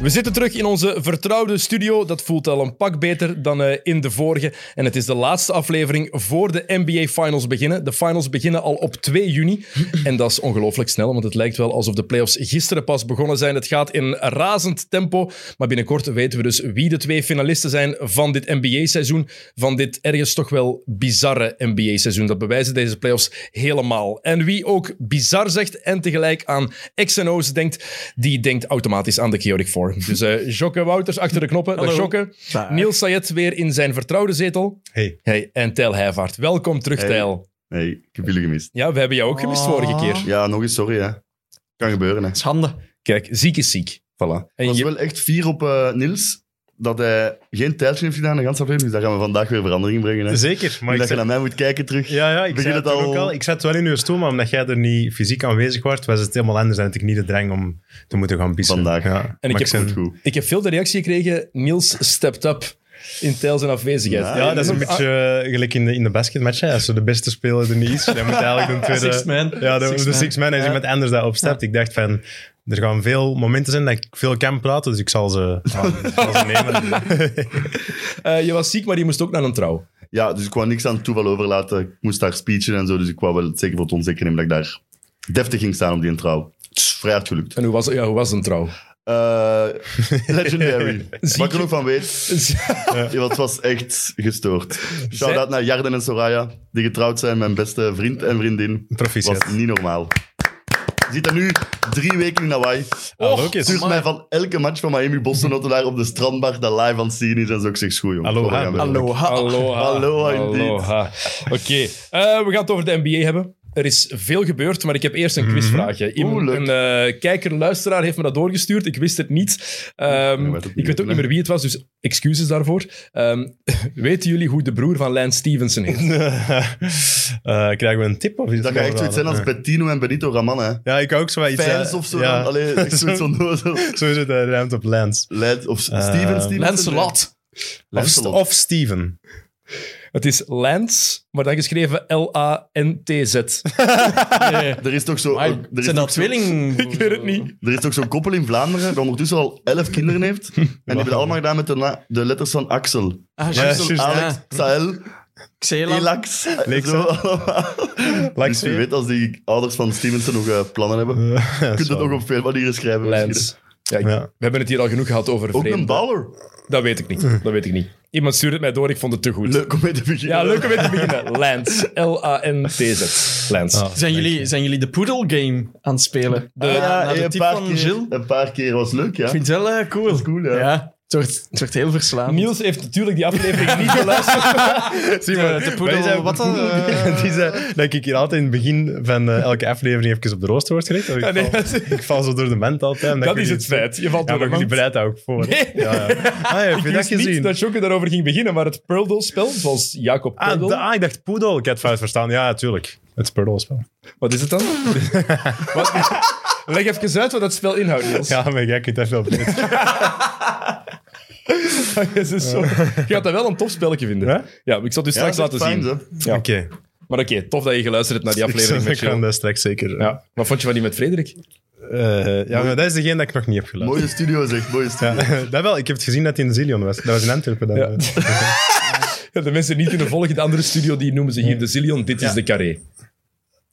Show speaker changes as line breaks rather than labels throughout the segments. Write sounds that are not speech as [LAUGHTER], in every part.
We zitten terug in onze vertrouwde studio. Dat voelt al een pak beter dan eh, in de vorige. En het is de laatste aflevering voor de NBA Finals beginnen. De Finals beginnen al op 2 juni. En dat is ongelooflijk snel, want het lijkt wel alsof de playoffs gisteren pas begonnen zijn. Het gaat in razend tempo. Maar binnenkort weten we dus wie de twee finalisten zijn van dit NBA-seizoen. Van dit ergens toch wel bizarre NBA-seizoen. Dat bewijzen deze playoffs helemaal. En wie ook bizar zegt en tegelijk aan X en O's denkt, die denkt automatisch aan de Chaotic Four. Dus eh Jokke Wouters achter de knoppen. Dag Jokke. Niels Sayet weer in zijn vertrouwde zetel.
Hey.
Hey, en Tijl Heijvaart. Welkom terug,
Hey.
Tijl.
Nee, ik heb jullie gemist.
Ja, we hebben jou ook gemist
Oh.
vorige keer.
Ja, nog eens sorry, hè. Kan gebeuren, hè.
Schande.
Kijk, ziek is ziek.
Voilà.
En
Ik was
je-
wel echt fier op eh, Niels dat hij geen tijdje heeft gedaan de ganse aflevering. Dus daar gaan we vandaag weer verandering brengen. Hè.
[LAUGHS] Zeker, maar
Omdat
ik
je
zei,
naar mij moet kijken terug.
ja, ja, ik
begin
zei
het
het
al-
ook al. Ik zat wel in uw stoel, maar omdat jij er niet fysiek aanwezig was, was het helemaal anders en had ik niet de drang om te moeten gaan pissen.
Vandaag.
Ja.
En
Maar
heb
Goed,
ben-
goed.
Ik heb veel de reactie gekregen, Niels stepped up in Tijl zijn afwezigheid.
Ja,
Ja, dat is een beetje eh, gelijk in de, in de basketmatch. hè. Als zo de beste speler er niet is, dan moet eigenlijk
[LAUGHS]
een tweede...
Six man.
Ja, de
Six
de
man.
six man. Als
Ja.
iemand anders dat opstapt, ik dacht van... Er gaan veel momenten zijn dat ik veel kan praten, dus ik zal
[LAUGHS]
ze, ik zal ze nemen.
Eh, je was ziek, maar je moest ook naar een trouw.
Ja, dus ik wou niks aan het toeval overlaten. Ik moest daar speechen en zo, dus ik wou wel zeker voor het onzeker nemen dat ik daar deftig ging staan op die trouw. Het is vrij hard gelukt.
En hoe was, ja, hoe was een trouw?
[LAUGHS]
Eh, legendary. Wat ik er nog van weet,
Zij-
Ja, het was echt gestoord. Shout-out naar Jarden en Soraya, die getrouwd zijn. Mijn beste vriend en vriendin.
Proficiat.
was niet normaal. Je zit er nu drie weken in Hawaii.
Hallo, kids.
Stuurt mij van elke match van Miami Boston tot daar op de strandbar dat live aan het zien is en zo. Ik zeg, goed jongen.
Aloha.
Sorry, maar-
Aloha.
Aloha.
Aloha, indeed.
Aloha. Oké, Eh, we gaan het over de NBA hebben. Er is veel gebeurd, maar ik heb eerst een quizvraagje. Iemand-
Mhm. leuk.
een eh, kijker, luisteraar heeft me dat doorgestuurd. Ik wist het niet. Ehm,
weet het niet,
ik weet ook
hè?
niet meer wie het was, dus excuses daarvoor. Ehm, [LAUGHS] weten jullie hoe de broer van Lance Stevenson heet?
[LAUGHS] Eh, krijgen we een tip? Of is
Dat kan echt zoiets zijn als Bettino en Benito Raman, hè.
Ja, ik ook zo iets...
Fans
eh,
of zo.
ja.
dan. Allee,
[LAUGHS]
echt zoiets van dozel.
Zo is het eh, ruimte op Lens.
Leid of
Eh,
Steven, Steven.
Lancelot.
Of, St-
Lancelot.
of
[LAUGHS]
Steven.
Het is Lance, maar dan geschreven L-A-N-T-Z.
Nee.
Er is toch zo...
Maar
Oh, er is
zijn
toch
dat
zo-
tweeling?
Ik weet het niet.
Er is toch zo'n koppel in Vlaanderen dat ondertussen al elf kinderen
[LAUGHS]
heeft. En die hebben dat allemaal gedaan met de, na- de letters van Axel.
Ah,
Ja,
juist.
juist,
Alex,
Ja.
Sahel,
Xelan.
Elax.
Lex,
Zo
hè?
allemaal. Dus wie weet, als die ouders van Stevenson nog eh, plannen hebben, [LAUGHS] kun
Je
je kunt het nog op veel manieren schrijven.
Lance.
misschien.
Ja, ik-
Ja.
We hebben het hier al genoeg gehad over
Ook een
vreemden.
baller.
Dat weet ik niet.
Hm.
Dat weet ik niet. Iemand stuurde het mij door, ik vond het te goed.
Leuk om mee te beginnen.
Ja, leuk om mee te
[LAUGHS]
beginnen. Lance. L-A-N-T-Z. Lance.
Zijn jullie, zijn jullie de Poodle Game aan het spelen?
Ah,
Eh,
ja,
naar de
hey, een,
tip
paar
van
keer,
Gilles?
een paar keer was leuk, ja.
Ik vind het wel eh, cool.
cool, ja.
het, wordt, het wordt heel verslaan.
Niels heeft natuurlijk die aflevering
[LAUGHS]
niet geluisterd.
Zie
De- de poedel, wat dan?
[LAUGHS] Die zei dat ik hier altijd in het begin van eh, elke aflevering even op de rooster word gelegd. Ik,
Ja, nee,
val,
dat is-
ik val zo door de ment altijd. en
Dat
ik
is
jullie-
het feit. Je valt
Ja,
door de
maar jullie
mand.
bereid dat ook voor.
Nee.
Ja, ja. Ah, ja, heb je
Ik
dat
wist niet
gezien?
dat Jokke daarover ging beginnen, maar het Purdle-spel, zoals Jacob
Ah,
Purdle...
da- ah, ik dacht poedel. Ik had het fout verstaan. Ja, natuurlijk. Het is purdelspel.
Wat is het
[LAUGHS]
dan? Wat- Leg even uit wat dat spel inhoudt, Niels.
Ja, maar jij kunt daar veel beter.
[LAUGHS] Het is zo- Je gaat dat wel een tof spelletje vinden.
Ja?
Ja, ik zal het u straks
dat is
laten
fijn,
zien.
hè.
Ja.
Oké.
Maar oké, tof dat je geluisterd hebt naar die aflevering met
Ik kan
Jill.
dat straks zeker. eh,
Ja. Wat vond je van die met Frederik?
eh, ja, maar dat is degene dat ik nog niet heb geluisterd.
Mooie studio, zeg. Mooie studio.
Ja, [LAUGHS] dat wel. Ik heb het gezien dat hij in Zillion was. Dat was in Antwerpen dan.
Ja. Ja, de mensen niet kunnen volgen, de andere studio, die noemen ze hier de Zillion. Dit is de Carré.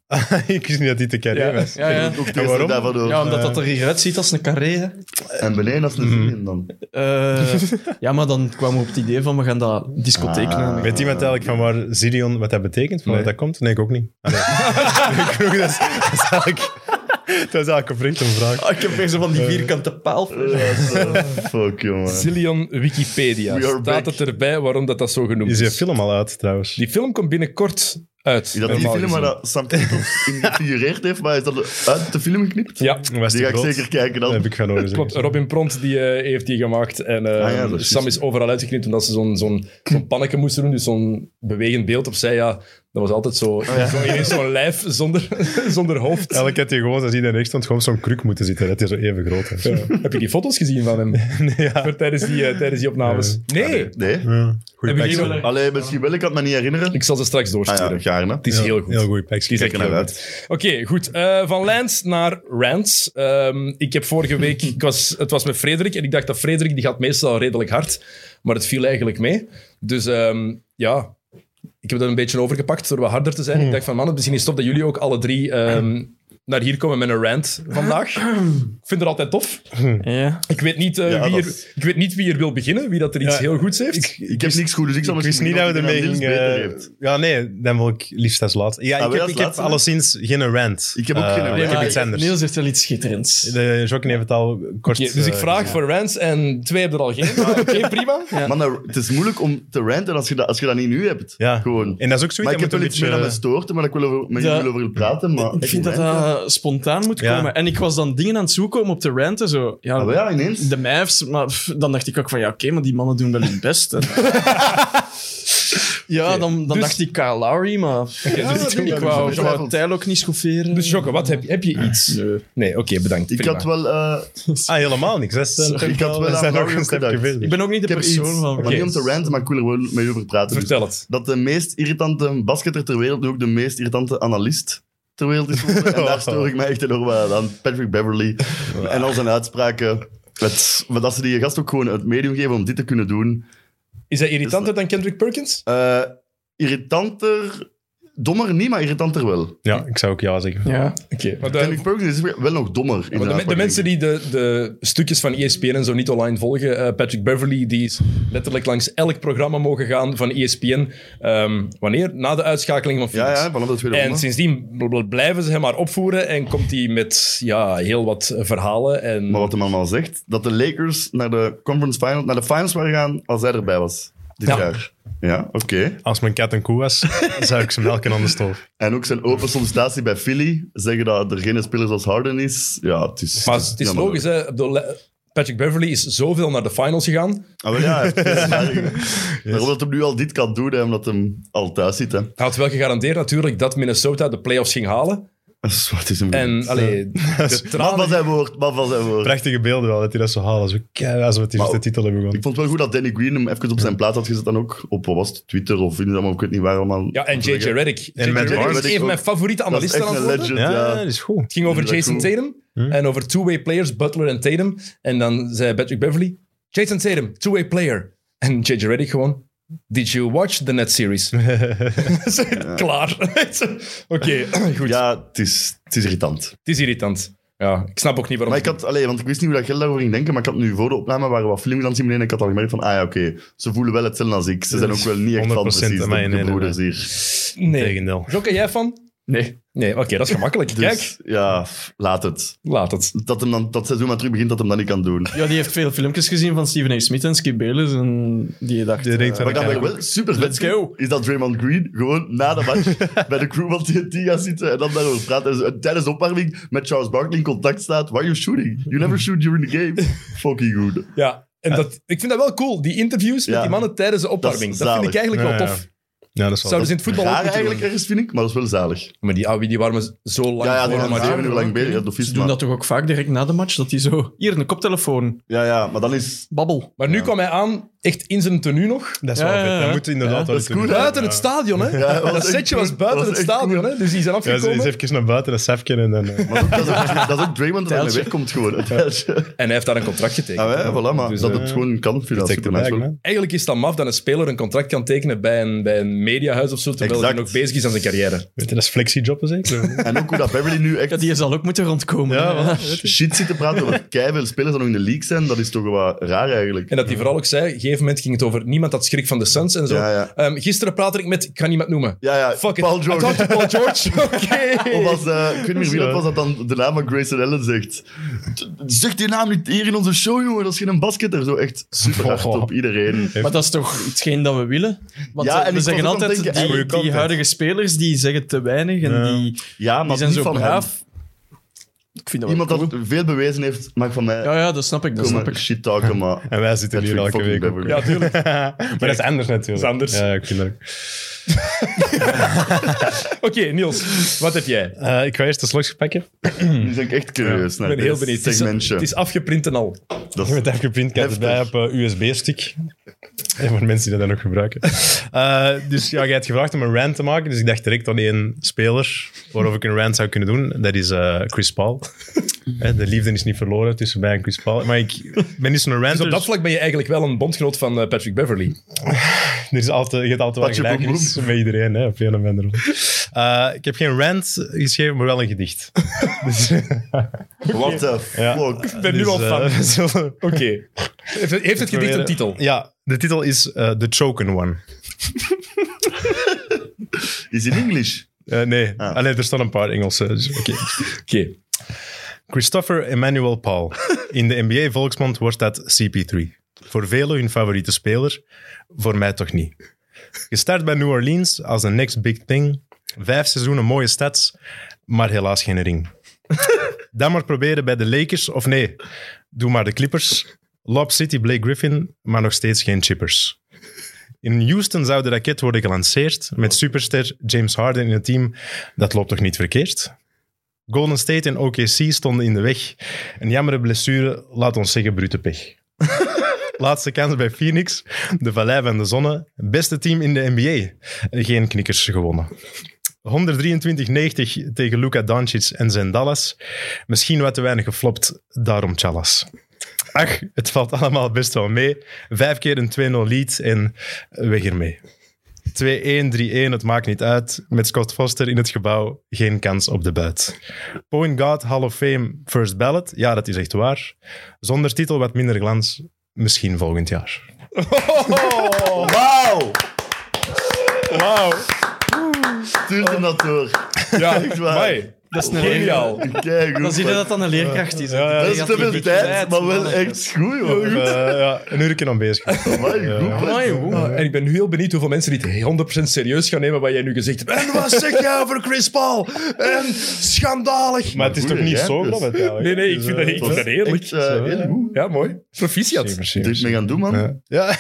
[LAUGHS] ik wist niet dat hij te kennen
Ja.
was.
Ja, ja.
Ook
En waarom?
tegenwoordig daarvan door.
ja, omdat dat er hieruit ziet als een carré. hè.
En beneden als een vriendin dan.
Eh, [LAUGHS] ja, maar dan kwamen we op het idee van we gaan dat discotheek
Ah.
noemen.
Weet iemand eigenlijk van waar Zillion, wat dat betekent? Van waar
Nee.
dat komt? Nee, ik ook niet.
[LAUGHS]
Ah, nee. [LAUGHS] ik vroeg, dat, is, dat is eigenlijk... Dat is eigenlijk oprecht een vraag.
Ah, ik heb weer zo van die vierkante paal.
Ja, zo. Fuck, jongen.
Zillion Wikipedia.
We are
Staat
back.
het erbij waarom dat, dat zo genoemd
Is
is?
je film al uit, trouwens?
Die film komt binnenkort uit.
Is dat die
normaal
film waar
gezien.
dat Sam Peters in gefigureerd heeft, maar is dat uit de film geknipt?
Ja,
Was
Die
te
ga ik
groot?
zeker kijken
Dat
dan.
heb ik
[LAUGHS]
van horen
klopt.
zeggen.
Robin Pront die, eh, heeft die gemaakt. En eh,
Ah ja, dat is juist.
Sam is overal uitgeknipt omdat ze zo'n zo'n zo'n pannetje moesten doen. Dus zo'n bewegend beeld opzij. Ja, dat was altijd
Oh,
zo. zo- [LAUGHS] ineens Zo'n lijf zonder, [LAUGHS] zonder hoofd.
Eigenlijk had hij gewoon, als hij daar rechts stond, gewoon op zo'n kruk moeten zitten. Dat hij zo even groot was.
Ja. Heb je die foto's gezien van
[LAUGHS]
hem?
Nee, [LAUGHS] ja.
Voor Tijdens die, eh, tijdens die opnames? Nee.
Nee?
Ja. Goeie
Hebben jullie
plek,
wel-
zo.
Allee, misschien wel, ik kan me niet herinneren.
Ik zal ze straks
Ah
doorsturen.
ja, ga jaren. Hè?
Het is heel goed.
Heel goed.
Het is echt
Kijk er naar
heel goed. Oké, goed. Eh, van Lens naar Rants. Ehm, ik heb vorige week... Ik was, het was met Frederik en ik dacht dat Frederik... Die gaat meestal redelijk hard. Maar het viel eigenlijk mee. Dus ehm, ja... Ik heb dat een beetje overgepakt door wat harder te
Hmm.
zijn. Ik dacht van, man, misschien is het tof dat jullie ook alle drie... ehm, naar hier komen met een rant vandaag. Ik vind het altijd tof.
Ja.
Ik weet niet, eh,
Ja,
wie,
dat
er,
is-
ik weet niet wie er wil beginnen, wie dat er iets
Ja,
heel goeds heeft.
Ik heb niks goed, dus ik zal
Ik wist
misschien
niet dat we
iemand
ermee
die
gingen...
dan Niels
eh,
beter heeft.
ja, nee, dan wil ik liefst als laatste. Ja,
Ah,
ik
wel
heb,
als
ik heb
laatste, hè?
alleszins geen rant.
Ik heb ook
Eh,
geen rant.
Ik heb
Maar
iets anders.
Niels heeft wel iets schitterends.
De Jokken heeft het al kort...
Oké, dus ik
eh,
vraag voor Rants en twee hebben er al geen. Maar Oké, prima.
Ja.
Man, dat- nou, het is moeilijk om te ranten als je dat, als je dat niet nu hebt.
Ja.
Gewoon.
En dat is
maar
ook zoiets,
ik
dat
heb
moet
wel
een
iets meer dat me
beetje...
stoort, maar ik wil over, met
Ja.
jullie wil over praten. Maar
Ik vind dat eh, dat spontaan moet
Ja.
komen. En ik was dan dingen aan het zoeken om op te ranten. Zo, ja,
Ah, wel, ja, ineens.
De mijfs, maar pff, dan dacht ik ook van ja, oké, maar die mannen doen wel hun best. En- [LAUGHS] ja, dan, dan
dus-
dacht ik Kyle Lowry,
[LAUGHS]
maar
Ja,
ik,
dus
wou-
ik
ik
wou-
wou,
getwijfeld.
Tijl ook niet schofferen.
Dus Jokke, wat heb je? Heb je iets?
Nee.
Nee, oké, bedankt.
Ik
Prima.
had wel... eh,
Ah, helemaal niks. Dat is, eh,
Sorry,
toch
ik had wel
we zijn
aan
nog
Mario
een stapje
gedacht.
ik
verder.
ben ook niet de
ik heb
persoon
iets.
van.
Maar niet om te ranten, maar ik wil er wel met jullie over praten. Dus
Vertel het.
dat de meest irritante basketter ter wereld nu ook de meest irritante analist ter wereld is geworden. En daar stoor ik mij echt enorm aan. aan Patrick Beverly en al zijn uitspraken. Het, maar dat ze die gast ook gewoon het medium geven om dit te kunnen doen.
Is hij irritanter dan Kendrick Perkins?
Eh, irritanter... Dommer niet, maar irritanter wel.
Ja, ik zou ook ja zeggen.
Ja,
Oké. maar de-
Kendrick Perkins is wel nog dommer.
maar
in
de,
zijn
de
uitspraken.
mensen die de, de stukjes van E ESPN en zo niet online volgen, eh, Patrick Beverly, die is letterlijk langs elk programma mogen gaan van E ESPN. Ehm, wanneer? Na de uitschakeling van
Ja,
Phoenix.
ja, vanaf de tweede
En
ronde.
sindsdien bl- bl- blijven ze hem maar opvoeren en komt hij met ja, heel wat eh, verhalen. En...
Maar wat hem allemaal zegt, dat de Lakers naar de conference final, naar de finals waren gaan als hij erbij was. Dit
Ja.
jaar. Ja, oké.
Als mijn kat een koe was, [LAUGHS] zou ik ze melken aan de stoof.
En ook zijn open sollicitatie bij Philly. Zeggen dat er geen speler zoals Harden is. Ja, het is...
Maar het is
jammer.
logisch, hè? Ik bedoel, eh, Patrick Beverly is zoveel naar de finals gegaan.
Ah, wel,
[LAUGHS]
ja, het is- maar- Daarom dat hij nu al dit kan doen, hè, omdat hij al thuis zit. Hè. [LAUGHS]
Hij had wel gegarandeerd natuurlijk dat Minnesota de playoffs ging halen.
Dat is wat is hem.
En
[LAUGHS]
allee, de
Wat
tranen...
was zijn woord, wat was zijn woord.
Prachtige beelden wel, dat hij dat zo haalt. Zo, kei- Als we het eerste
Maar-
titel hebben
Ik
gewonnen.
vond het wel goed dat Danny Green hem even op zijn plaats had gezet dan ook. Op wat was het, Twitter of Instagram of ik weet niet waar allemaal.
Ja, en JJ Redick.
En
JJ
Matt
Redick
Barnes
is een
ook.
van mijn favoriete
Dat is
analisten
echt
aan het
een
worden.
legend, Hm?
Ja,
ja.
ja, dat is goed.
Het ging over
Dat is
Jason
cool.
Tatum en over two-way players, Butler en Tatum. En dan zei Patrick Beverly, Jason Tatum, two-way player. En JJ Redick gewoon, did you watch the net
[LAUGHS]
series? Klaar. Oké, [CLEARS THROAT] goed.
Ja, het is, het is irritant.
Het is irritant. Ja, ik snap ook niet waarom...
Maar ik had, allee, want ik wist niet hoe dat jij daarover ging denken, maar ik had nu voor de opname waren wat films aan het zien beneden en ik had al gemerkt van, ah ja, oké, ze voelen wel hetzelfde als ik. Ze zijn ook wel niet echt van
100%
precies de,
mij,
de
nee, nee,
broeders hier.
nee.
Tegendeel.
Jokke, jij van?
nee.
Nee, oké, dat is gemakkelijk. Kijk,
Dus ja, laat het.
laat het.
Dat hem dan, dat seizoen maar terug begint, dat hem dat niet kan doen.
Ja, die heeft veel filmpjes gezien van Steven A. Smith en Skip Bayless. En die dacht...
Die denkt
eh,
Maar
van-
dat
Ja,
ben ik wel super vet.
Let's go.
Is dat Draymond Green gewoon na de
[LAUGHS]
match bij de crew van TNT gaat zitten en dan daarover praat. En, zo- en tijdens de opwarming met Charles Barkley in contact staat. Why are you shooting? You never shoot during
[LAUGHS]
the game. Fucking good.
Ja, en dat, ik vind dat wel cool, die interviews met
Ja.
die mannen tijdens de opwarming.
is
Dat, vind ik
zalig.
eigenlijk
Ja,
wel
ja.
tof.
Ja, dat is wel.
Zouden ze in het voetbal ook
Raar
moeten
eigenlijk
doen.
ergens, vind ik, maar dat is wel zalig.
Maar die Awi, die waren zo lang
Ja, ja,
voor hem
die zijn
aan het
zeven uur
doen.
lang bezig. Ja, de
Ze
vies,
doen
maar-
dat toch ook vaak direct na de match, dat die zo... Hier, een koptelefoon.
Ja, ja, maar dan is
[LAUGHS] Babbel.
Maar nu kwam hij aan, echt in zijn tenue nog.
Dat is wel
Ja, ja,
vet.
ja.
Dat moet inderdaad
Ja,
dat
wel
is
iets doen.
cool, hè?
Buiten het stadion, hè?
Ja, dat was
dat
echt
setje was
cool.
buiten
Dat was
het
echt
stadion,
cool.
hè? Dus die zijn
Ja, ze
afgekomen.
is even naar buiten, dat safje en dan... eh,
Maar dat, dat is ook, dat is ook Draymond dat hij
Tijltje.
wegkomt gewoon. Het tijltje.
En hij heeft daar een contract getekend.
Ah, ja, voilà, maar
Dus,
dat
eh,
het gewoon kan, vind ik dat
Take the
super nice.
bag,
wel.
man.
Eigenlijk is het dan maf dat een speler een contract kan tekenen bij een, bij een mediahuis of zo, terwijl hij
Exact.
nog bezig is aan zijn carrière.
Weet je, dat is flexijobben
[LAUGHS]
zeker?
En ook hoe dat Beverly nu
Ja,
echt
die zal ook moeten rondkomen.
Ja,
hè.
wel.
shit zit te praten over keiveel spelers dat nog in de league zijn, dat is toch wat raar eigenlijk.
En dat hij vooral ook zei, op een gegeven moment ging het over niemand had schrik van de Suns en zo.
Ja, ja.
Ehm, gisteren praatte ik met, ik ga niemand noemen.
Ja, ja,
Fuck it.
Paul
I talked
George.
to Paul George. Oké.
Of als, eh, ik weet niet meer wie dat was, dat dan de naam van Grayson Allen zegt. "T- Zeg die naam niet hier in onze show, jongen, dat is geen basketter. Zo echt super hard
Oh.
op
[LAUGHS]
iedereen.
Maar dat is toch hetgeen dat we willen? Want
Ja,
eh,
en
we
ik
zeggen
was ook aan het
altijd,
denken,
hey,
die,
goeie
die
content.
huidige spelers die zeggen te weinig en
Ja.
die,
Ja, maar
die zijn
niet
zo
van hem.
braaf. Ik vind dat wel
Iemand dat
cool.
veel bewezen heeft, mag van mij
Ja, ja, dat snap ik. Dat snap
komen
ik.
shit
[LAUGHS]
talken, maar...
En wij zitten hier
Patrick
elke
fucking [LAUGHS]
week ook.
Beverly.
Ja, tuurlijk.
maar dat is anders natuurlijk.
Dat is anders.
Ja, ik vind dat ook.
Oké, Niels, wat heb jij?
Eh, ik ga eerst de slokjes pakken.
Nu ben ik echt curieus.
Ik ben heel benieuwd. Het is,
Segmentje.
het is afgeprint en al.
Dat is-
[LAUGHS] Met even geprint kan
Heftig.
erbij op eh, USB-stick. Ja, voor de mensen die dat dan nog
[LAUGHS]
gebruiken. Eh, dus ja, jij hebt gevraagd om een rant te maken. Dus ik dacht direct aan één speler waarover ik een rant zou kunnen doen. Dat is eh, Chris
[LAUGHS]
Paul. Hè, de liefde is niet verloren tussen mij en Chris Paul. Maar ik ben niet zo'n
Dus
ranter.
op dat vlak ben je eigenlijk wel een bondgenoot van eh, Patrick Beverly.
Er is altijd, je hebt altijd wel
Patje Boem
gelijkenis met iedereen, hè, op een of andere manier. Eh, ik heb geen rant geschreven, maar wel een
[LAUGHS]
gedicht. dus,
What the
Ja.
fuck?
ben nu al fan.
eh, we zullen-
Oké. Heeft, heeft het gedicht een titel?
Ja, de titel is eh, The Choken One.
Is in English?
Eh, nee,
Ah.
Allee, er staan een paar Engelsen. dus oké.
Oké.
Christopher Emmanuel Paul. In de NBA volksmond wordt dat CP3. Voor velen hun favoriete speler, voor mij toch niet. Gestart bij New Orleans als de next big thing. Vijf seizoenen mooie stats, maar helaas geen ring. Dan maar proberen bij de Lakers, of nee, doe maar de Clippers. Lob City Blake Griffin, maar nog steeds geen chippers. In Houston zou de raket worden gelanceerd met superster James Harden in het team. Dat loopt toch niet verkeerd? Golden State en OKC stonden in de weg. Een jammere blessure, laat ons zeggen, brute pech. [LAUGHS] Laatste kans bij Phoenix, de Vallei van de Zonne, beste team in de NBA. Geen knikkers gewonnen. 123-90 tegen Luka Doncic en zijn Dallas. Misschien wat te weinig geflopt, daarom Chalas. Ach, het valt allemaal best wel mee. Vijf keer een 2-0 lead en weg ermee. 2-1, 3-1, het maakt niet uit. Met Scott Foster in het gebouw, geen kans op de buit. Point Guard Hall of Fame First Ballot, ja, dat is echt waar. Zonder titel wat minder glans, misschien volgend jaar.
Wauw!
Oh, Wauw.
Stuur hem dat door.
Ja,
Echt waar.
amai.
Dat is een
Geniaal.
Kijk,
Dan zie je dat dat een leerkracht is. hè.
Dat
Die
is te
creatieve
veel tijd, maar wel
man.
echt goed, hoor.
Eh, ja, een uur aan bezig.
Amai, goed,
Ja.
Amai,
Patrick.
wow. En ik ben nu heel benieuwd hoeveel mensen dit 100% serieus gaan nemen wat jij nu gezegd hebt. En wat zeg jij over Chris Paul? En schandalig.
[LAUGHS] Maar het is toch niet zo, geloof ik? eigenlijk?
Nee, nee, ik vind dat, ik
Dus,
vind dat eerlijk.
Echt, eh, heel goed.
Ja, mooi.
eh,
Proficiat.
misschien,
Dit is
misschien.
mee gaan doen, man.
Ja,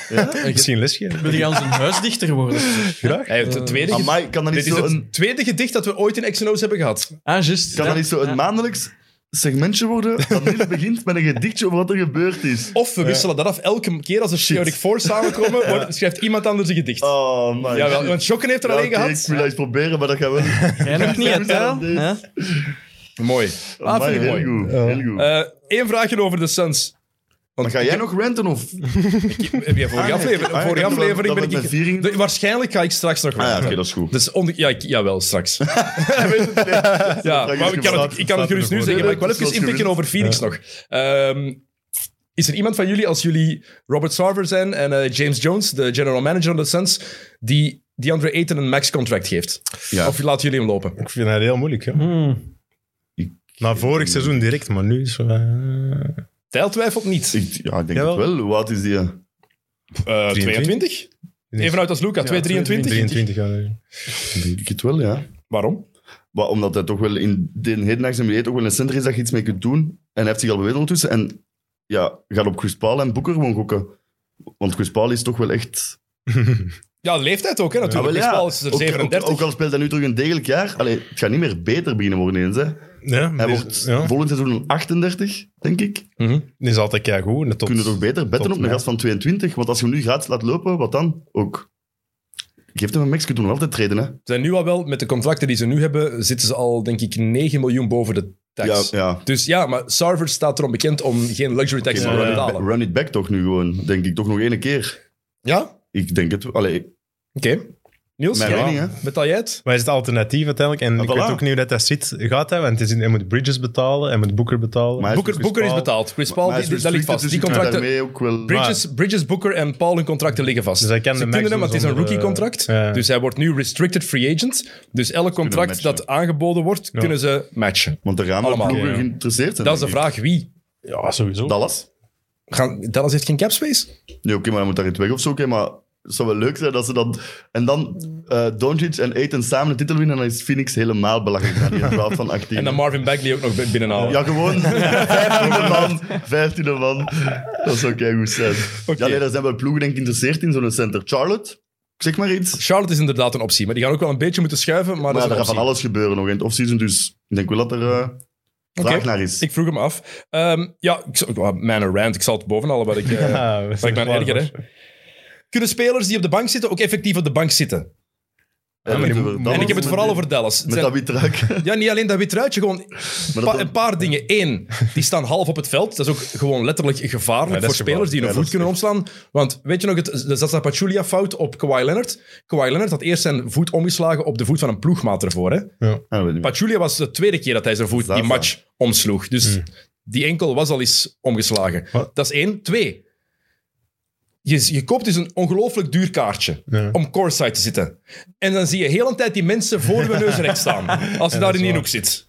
[LAUGHS] misschien lesgeven.
Wil je als een huisdichter
[LAUGHS]
worden?
Graag.
Hij heeft het tweede gedicht.
Amai, kan dat niet
Dit is
zo
het
een,
tweede gedicht dat we ooit in X&O's hebben gehad.
Ah, juist.
kan
Ja.
dat niet zo een
Ja.
maandelijks segmentje worden dat niet begint met een gedichtje over wat er gebeurd is?
Of we wisselen dat af. Elke keer als er Theoretic Four samenkomen,
[LAUGHS]
wordt- schrijft iemand anders een gedicht.
Oh my
Jawel,
shit.
want Jokken heeft er
Ja,
alleen
oké, Ik
gehad.
wil dat eens proberen, maar dat gaat wel niet.
Jij nog niet, hè, Tijl?
Ja.
Hè?
Mooi. Ah,
Amai,
vind ik
heel
mooi.
goed. Heel goed.
Eh, Eén vraagje over de Suns. Eh,
Maar ga jij nog renten of?
Heb jij vorige
Ah, nee,
aflevering?
ik- ah,
vorige
ik heb
aflevering
dat
ben
met
ik.
mijn viering-
de- waarschijnlijk ga ik straks nog
Ah ja,
wel.
oké, dat is goed.
Dus on, ja, ik, jawel,
[LAUGHS]
straks. [LAUGHS] ja,
vraag
maar
is
ik kan
gestart,
het, ik kan het
gestart
gerust nu
ervoor.
zeggen, maar ik wil
Nee,
even
nee, het is
inpikken
wel
over Phoenix nog. Ehm, is er iemand van jullie, als jullie Robert Sarver zijn en eh, James Jones, de general manager van de Suns, die DeAndre Ayton een max contract geeft?
Ja.
Of laat jullie hem lopen?
Ik vind dat heel moeilijk. Hè.
Hmm.
Na vorig seizoen direct, maar nu is... zo, eh,
Tijl twijfelt niet.
Ik, ja, ik denk
Jawel.
het wel. Hoe oud is die?
Eh, 22? Even uit als Luca, 223.
23 jaar.
Ik denk het wel, ja.
Waarom?
Maar omdat hij toch wel in de hedendaagse NBA toch wel een center is dat je iets mee kunt doen. En hij heeft zich al bewezen ondertussen. En ja, gaat op Chris Paul en Boeker gewoon gokken. Want Chris Paul is toch wel echt...
Ja, de leeftijd ook, hè, natuurlijk.
Ah,
Chris
wel, ja.
Paul is er
Ook-
37.
Ook, ook al speelt hij nu terug een degelijk jaar. Allee, het gaat niet meer beter beginnen worden eens. Hè.
Ja,
Hij
die is-
wordt
ja.
volgend seizoen 38, denk ik.
Mhm.
Die is altijd keigoed. en de top-
Kunnen toch beter betten
tot
op een
mij.
gast van 22? Want als je hem nu gaat laat lopen, wat dan? Ook. Geef hem een max, je kunt hem nog altijd treden. Hè.
Ze zijn nu al wel, met de contracten die ze nu hebben, zitten ze al, denk ik, 9 miljoen boven de
Ja,
tax.
ja.
Dus ja, maar Sarver staat erom bekend om geen luxury tax te
Maar eh,
willen
run, it
betalen.
back, run it back toch nu gewoon, denk ik. Toch nog één keer.
Ja? Oké.
Ik denk het. Allee,
Niels,
Mijn
ja.
mening, hè.
betaal jij het?
Wat is het alternatief uiteindelijk? En ik
voilà.
weet ook niet hoe dat, dat zit. Gaat hij? Want het is in- hij moet Bridges betalen, hij moet Booker betalen.
Maar hij
Booker,
Chris
Booker is
Paul.
betaald. Chris Paul,
maar hij
die,
is
die- dat ligt vast.
restricted,
Die
dus je kunt
contracten...
daarmee ook wel...
Bridges, Bridges, Booker en Paul hun contracten liggen vast.
Dus hij kan
Ze
de max
kunnen hem, want het is een
doen zonder,
rookie contract.
eh, ja.
Dus hij wordt nu restricted free agent. Dus elk contract
matchen.
dat aangeboden wordt, kunnen ze matchen.
Ah, Want er gaan wel
Allemaal.
ploegen
Ja, ja.
geïnteresseerd zijn.
Dat is de
denk ik.
vraag, wie?
ja, sowieso.
Dallas?
Gaan, Dallas heeft geen cap space?
Nee, oké, maar dan moet daar iets weg of zo. Oké, maar het zou wel leuk zijn dat ze dan... En dan eh Doncic en Aiton samen de titel winnen en dan is Phoenix helemaal belachelijk aan
[LAUGHS]
die draft van 18.
En dan Marvin Bagley ook nog binnenhalen.
Ja,
[LAUGHS]
gewoon 15e man. 15e man. Dat zou keigoed zijn. Ja, nee, daar zijn wel ploegen denk ik geïnteresseerd in zo'n center. Charlotte, zeg maar iets.
Charlotte is inderdaad een optie, maar die gaan ook wel een beetje moeten schuiven. Maar,
Maar
dat
er
is een
gaat van
optie.
alles gebeuren nog in het offseason, dus ik denk wel dat er eh, vraag
Oké.
naar
[LAUGHS]
is.
Ik vroeg hem af. Ehm, ja, ik, zou- well, man and rant, ik zal het bovenal wat ik... eh,
Ja,
maar ik ben erger, hè. Kunnen spelers die op de bank zitten ook effectief op de bank zitten?
Ja,
maar
dat
die
doen we.
moet-
Dat
En ik heb
doen we
het vooral
Oh, met-
over Dallas. Het
Met dat
zijn-
wit
[LAUGHS]
raak.
Ja, niet alleen dat wit ruitje, gewoon
Maar
pa-
dat-
een paar dingen. Eén, die staan half op het veld. Dat is ook gewoon letterlijk gevaarlijk
Ja, dat
voor
is
spelers die hun
gevaarlijk.
voet
Ja,
kunnen omslaan. Want weet je nog, het, de Zaza Pachulia-fout op Kawhi Leonard? Kawhi Leonard had eerst zijn voet omgeslagen op de voet van een ploegmaat ervoor. Hè?
Ah, weet ik niet.
Pachulia was de tweede keer dat hij zijn voet
Zaza.
die match omsloeg. Dus die enkel was al eens omgeslagen.
Hmm. Wat?
Dat is één. Twee. Je, je koopt dus een ongelooflijk duur kaartje
Ja.
om courtside te zitten. En dan zie je heel een tijd die mensen voor je neus recht
[LAUGHS]
staan. Als je daar in die hoek zit.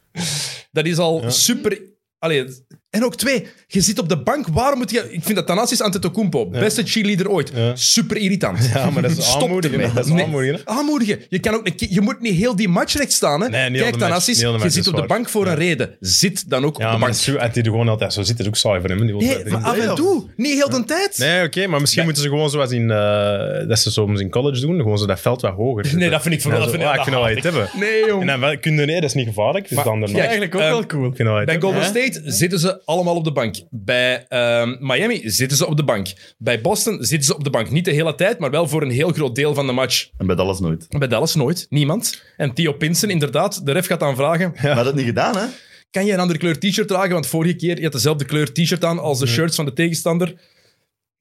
Dat is al super... Allee, en ook twee, je zit op de bank, waar moet je... Ik vind dat Thanasis Antetokounmpo, beste cheerleader ooit,
Ja.
super irritant.
Ja, maar dat is
Stop
aanmoedigen,
ermee.
hè. Dat is
Nee.
aanmoedigen,
Aanmoedigen. Je, kan ook een keer- je moet niet heel die match recht staan. Hè.
Nee, niet heel
Kijk,
de match.
Thanasis,
Niet heel de
je
match,
zit
dat
op
is
de
waar.
bank voor een reden. Zit dan ook
Ja,
op de
maar
bank.
Sue had die er gewoon altijd zo zit. is ook saai voor hem. hè. Die wil
Nee,
dat
maar
niet.
af en
playoffs.
toe. Niet heel de tijd. Nee,
Nee, oké, maar misschien moeten ze gewoon zoals in, eh, dat ze soms in college doen, gewoon zo dat veld wat hoger. zetten.
dat vind ik van
Ja,
wel.
zo,
dat vind
ah,
ik-
ik vind dat wel iets hebben.
jong.
En dan wel- kun je, nee, dat is niet gevaarlijk. Dus dan de
ja,
match.
eigenlijk
Ehm,
ook wel
cool. Ik vind dat wel iets
Bij
hebben.
Golden
Ja.
State zitten ze allemaal op de bank. Bij ehm, Miami zitten ze op de bank. Bij Boston zitten ze op de bank. Niet de hele tijd, maar wel voor een heel groot deel van de match.
En bij Dallas nooit.
Bij Dallas nooit. Niemand. En Theo Pinsen, inderdaad. De ref gaat dan vragen...
Maar dat niet gedaan, hè?
Kan je een andere kleur t-shirt dragen? Want vorige keer je had dezelfde kleur t-shirt aan als de shirts van de tegenstander.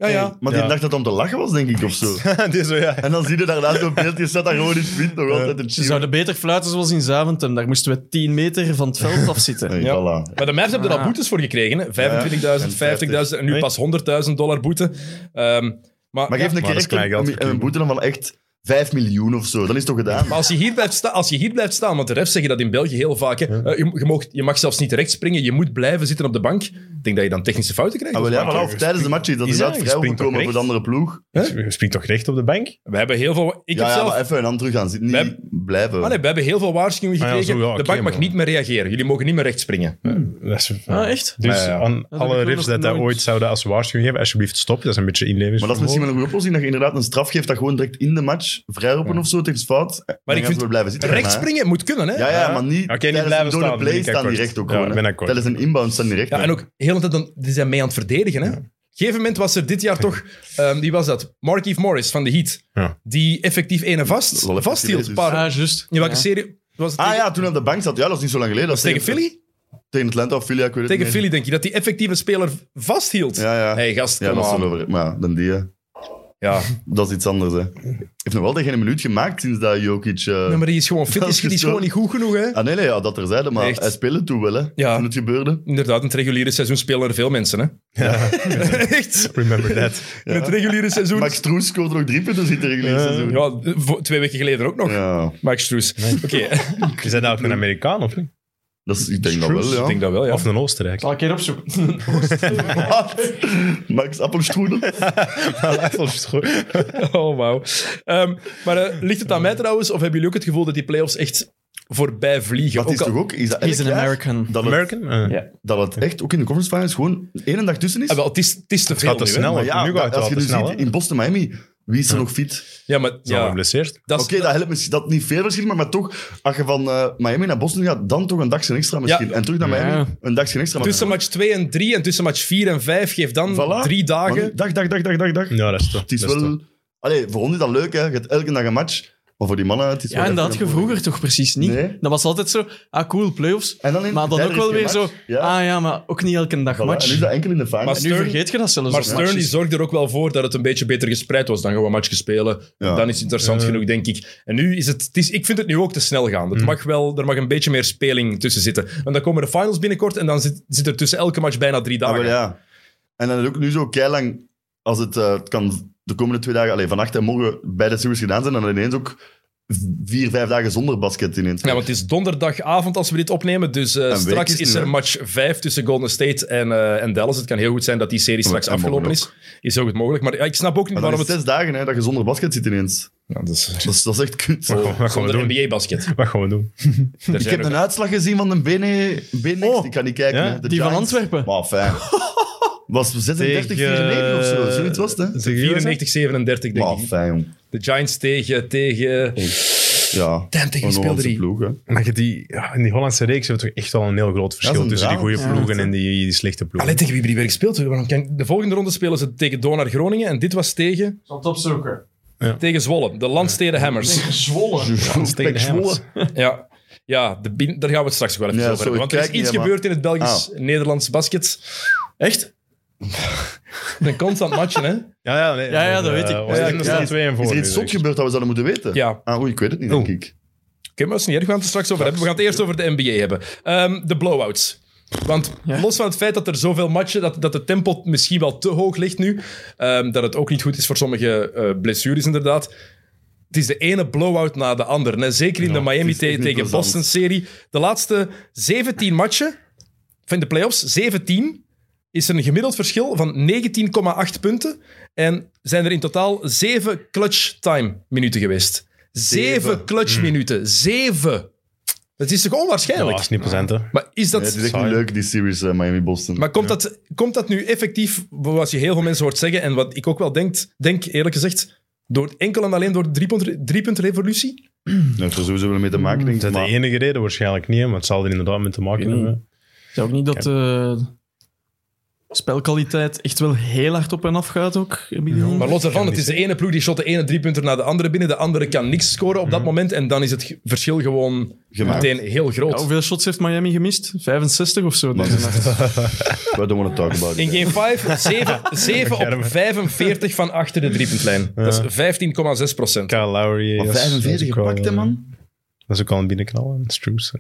Ja, ja.
Maar die
Ja.
dacht dat het om te lachen was, denk ik, of zo.
Die is zo, ja.
En dan zie je daarna zo'n beeldje, staat daar gewoon in het wind nog altijd een
Ze
cheer.
zouden beter fluiten zoals in Zaventem. Daar moesten we 10 meter van het veld af zitten.
Nee,
Ja.
voilà.
Maar de Mavs hebben er al
Ah.
boetes voor gekregen. hè. 25.000,
en
50.000 en nu
Nee.
pas 100.000 dollar boete. Ehm, maar,
Maar geef een keer
Maar dat is
echt
klein
een,
geld
een,
voor
een boete dan van echt 5 miljoen of zo. Dan is het toch
[LAUGHS]
gedaan?
maar als, je hier blijft sta- als je hier blijft staan, want de refs zeggen dat in België heel vaak. hè. Eh, je, je, mag, je mag zelfs niet rechts springen, je moet blijven zitten op de bank. Ik denk dat je dan technische fouten krijgt.
Ah, wel, ja, maar of
je
tijdens de match is dat
Is
inderdaad
dat? Je
vrij
springt
opgekomen voor
toch
de andere ploeg.
Je springt toch recht op de bank?
We hebben heel veel... Ik
Ja,
heb
ja,
zelf...
maar even en dan terug gaan zitten.
We
Niet blijven.
Ah, nee, we hebben heel veel waarschuwingen
Ah, ja,
gekregen.
zo, ja,
de
oké,
bank mag
maar-
niet meer reageren. Jullie mogen niet meer rechts springen.
Dat is-
Ah, echt?
Dus
Ja, ja.
aan
heb
alle
ik
refs
nog
dat dat
nooit.
ooit zouden als waarschuwing hebben, alsjeblieft stop. Dat is een beetje inlevens.
Maar dat is misschien wel een goede oplossing, dat je inderdaad een straf geeft dat gewoon direct in de match vrijroepen of zo, tegen fout. Maar
ik vind-
we blijven zitten.
Rechts
maar, hè.
springen moet kunnen, hè?
Ja, ja, maar niet,
Oké, niet
tijdens
blijven
een door
staan,
een play
ben ik
staan die
akkoord.
recht ook
Ja,
gewoon.
ik
hè.
ben akkoord.
Tijdens een inbound staan die recht.
Ja,
hè.
en ook heel de tijd dan, die zijn mee aan het verdedigen. Hè? Op een gegeven moment was er dit jaar toch, ehm die was dat, Markief Morris van de Heat,
Ja.
die effectief ene vast,
wel effectief,
vasthield.
hè,
Een
dus.
paar,
Ah, juist.
in welke
Ja.
serie was het?
Ah
tegen,
ja, toen hij op de bank zat. Ja, dat is niet zo lang geleden. Dat
was het tegen Philly?
Tegen Atlanta of Philly, ja, ik weet het
Tegen
niet.
Philly, denk je, dat die effectieve speler vasthield.
Ja, ja.
hey, gast,
Ja,
kom
dat is
aan.
wel over. Maar ja, dan die, hè. [LAUGHS]
Ja.
dat is iets anders. Hè. Heeft nog wel tegen een minuut gemaakt sinds dat Jokic... eh,
Hm. Nee, maar die is gewoon fit,
Dat
is,
is
die is
gestoord.
gewoon niet goed genoeg. Hè?
Ah nee, nee ja, dat terzijde, maar
Echt.
hij speelde toen wel, hè,
Ja.
toen het gebeurde.
Inderdaad, in het reguliere seizoen spelen er veel mensen. Hè? [LAUGHS] Echt?
[LAUGHS]
Remember that.
In het reguliere seizoen...
Max Troes scoorde nog drie punten in het reguliere seizoen. Ja.
Eh, Ja, vo- twee weken geleden ook nog. Max Struus. Oké,
Is dat nou ook een Amerikaan of niet?
dat is, ik denk dat
Struus,
wel, ja.
ik denk dat wel, ja.
Of een Oostenrijk? [LAUGHS]
Zal ik hier opzoeken?
[LAUGHS] Wat? Max Appelstroedel?
Oh, wauw. Ehm, maar eh, ligt het aan mij trouwens, of hebben jullie ook het gevoel dat die playoffs echt voorbij vliegen?
Dat is
Ook al-
toch ook... Is dat
He's
elk
an
jaar
American.
Dat het,
American? Eh,
Ja.
dat het echt ook in de conference finals gewoon één dag tussen is?
Ah, wel, het is, het is te veel
gaat te
nu, hè.
snel.
Maar Oh ja,
nu gaat het
als je
wel
nu
te snel,
ziet,
hè?
in Boston, Miami, wie is er nog fit?
Ja, maar
Zal
ja,
geblesseerd.
dat
Oké,
is-
dat helpt misschien dat niet veel verschil, maar, maar toch, als je van eh, Miami naar Boston gaat, dan toch een dagje extra misschien.
Ja.
En terug naar Miami,
Ja.
een dagje extra. maar-
tussen match 2 en 3 en tussen match 4 en 5 geeft dan
Voilà.
drie
Maar
dagen.
nu- dag, dag, dag, dag, dag, dag.
Ja, dat is toch.
Het is
dat is toch.
wel... Allee, voor ons is dat leuk, hè. Je hebt elke dag een match. Maar voor die mannen, het is
Ja,
wel
en dat
echt
had
een
je vroeger toch precies niet?
Nee.
Dat was altijd zo, ah cool, playoffs.
En dan in-
maar dan
daar
ook
is
wel
geen
weer zo,
match. Ja.
ah ja, maar ook niet elke dag
Voilà, En nu
match.
is dat enkel in de finals.
Maar
En nu
Stern-
vergeet je dat zelfs.
Maar
op
Stern die
matches.
zorgt er ook wel voor dat het een beetje beter gespreid was. Dan gaan we matchjes spelen.
Ja.
Dan is het interessant genoeg, denk ik. En nu is het, het is, ik vind het nu ook te snel gaan.
Mm.
Het mag wel, er mag een beetje meer speling tussen zitten. En dan komen de finals binnenkort en dan zit, zit er tussen elke match bijna drie
Ah,
dagen.
wel, ja. En dan is het ook nu zo keilang, als het eh, het kan de komende twee dagen, allee, vannacht en morgen, beide series gedaan zijn, dan ineens ook vier, vijf dagen zonder basket ineens.
Ja, want het is donderdagavond als we dit opnemen. Dus eh,
week
straks
is
is,
het nu,
er
hè?
match 5 tussen Golden State en, eh, en Dallas. Het kan heel goed zijn dat die serie straks
en
afgelopen
morgen
is. Is heel goed mogelijk. Maar ja, ik snap ook niet
maar dan
waarom
is
het...
zes dagen hè, dat je zonder basket zit ineens.
Ja, dat is-
Dat is, dat is echt kut.
Wat gaan- wat gaan we
Zonder
doen?
[LAUGHS]
NBA-basket.
Wat gaan we doen?
Daar
Ik
zijn
heb
nog-
een uitslag gezien van een BN, BN
Oh,
ik E kan niet kijken.
ja,
hè. De
die van
Giants.
Antwerpen.
Maar fijn. was 36, 94 of zo. Zoiets was het, hè?
94, 37, denk
Maar
ik.
fijn, jong.
nou? De Giants tegen... tegen...
Ja.
Damn, tegen
Een
speel
Hollandse
drie.
ploeg, hè.
Maar je die, ja, in die Hollandse reeks hebben we toch echt wel een heel groot verschil
een
tussen die
drama.
goede ploegen en die, die slechte ploegen.
Allee, tegen wie hebben die weer gespeeld? Want kijk, De volgende ronde spelen ze tegen Donar Groningen. En dit was tegen,
Zal het opzoeken.
tegen Zwolle. De Landsteden Hammers.
Gezwollen.
tegen de
Pek Zwolle.
Hammers.
Ja, ja de bin- daar gaan we het straks wel even
Ja,
over
sorry,
hebben. Want er is
kijk Ah.
iets
niet,
gebeurd in het Belgisch-Nederlands basket.
[LAUGHS]
Echt?
Een constant matchen, hè?
Ja, ja, nee,
Ja, ja, dat weet ik. Ja,
Eh, er
ja.
staan twee en voor.
Is er
nu,
iets zot
dus.
gebeurd dat we zouden moeten weten?
Ja.
Ah, oei, ik weet het niet, denk
Oeh.
ik.
Oké, maar dat is niet erg, we gaan het er straks over hebben. We gaan het eerst over de NBA hebben. Ehm, de blowouts. Want los van het feit dat er zoveel matchen, dat, dat de tempo misschien wel te hoog ligt nu, ehm, dat het ook niet goed is voor sommige eh, blessures inderdaad. Het is de ene blowout na de andere. En zeker in de Miami
is echt
tegen
niet plezant.
Boston-serie. De laatste 17 matchen, of in de playoffs, 17, is er een gemiddeld verschil van 19,8 punten. En zijn er in totaal 7 clutch time minuten geweest. 7
Zeven.
clutch minuten. 7. Dat is toch
Ja,
onwaarschijnlijk?
dat is niet present, hè.
Maar is dat...
Nee, het is echt
saai.
niet leuk, die series eh, Miami-Boston.
Maar komt, dat, komt dat nu effectief, wat je heel veel mensen hoort zeggen, en wat ik ook wel denk, denk eerlijk gezegd, door, enkel en alleen door de driepunt- driepuntrevolutie?
Nee, heeft er sowieso wel mee te maken, denk
Dat
ik.
is de
Maar Hmm.
enige reden waarschijnlijk niet, hè, maar het zal er inderdaad mee te maken
Ja.
hebben.
Ja, ook niet dat de spelkwaliteit echt wel heel hard op en af gaat ook. inmiddels.
Maar los daarvan, het is de
zeggen.
ene ploeg die shot de ene driepunter naar de andere binnen, de andere kan niks scoren op dat moment, en dan is het ge- verschil gewoon
Gemaakt.
meteen heel
Ja,
groot.
hoeveel shots heeft Miami gemist? 65 of zo. [LAUGHS] deze nacht.
[LAUGHS] we don't want to talk about
In
it.
game
[LAUGHS]
5, 7, op 45 van achter de driepuntlijn. Dat is 15,6 procent.
Kyle Lowry.
Maar
yes, dat is
45
ook wel,
gepakt, hè,
eh,
man?
Dat is ook al een binnenknal, hè. dat is true. zo.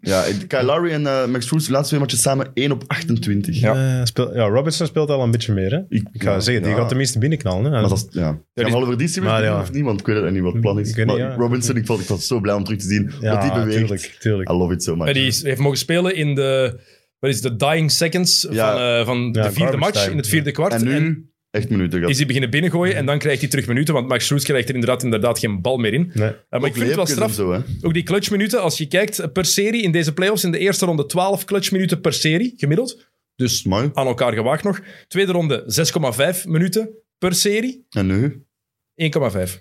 Ja, Kyle Lowry en eh, Max Schultz, de laatste twee matches samen 1 op 28.
Ja.
Eh, speel- ja, Robinson speelt al een beetje meer. Hè?
Ik,
Ik ga zeggen, die gaat tenminste binnenknallen. Hè?
Maar dat is, ja. Gaan we
die-
al over die series
maar
beginnen
ja.
of niet? Want ik weet het niet wat het plan is.
Ik weet niet,
Maar
ja.
Robinson, ik, vond, ik was zo blij om terug te zien
ja,
dat die beweegt.
tuurlijk, tuurlijk.
I love it so much.
Die is- heeft mogen spelen in de, wat is het, de dying seconds
Ja.
van, eh, van de
Ja,
vierde
garbage
match,
time,
in het vierde kwart.
En nu
En
echt minuten gehad.
is hij beginnen binnengooien en dan krijgt hij terug minuten, want Max Schroes krijgt er inderdaad, inderdaad geen bal meer in. Eh, maar
Nee.
ik vind het wel
Leepjes en
straf,
Zo, hè?
ook die clutchminuten, als je kijkt eh, per serie in deze playoffs, in de eerste ronde 12 clutchminuten per serie, gemiddeld,
Dus, mooi.
aan elkaar gewaagd nog. Tweede ronde 6,5 minuten per serie,
En nu?
1,5.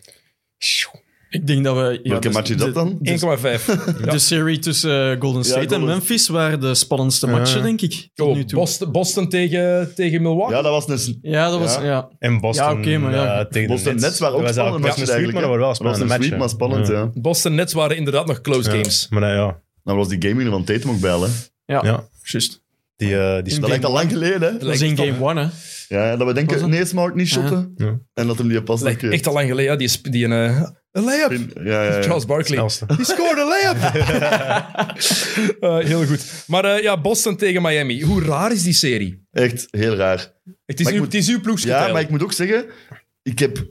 Ik denk dat we... ja,
Welke
dus-
match is dat
de-
dan?
1,5. Ja.
De serie tussen eh, Golden State en
Golden-
Memphis waren de spannendste matchen,
Ja.
denk ik. Tot nu
Oh,
toe.
Boston, Boston tegen, tegen Milwaukee.
Ja, dat was een...
Ja, dat was...
Ja.
Ja.
En Boston
Ja, oké, maar ja.
eh, tegen
Boston
de
Nets waren ook
Dat was
spannende
eigenlijk-
matches
was een sweep,
eigenlijk.
maar
hè?
dat waren wel
Dat was
spannende
een sweep, maar
matchen.
spannend, ja. Dan
Boston Nets waren inderdaad nog close
Ja.
games.
Maar dat- ja,
was die gaming er van Tatum ook bij, hè?
Ja,
Ja.
juist.
die, eh, die
Dat lijkt al lang geleden,
Dat
hè?
is in
Lijkt het
game one, hè.
Ja, dat we
Was
denken,
dat?
nee, Smart niet
Ja.
shotten.
Ja.
En dat hem die pas
Lijkt echt al lang geleden, ja, die, sp- die een, eh, een layup.
Ja,
[LAUGHS]
ja, ja.
Charles Barkley.
snelste.
Die scoorde een layup. [LAUGHS] Eh, heel goed. Maar eh, ja, Boston tegen Miami. Hoe raar is die serie?
Echt heel raar.
Het is,
Maar ik
uw,
moet-
het is uw ploegsgetuil.
Ja, maar ik moet ook zeggen, ik heb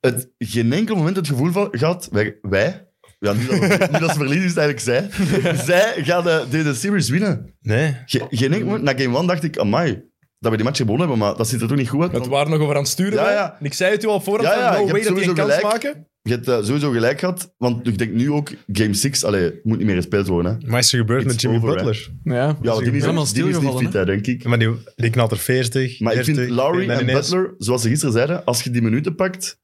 het, geen enkel moment het gevoel van, gehad, wij, wij ja, niet dat, [LAUGHS] we- niet dat ze verliezen, is het eigenlijk [LAUGHS] zij, zij gaan de, deze series winnen.
Nee.
Ge- geen enkel moment, na game 1 dacht ik, amai, dat we die match gewonnen hebben, maar dat ziet er toch niet goed uit.
Het
want
waren nog over aan het sturen.
Ja,
wij.
ja.
En Ik zei het u al vooraf.
Ja, ja,
van, no
ik heb
way dat die een
sowieso
kans
gelijk.
maken.
Je hebt eh, sowieso gelijk gehad, want ik denk nu ook, game 6, allee, moet niet meer gespeeld worden. Hè.
Maar is er
[LAUGHS]
gebeurd
It's
met Jimmy
over, hè.
Butler?
Ja.
Ja, want die is,
Helemaal
die is niet
stilgevallen,
fit, hè, denk ik.
Maar die, die knalt er 40,
Maar ik
30.
vind Lowry
dan
en
ineens-
Butler, zoals ze gisteren zeiden, als je die minuten pakt,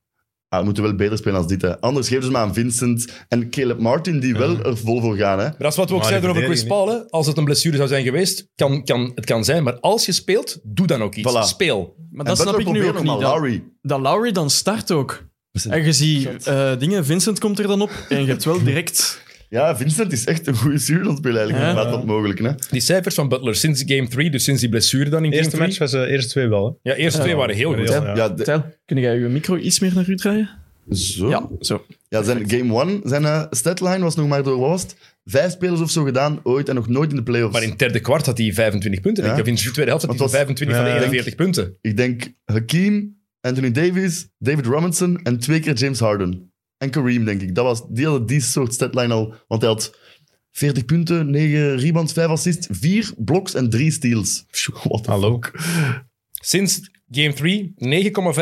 ah, we moeten wel beter spelen als dit. Hè. Anders geven ze maar aan Vincent en Caleb Martin, die wel er vol voor gaan. Hè.
Maar dat is wat we ook
Maar die
zeiden over Chris
verdedigen
Paul. hè. Als het een blessure zou zijn geweest, kan, kan, het kan zijn. Maar als je speelt, doe dan ook iets.
Voilà.
Speel.
Maar
En
dat snap
Butler
ik nu
probeert
ook
nog
niet.
maar
Dat,
Lowry.
dat Lowry dan start ook. En je ziet eh, dingen, Vincent komt er dan op en je hebt wel direct...
Ja, Vincent is echt een goede zuurlandspeler eigenlijk.
Ja.
Laat dat mogelijk. Hè.
Die cijfers van Butler sinds game 3, dus sinds die blessure dan in game
De eerste
three.
match was de eerste twee wel. Hè?
Ja, eerste twee waren
Oh,
heel goed.
Ja.
Ja, de- Oh.
Tijl, kun jij je micro iets meer naar u draaien?
zo.
Ja,
Ja.
zo.
zijn game one, zijn eh, statline was nog maar door, wat was het? Vijf spelers of zo gedaan, ooit en nog nooit in de playoffs.
Maar in het derde kwart had hij 25 punten. denk
Ja.
Ik. Of in de tweede helft had hij
Want het
25 van de
Ja.
41 punten.
Ik denk Hakeem, Anthony Davis, David Robinson en twee keer James Harden. En Kareem, denk ik. Dat was, die hadden die soort statline al. Want hij had 40 punten, 9 [LAUGHS] rebounds, 5 assists, 4 bloks en 3 steals. Phew, Wat
Hallo.
Sinds Game 3,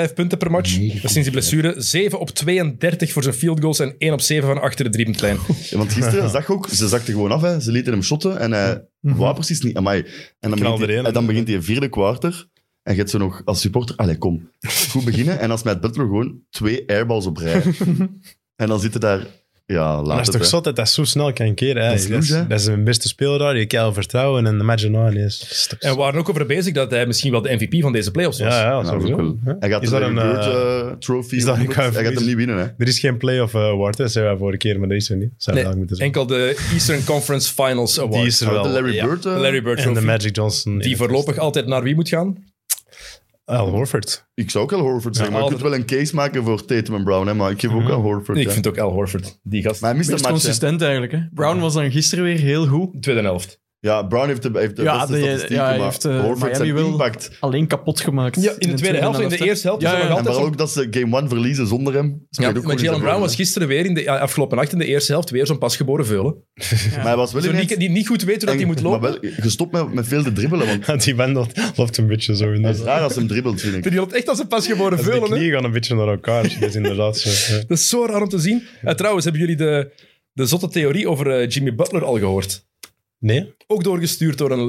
9,5 punten per match. Dus Sinds die blessure 7 op 32 voor zijn field goals en 1 op 7 van achter de
[LAUGHS]
driepuntlijn.
Ja, want gisteren zag je ook, ze zakte gewoon af, hè. ze lieten hem shotten en hij wou precies niet. Amai. En dan
Mhm. Knalde
begint,
er
die,
een.
en dan begint die vierde kwarter en je hebt zo nog als supporter, allee kom, goed beginnen. En als met Butler gewoon twee airballs op
[LAUGHS]
rij. en dan zitten daar, ja,
Maar
laat
dat is
het.
toch
hè.
zot dat dat zo snel kan keren. Hè?
Dat is
dat, is,
loes, hè?
dat is een beste speler daar. Je kan wel vertrouwen en de match erna ineens. Dat is toch
En we waren ook over bezig dat hij misschien wel de MVP van deze playoffs was.
Ja, ja,
Ja, Nou, dat is
Ah, sowieso.
ook wel.
Ja.
Hij gaat
Is
er
dat
een
een,
Bird,
eh,
eh, trophy.
is dat een
op- hij gaat hem
verlies?
niet winnen, hè.
Er is geen play-off eh, award, hè, zei wij vorige keer, maar dat is er niet. Zou
Nee,
we dat moeten zeggen.
enkel de Eastern Conference Finals Award.
Die is er wel.
de Larry
Ja,
Bird, eh,
Larry Bird
en de
Trophy,
Magic Johnson.
die voorlopig altijd naar wie moet gaan?
Al Horford. [LAUGHS]
ik zou ook al Horford zeggen, maar je kunt wel een case maken voor Tatum en Brown, hè, maar ik geef
Mhm.
ook al Horford.
Ik
hè.
vind ook Al Horford, die gast.
Maar hij mist
Meest
een match, hè.
consistent eigenlijk. Hè. Brown was dan gisteren weer heel goed.
Tweede helft.
Ja, Brown heeft de, heeft de
Ja,
beste
de-
statistieken,
ja, hij
maar
heeft, eh,
Horford
Miami
zijn
wel-
impact.
Alleen kapot gemaakt.
Ja, in de tweede helft, in de
hè.
eerste helft is
Ja,
dat nog
ja,
En
altijd
vooral ook dat ze game one verliezen zonder hem.
Ja,
speelt ook
maar
goed in
Jalen
zijn
Brown
rol,
was
hè.
gisteren weer in de ja, afgelopen nacht in de eerste helft weer zo'n pasgeboren veulen.
Maar hij was wel
Zo
ineens-
niet, die niet goed weet hoe dat hij moet
Maar
lopen.
wel gestopt met, met veel te dribbelen,
[LAUGHS]
want
Die wandelt, loopt een beetje zo. In
het is
de,
raar als hij hem dribbelt, vind ik.
Die loopt echt als een pasgeboren
de
veulen. hè.
knieën gaan een beetje naar elkaar. dus Dat is inderdaad zo. ja.
Dat is zo raar om te zien. En trouwens, hebben jullie de, de zotte theorie over eh, Jimmy Butler al gehoord?
Nee?
Ook doorgestuurd door een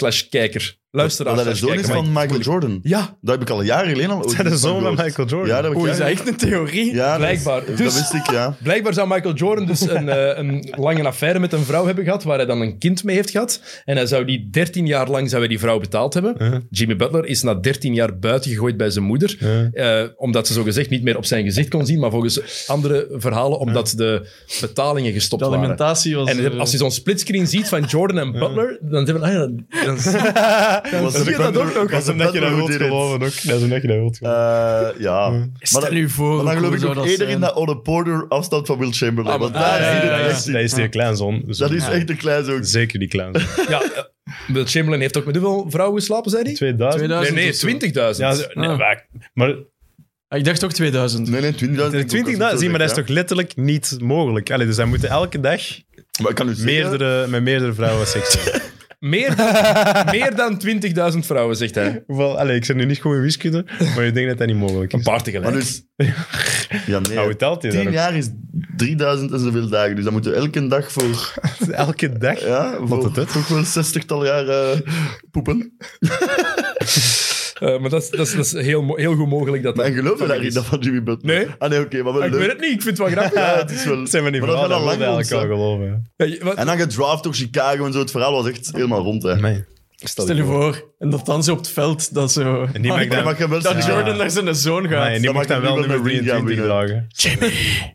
luister-slash-kijker. Luisteraar.
Dat hij de
slash
zoon is
kijker,
van
maar-
Michael Jordan.
Ja, Oh,
Dat heb ik al een jaar geleden al.
Is dat de zoon van
gehoord.
Michael Jordan?
Ja, dat heb ik
Oeh, is dat
jaren-
echt een theorie?
ja, dat is-
Blijkbaar.
Dat
Dus-
wist ik, ja.
Blijkbaar zou Michael Jordan dus een, eh, een lange affaire met een vrouw hebben gehad, waar hij dan een kind mee heeft gehad. En hij zou die 13 jaar lang zou hij die vrouw betaald hebben. Jimmy Butler is na 13 jaar buiten gegooid bij zijn moeder, eh, omdat ze zogezegd niet meer op zijn gezicht kon zien, maar volgens andere verhalen omdat de betalingen gestopt
De
waren.
alimentatie was...
En
eh,
als je zo'n splitscreen ziet van Jordan en Butler, dan denk je, ah ja, dan zie je-
Was
Dus
zie je dat ook nog.
Dat is omdat je dat wilt geloven ook. Dat is omdat je dat wilt geloven.
Eh, ja.
Stel
Maar
u
dan-
voor
maar
hoe
dan geloof
cool
ik
zou
nog
dat
eerder
zijn.
in dat Ole Porter afstand van Will Chamberlain.
Ah,
Want
maar-
daar
ah, ja,
zie je
ja, ja.
dat
Dat
echt.
is die kleinzoon.
Dat is echt een kleinzoon.
Zeker die kleinzoon.
[LAUGHS]
Ja, eh, Will Chamberlain heeft ook met hoeveel vrouwen geslapen, zei hij?
2000?
2000
Nee, nee,
of zo.
20.000.
Ja, ze- nee,
Ah.
maar- maar
Ah, Ik dacht ook 2000.
Nee, nee, 20.000.
De 20.000, zie, maar dat is toch letterlijk niet mogelijk. Allee, dus zij moeten elke dag
Maar ik kan u zeggen-
meerdere, met meerdere vrouwen seks hebben.
Meer dan, meer dan 20.000 vrouwen, zegt hij.
[LAUGHS] Hoeveel- allee, ik ben nu niet goed in wiskunde, maar ik denk dat dat niet mogelijk
Een
is.
paar
Maar
tegelijk.
dus... Ja, nee.
Nou, hoe telt je dat
10
ook?
jaar is 3000 en zoveel dagen. Dus dan moeten we elke dag voor, [LAUGHS]
[LAUGHS] Elke dag?
ja, voor
het, hè?
toch wel 60-tal jaar eh, poepen.
Eh, maar dat is, dat is, dat is heel, mo- heel goed mogelijk dat
Maar
dat...
en geloof je daar niet dat van Jimmy Butler?
Nee.
Ah nee, oké, maar wel
Ik weet
leuk.
het niet, ik vind het wel grappig.
Ja, het is wel...
Dat zijn we niet
maar dat
verhaal,
is wel
dat
al
wilde
lang
eigenlijk al
rond,
geloven. ja.
Ja, je- wat-
hè. En dan gedraft door Chicago en zo. Het verhaal was echt helemaal rond, hè.
Amai.
Stel je voor. En dat dan zo op het veld, dat zo... Ah,
En die maakt
Maar
dan-
mag je wel
Dat
zeggen-
Jordan naar zijn zoon gaat.
Amai, en die
Dan
mocht
mag
dan
ik nu
wel
wel
nummer
met Reed gaan
23
winnen.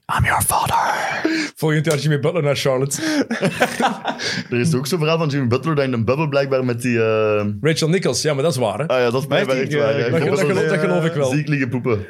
dragen.
I'm your father.
volgend jaar Jimmy Butler naar Charlotte.
Er is ook zo'n verhaal van Jimmy Butler dat in een bubbel blijkbaar met die... eh,
Rachel Nichols, ja, maar dat is waar, hè.
Ah ja, dat is blijkbaar
heeft
echt
die,
waar.
eh,
hè.
dat
Gewoon
geloof-
zo'n,
dat
eh,
geloof ik wel.
Ziek liggen poepen.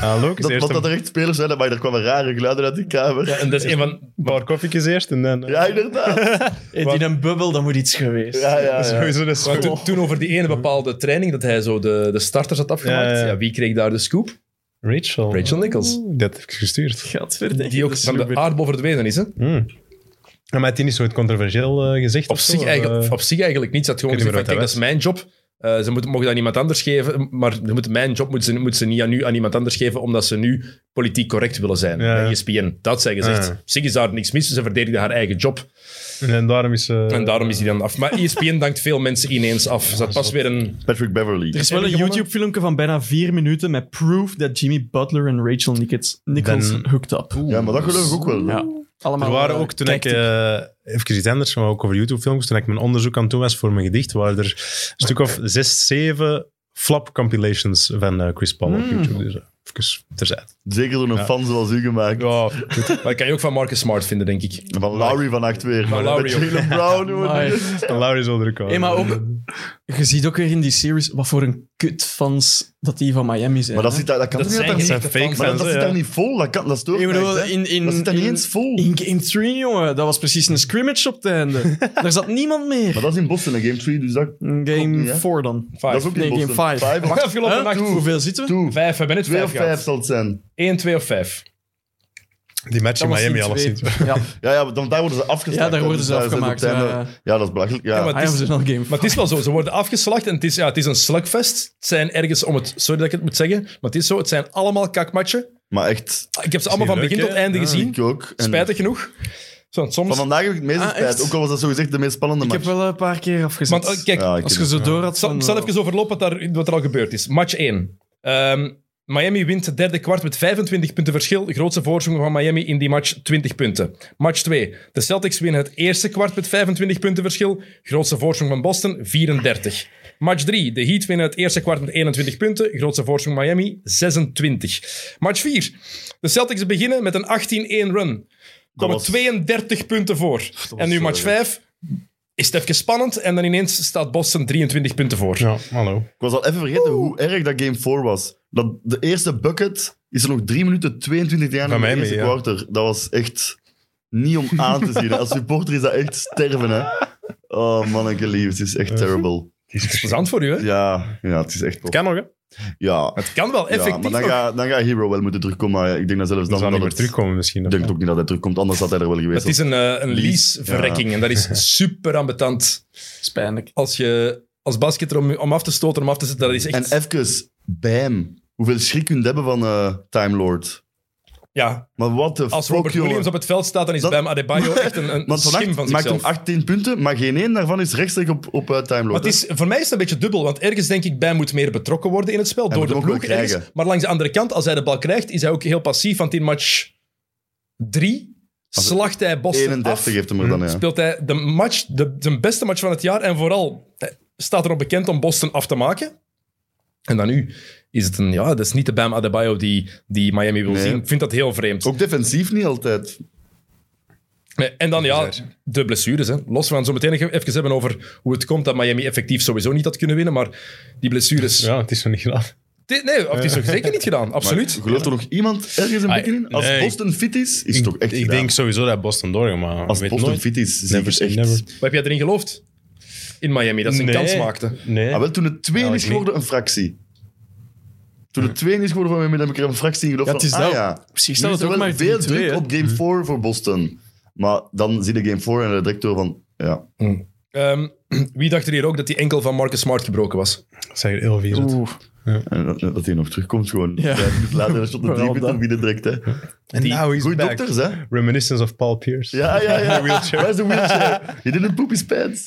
Ah, leuk.
Dat,
eerst
want dat er
een
echt spelers zijn, maar er kwamen rare geluiden uit die kamer. Ja,
En dat is een van...
paar koffietjes eerst en dan... eh,
inderdaad.
in een bubbel, dat moet iets geweest.
Ja, ja, ja.
Sowieso een
Maar
school.
toen, toen over die ene bepaalde training dat hij zo de, de starters had afgemaakt,
Ja,
ja,
ja, ja.
wie kreeg daar de scoop?
Rachel.
Rachel Nichols.
Dat heb ik gestuurd. Hmm.
Gaat verder.
Die ook van de aardbol verdwenen is, hè?
Ja, Maar het is niet zo het controversieel eh, gezegd.
Op
of zo,
zich,
of,
eigenlijk,
eh,
op zich eigenlijk niet. Ze had gewoon
Ik weet
gezegd,
niet
van, kijk, dat is mijn job. Eh, ze moeten, mogen dat niemand anders geven, maar ze moeten mijn job moeten ze, moeten ze niet aan, nu, aan iemand anders geven, omdat ze nu politiek correct willen zijn. E
Ja, ja.
Bij ESPN. Dat had zij gezegd.
Ja.
Op zich is daar niks mis, ze verdedigde haar eigen job.
En daarom is... eh,
En daarom is die dan af. Maar E ESPN dankt veel mensen ineens af. Ze had pas weer een...
Patrick Beverly.
Er is wel een
Hebben we
YouTube-filmpje van bijna vier minuten met proof dat Jimmy Butler en Rachel Nichols, Nichols
Ben-
hooked up.
Ja, maar dat geloof ik ook wel.
Ja, allemaal.
Er waren
eh,
ook, toen ik,
kijk-
eh even iets anders, maar ook over YouTube-films, toen ik mijn onderzoek aan het doen was voor mijn gedicht, waren er een stuk of zes, zeven flap-compilations van eh, Chris Paul op
Hmm.
YouTube. Dus eh, even terzijde.
Zeker door een fan zoals u gemaakt.
[LAUGHS] Ja,
Maar dat kan je ook van Marcus Smart vinden, denk ik.
Van Lowry vannacht weer.
Van
Van
Lowry
Met
ook.
Jalen Brown.
[LAUGHS]
jongen.
Amai.
Laurens onder de kamer.
Hey, maar ook, je ziet ook weer in die series wat voor een kut fans dat die van Miami zijn.
Maar dat
hè.
zit daar, dat kan
Dat
niet.
zijn
dat daar
geen
niet-
echte
fake
fans.
Maar dat, dat
Ja.
zit daar niet vol. Dat, kan, dat stoort
Ik bedoel,
mij echt, hè.
in, in,
Dat zit daar niet
in-
eens vol.
In Game 3, jongen, dat was precies een scrimmage op het
[LAUGHS]
einde. Daar zat niemand meer.
Maar dat is in Boston, in Game 3. Dus dat,
In
niet,
Game
hè?
4 dan.
Vijf.
dat is ook in
Nee,
Boston.
game five.
Vijf,
Wacht,
acht,
afgelopen
Huh?
nacht.
Hoeveel zitten we?
toe.
Vijf, we hebben net
Twee
vijf
of vijf
gehad.
zal het zijn.
Eén, twee of vijf.
Die match in
Dat was
Miami
in
alleszins.
twee. Ja,
Ja, ja, want daar worden ze afgeslacht.
Ja, daar worden
Dus
ze
zijn op
afgemaakt,
het einde-
ja, ja.
ja, dat is belachelijk. Ja.
Ja, maar-
I am Zenal game.
Maar het is wel zo, ze worden afgeslacht en het is, ja, het is een slugfest. Het zijn ergens, om het, sorry dat ik het moet zeggen, maar het is zo, het zijn allemaal kakmatchen.
maar echt,
Ik heb ze allemaal
niet
van begin
leuk,
tot
hè?
einde
Ja.
gezien.
ik ook. En
Spijtig genoeg. Zo, want
Van
soms...
vandaag heb ik het meeste
Ah,
spijt.
echt?
Ook al was dat zogezegd de meest spannende
Ik
match.
heb wel een paar keer afgezet.
Want, eh, kijk,
Ja, ik
Als
heb
je zo door had eh,
zal,
van...
ik
Oh,
zal even overlopen wat, daar, wat er al gebeurd is. Match 1. Ehm, Miami wint het derde kwart met 25 punten verschil. De grootste voorsprong van Miami in die match 20 punten. Match 2. De Celtics winnen het eerste kwart met 25 punten verschil. Grootste voorsprong van Boston 34. Match 3. De Heat winnen het eerste kwart met 21 punten. Grootste voorsprong Miami 26. Match 4. De Celtics beginnen met een 18-1 run. Komen
was-
32 punten voor. En nu
zo
match
erg.
5. Is het even spannend en dan ineens staat Boston 23 punten voor.
[LAUGHS] Ja, hallo.
Ik was al even vergeten hoe erg dat game 4 was. Dat de eerste bucket is er nog 3 minuten 22 te gaan
Van
in de
mij
eerste
mee, ja.
quarter. Dat was echt niet om aan te zien. hè. Als supporter is dat echt sterven, hè. Oh, manneke lief, het is echt terrible.
Plezant voor u, hè?
Ja, ja het is echt... tof.
Kan nog, hè?
Ja,
Het kan wel
ja
effectief.
maar dan
nog.
gaat dan gaat Hero wel moeten terugkomen. Maar ik denk dat zelfs dan...
Dan
dat
zal niet meer
het-
terugkomen
Ik
misschien.
denk ook niet dat hij terugkomt, anders had hij er wel geweest.
Het is een, eh, een lease-verrekking
Lease,
en dat
[LAUGHS]
is super ambetant.
Dat is pijnlijk.
Als je als basketter om, om af te stoten, om af te zetten, dat is
En
echt...
even, bam. Hoeveel schrik kunt hebben van eh, Time Lord.
ja,
Maar wat de
als Robert
jongen.
Williams op het veld staat, dan is
Dat-
Bam Adebayo echt een, een
[LAUGHS] Want
schim van
vannacht maakt hem
zichzelf.
18 punten, maar geen één daarvan is rechtstreeks op, op eh, Time Lord.
Maar het is, voor mij is het een beetje dubbel, want ergens denk ik, Bam moet meer betrokken worden in het spel, door
moet
de
hem ook wel
ploeg ergens.
krijgen.
Maar langs de andere kant, als hij de bal krijgt, is hij ook heel passief, want in match 3 slacht hij
hè.
Boston
31
af. Mm.
heeft hem er dan, ja.
speelt hij de match, de, zijn beste match van het jaar. En vooral hij staat erop bekend om Boston af te maken. En dan nu is het een... Ja, dat is niet de Bam Adebayo die, die Miami wil
Nee.
zien. Ik vind dat heel vreemd.
Ook defensief niet altijd.
Nee, En dan ja, de blessures. Hè. Los van zo meteen even hebben over hoe het komt dat Miami effectief sowieso niet had kunnen winnen. Maar die blessures...
Ja, het is nog niet gedaan.
Dit- Nee, of het is ook zeker niet gedaan. Absoluut.
Gelooft er nog iemand ergens een
Ah,
beetje in? Als
nee,
Boston fit is, is het toch echt
Ik
gedaan.
denk sowieso dat Boston doorgaat, maar
Als
weet
Boston
nooit.
fit is, zie ik
Never
het
say
echt.
never.
Wat heb jij erin geloofd? In Miami, dat ze een
Nee.
kans maakten.
Nee.
Ah, wel, toen het 2
Ja,
is
ik
geworden, een fractie. Toen het 2 is geworden van Wembley, heb ik er een fractie in geloofd.
Ja, het is
van,
dat.
ah, ja.
Precies,
Nu
dat
is
het
er
ook
wel
maar
veel
3-2,
druk
hè. Mm.
op game 4 voor Boston. Maar dan zie je game 4 en dan direct door van... Ja,
Ehm, [CLEARS THROAT] wie dacht er hier ook dat die enkel van Marcus Smart gebroken was?
Dat zijn er heel veel.
Oeh.
en dat, dat hij nog terugkomt gewoon.
Ja.
Ja. Later, dat shot de
[LAUGHS] Vooral Oh,
3 punten
dat.
binnen direct. Hè.
En nou is
Goeie
back.
dokters, hè.
Reminiscence of Paul Pierce.
Ja,
[LAUGHS]
ja, ja. Where's the wheelchair? He didn't poop his pants.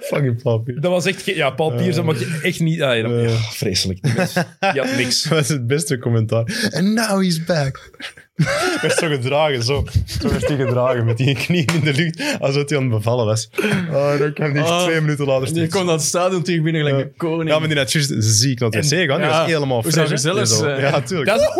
Fucking Paul Pierce.
Dat was echt... ge- Ja, Paul Pierce, dat mag je echt niet... Ah, ja, dat-
Eh.
ja, vreselijk. Die mens, Die had niks.
[LAUGHS] Dat was het beste commentaar. And now he's back. [LAUGHS] werd zo gedragen, zo. Zo werd hij gedragen met die knieën in de lucht, alsof hij aan het bevallen was. Oh, dan kwam hij
Ah.
twee minuten later
Je
steeds.
komt dat stadion terug binnen gelijk een koning.
Ja, maar die had juist ziek laten zeggen. want Die
ja,
was helemaal
hoe zou
fresh. hè.
gezellig
Die zo-
zijn?
Ja, tuurlijk.
eh, Dat is,